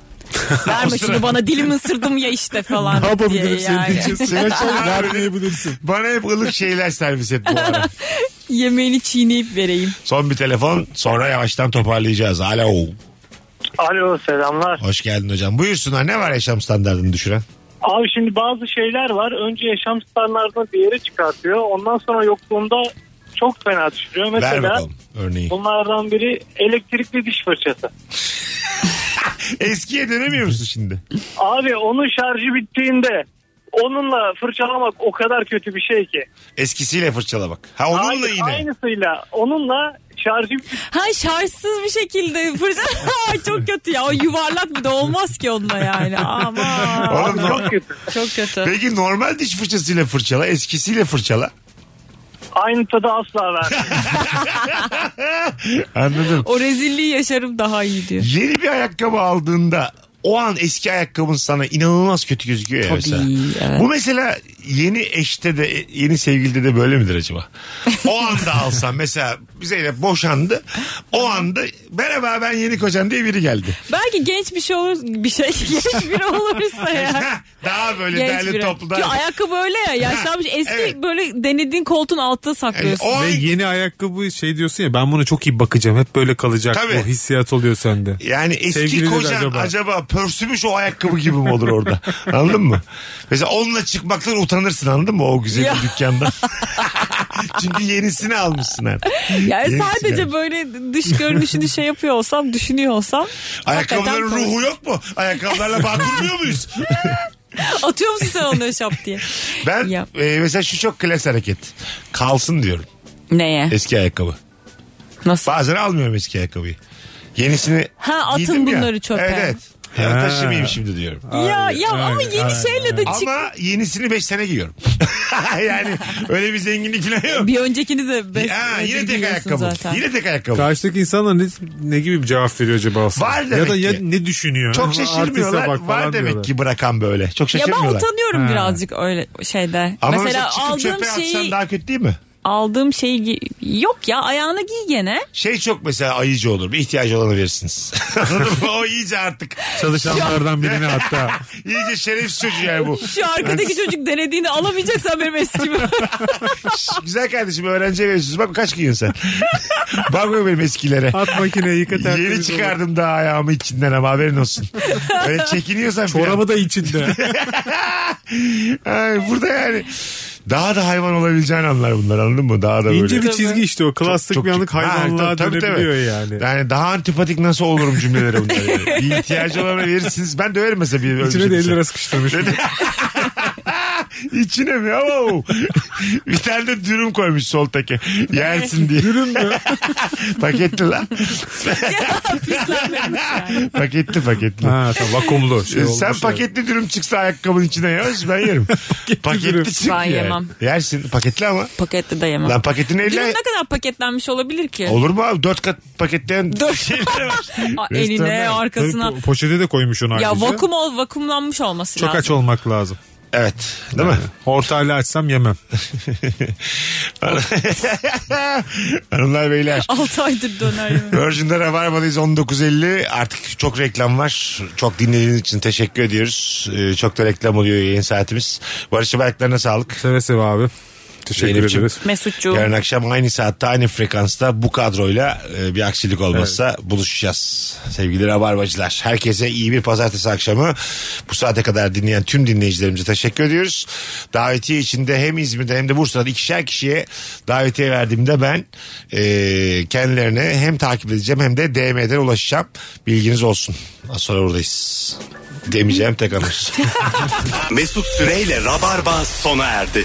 [SPEAKER 4] Verme şunu bana dilim ısırdım ya işte falan
[SPEAKER 5] ne
[SPEAKER 4] diye
[SPEAKER 5] yapabilirim senin
[SPEAKER 4] yani.
[SPEAKER 5] için? Sana çok vermeyebilirsin.
[SPEAKER 3] Bana hep ılık şeyler servis et bu ara.
[SPEAKER 4] Yemeğini çiğneyip vereyim.
[SPEAKER 3] Son bir telefon sonra yavaştan toparlayacağız. Alo.
[SPEAKER 12] Alo selamlar.
[SPEAKER 3] Hoş geldin hocam. Buyursunlar ne var yaşam standartını düşüren?
[SPEAKER 12] Abi şimdi bazı şeyler var. Önce yaşam standartını bir yere çıkartıyor. Ondan sonra yokluğunda çok fena düşürüyor.
[SPEAKER 3] Ver
[SPEAKER 12] Mesela
[SPEAKER 3] bakalım örneği.
[SPEAKER 12] bunlardan biri elektrikli diş fırçası.
[SPEAKER 3] Eskiye dönemiyor musun şimdi?
[SPEAKER 12] Abi onun şarjı bittiğinde onunla fırçalamak o kadar kötü bir şey ki.
[SPEAKER 3] Eskisiyle fırçala bak. Ha onunla
[SPEAKER 12] Hayır,
[SPEAKER 3] yine.
[SPEAKER 12] Aynısıyla onunla şarjı
[SPEAKER 4] Ha şarjsız bir şekilde fırça. Ay, çok kötü ya. O yuvarlak bir de olmaz ki onunla yani. Aman.
[SPEAKER 3] Oğlum, no-
[SPEAKER 12] çok kötü.
[SPEAKER 4] Çok kötü.
[SPEAKER 3] Peki normal diş fırçasıyla fırçala, eskisiyle fırçala.
[SPEAKER 12] Aynı tadı asla vermez.
[SPEAKER 3] Anladım.
[SPEAKER 4] O rezilliği yaşarım daha iyi diyor.
[SPEAKER 3] Yeni bir ayakkabı aldığında o an eski ayakkabın sana inanılmaz kötü gözüküyor ya
[SPEAKER 4] Tabii,
[SPEAKER 3] mesela.
[SPEAKER 4] evet.
[SPEAKER 3] Bu mesela yeni eşte de yeni sevgilide de böyle midir acaba? O anda alsan mesela Zeynep boşandı. O anda merhaba ben yeni kocan diye biri geldi.
[SPEAKER 4] Belki genç bir şey olur bir şey genç biri olursa ya.
[SPEAKER 3] Daha böyle
[SPEAKER 4] Genç
[SPEAKER 3] derli
[SPEAKER 4] biri.
[SPEAKER 3] toplu
[SPEAKER 4] Çünkü ayakkabı öyle ya yaşlanmış eski
[SPEAKER 3] evet. E,
[SPEAKER 4] böyle denediğin koltuğun altında saklıyorsun.
[SPEAKER 3] O
[SPEAKER 5] Ve
[SPEAKER 3] an-
[SPEAKER 5] yeni ayakkabı şey diyorsun ya ben buna çok iyi bakacağım. Hep böyle kalacak.
[SPEAKER 3] Tabii.
[SPEAKER 5] O hissiyat oluyor sende.
[SPEAKER 3] Yani eski
[SPEAKER 5] Sevgili nedir
[SPEAKER 3] kocan acaba?
[SPEAKER 5] acaba?
[SPEAKER 3] pörsümüş o ayakkabı gibi mi olur orada? anladın mı? Mesela onunla çıkmaktan utanırsın anladın mı o güzel
[SPEAKER 4] Ya.
[SPEAKER 3] dükkandan? Çünkü yenisini almışsın artık.
[SPEAKER 4] Yani
[SPEAKER 3] Yenisi
[SPEAKER 4] sadece
[SPEAKER 3] gelmiş.
[SPEAKER 4] böyle dış görünüşünü şey yapıyor olsam, düşünüyor olsam
[SPEAKER 3] Ayakkabıların
[SPEAKER 4] hakikaten
[SPEAKER 3] ruhu yok mu? Ayakkabılarla bağ kurmuyor muyuz?
[SPEAKER 4] atıyor musun sen onları şap diye?
[SPEAKER 3] Ben
[SPEAKER 4] Ya.
[SPEAKER 3] e, mesela şu çok klas hareket. Kalsın diyorum
[SPEAKER 4] Neye?
[SPEAKER 3] eski ayakkabı.
[SPEAKER 4] Nasıl?
[SPEAKER 3] Bazen almıyorum eski ayakkabıyı. Yenisini
[SPEAKER 4] Ha, atın
[SPEAKER 3] giydim ya.
[SPEAKER 4] bunları çöpe.
[SPEAKER 3] Evet evet. Ya
[SPEAKER 5] Ha.
[SPEAKER 3] taşımayayım şimdi diyorum.
[SPEAKER 4] ya ya ama
[SPEAKER 5] ay,
[SPEAKER 4] yeni
[SPEAKER 5] ay,
[SPEAKER 4] şeyle de E, çık.
[SPEAKER 3] Ama yenisini 5 sene giyiyorum. yani öyle bir zenginlik falan yok.
[SPEAKER 4] Bir öncekini de bes-
[SPEAKER 3] Ha, yine tek
[SPEAKER 4] biliyorsun
[SPEAKER 3] ayakkabı.
[SPEAKER 4] zaten.
[SPEAKER 3] Yine tek ayakkabı.
[SPEAKER 5] Karşıdaki insanlar ne, ne gibi bir cevap veriyor acaba aslında?
[SPEAKER 3] Var
[SPEAKER 5] ya
[SPEAKER 3] demek
[SPEAKER 5] da ya,
[SPEAKER 3] ki.
[SPEAKER 5] ne düşünüyor?
[SPEAKER 3] Çok
[SPEAKER 5] Artiste
[SPEAKER 3] şaşırmıyorlar.
[SPEAKER 5] bak
[SPEAKER 3] Var
[SPEAKER 5] falan
[SPEAKER 3] demek
[SPEAKER 5] diyorlar.
[SPEAKER 3] ki bırakan böyle. Çok
[SPEAKER 4] Ya ben
[SPEAKER 3] şaşırmıyorlar.
[SPEAKER 4] utanıyorum
[SPEAKER 5] Ha.
[SPEAKER 4] birazcık öyle şeyde.
[SPEAKER 3] Ama mesela,
[SPEAKER 4] mesela
[SPEAKER 3] çıkıp
[SPEAKER 4] aldığım
[SPEAKER 3] çöpe
[SPEAKER 4] şeyi
[SPEAKER 3] atsan daha kötü değil mi?
[SPEAKER 4] aldığım şeyi gi- yok ya ayağına giy gene.
[SPEAKER 3] Şey çok mesela ayıcı olur. Bir ihtiyacı olanı verirsiniz. Anladın mı? O iyice artık.
[SPEAKER 5] Çalışanlardan birine hatta.
[SPEAKER 3] iyice şerefsiz çocuğu yani bu.
[SPEAKER 4] Şu arkadaki çocuk denediğini alamayacaksan benim eskimi.
[SPEAKER 3] Güzel kardeşim öğrenci mevzusu. Bak kaç giyiyorsun sen. Bakma benim eskilere.
[SPEAKER 5] At makineyi yıka
[SPEAKER 3] Yeni
[SPEAKER 5] tertemiz
[SPEAKER 3] çıkardım daha ayağımı içinden ama haberin olsun. Öyle çekiniyorsan. falan.
[SPEAKER 5] Çorabı da içinde.
[SPEAKER 3] Ay, burada yani daha da hayvan olabileceğini anlar bunlar anladın mı? Daha da böyle.
[SPEAKER 5] İnce bir çizgi işte o. Klasik bir anlık hayvanlığa
[SPEAKER 3] Ha, tabii, tabii, tabii.
[SPEAKER 5] dönebiliyor yani.
[SPEAKER 3] Yani daha antipatik nasıl olurum cümleleri bunlar. Yani. Bir ihtiyacı olana verirsiniz. Ben döverim mesela bir şey
[SPEAKER 5] İçine de 50 lira sıkıştırmış.
[SPEAKER 3] İçine mi? Ama bir tane de dürüm koymuş sol teke. Yersin diye.
[SPEAKER 5] Dürüm mü?
[SPEAKER 3] paketli lan. paketli paketli.
[SPEAKER 5] ha tamam vakumlu. Şey olmuş
[SPEAKER 3] Sen
[SPEAKER 5] yani.
[SPEAKER 3] paketli dürüm çıksa ayakkabının içine yavaş ben yerim.
[SPEAKER 5] dürüm.
[SPEAKER 3] paketli çıkmıyor.
[SPEAKER 4] Ben
[SPEAKER 3] yani.
[SPEAKER 4] yemem.
[SPEAKER 3] Yersin paketli ama.
[SPEAKER 4] Paketli de yemem.
[SPEAKER 3] Lan paketini
[SPEAKER 4] Dürüm
[SPEAKER 3] elle...
[SPEAKER 4] ne kadar paketlenmiş olabilir ki?
[SPEAKER 3] Olur mu abi? Dört kat paketleyen
[SPEAKER 4] Dört-
[SPEAKER 3] şeyler var.
[SPEAKER 4] Aa, Eline
[SPEAKER 3] Restoranlar.
[SPEAKER 4] arkasına.
[SPEAKER 5] Tabii po- poşete de koymuş onu
[SPEAKER 4] Ya
[SPEAKER 5] ayrıca.
[SPEAKER 4] vakum ol vakumlanmış olması
[SPEAKER 5] Çok
[SPEAKER 4] lazım.
[SPEAKER 5] aç olmak lazım.
[SPEAKER 3] Evet. Değil mi?
[SPEAKER 5] Ortayla açsam yemem.
[SPEAKER 3] Hanımlar beyler.
[SPEAKER 4] 6 aydır döner yemedim.
[SPEAKER 3] Virgin'de Rabarba'dayız 19.50. Artık çok reklam var. Çok dinlediğiniz için teşekkür ediyoruz. Ee, çok da reklam oluyor yayın saatimiz. Barış'ım ayaklarına sağlık.
[SPEAKER 5] Seve seve abi. Teşekkür
[SPEAKER 3] Zeynep'ciğim.
[SPEAKER 5] ederiz.
[SPEAKER 4] Mesutcuğum.
[SPEAKER 3] Yarın akşam aynı saatte aynı frekansta bu kadroyla e, bir aksilik olmazsa buluşacağız. Sevgili Rabarbacılar herkese iyi bir pazartesi akşamı bu saate kadar dinleyen tüm dinleyicilerimize teşekkür ediyoruz. Davetiye içinde hem İzmir'de hem de Bursa'da ikişer kişiye davetiye verdiğimde ben e, kendilerine hem takip edeceğim hem de DM'den ulaşacağım. Bilginiz olsun. Az sonra buradayız. Demeyeceğim tek anır.
[SPEAKER 2] Mesut Süreyle Rabarba sona erdi.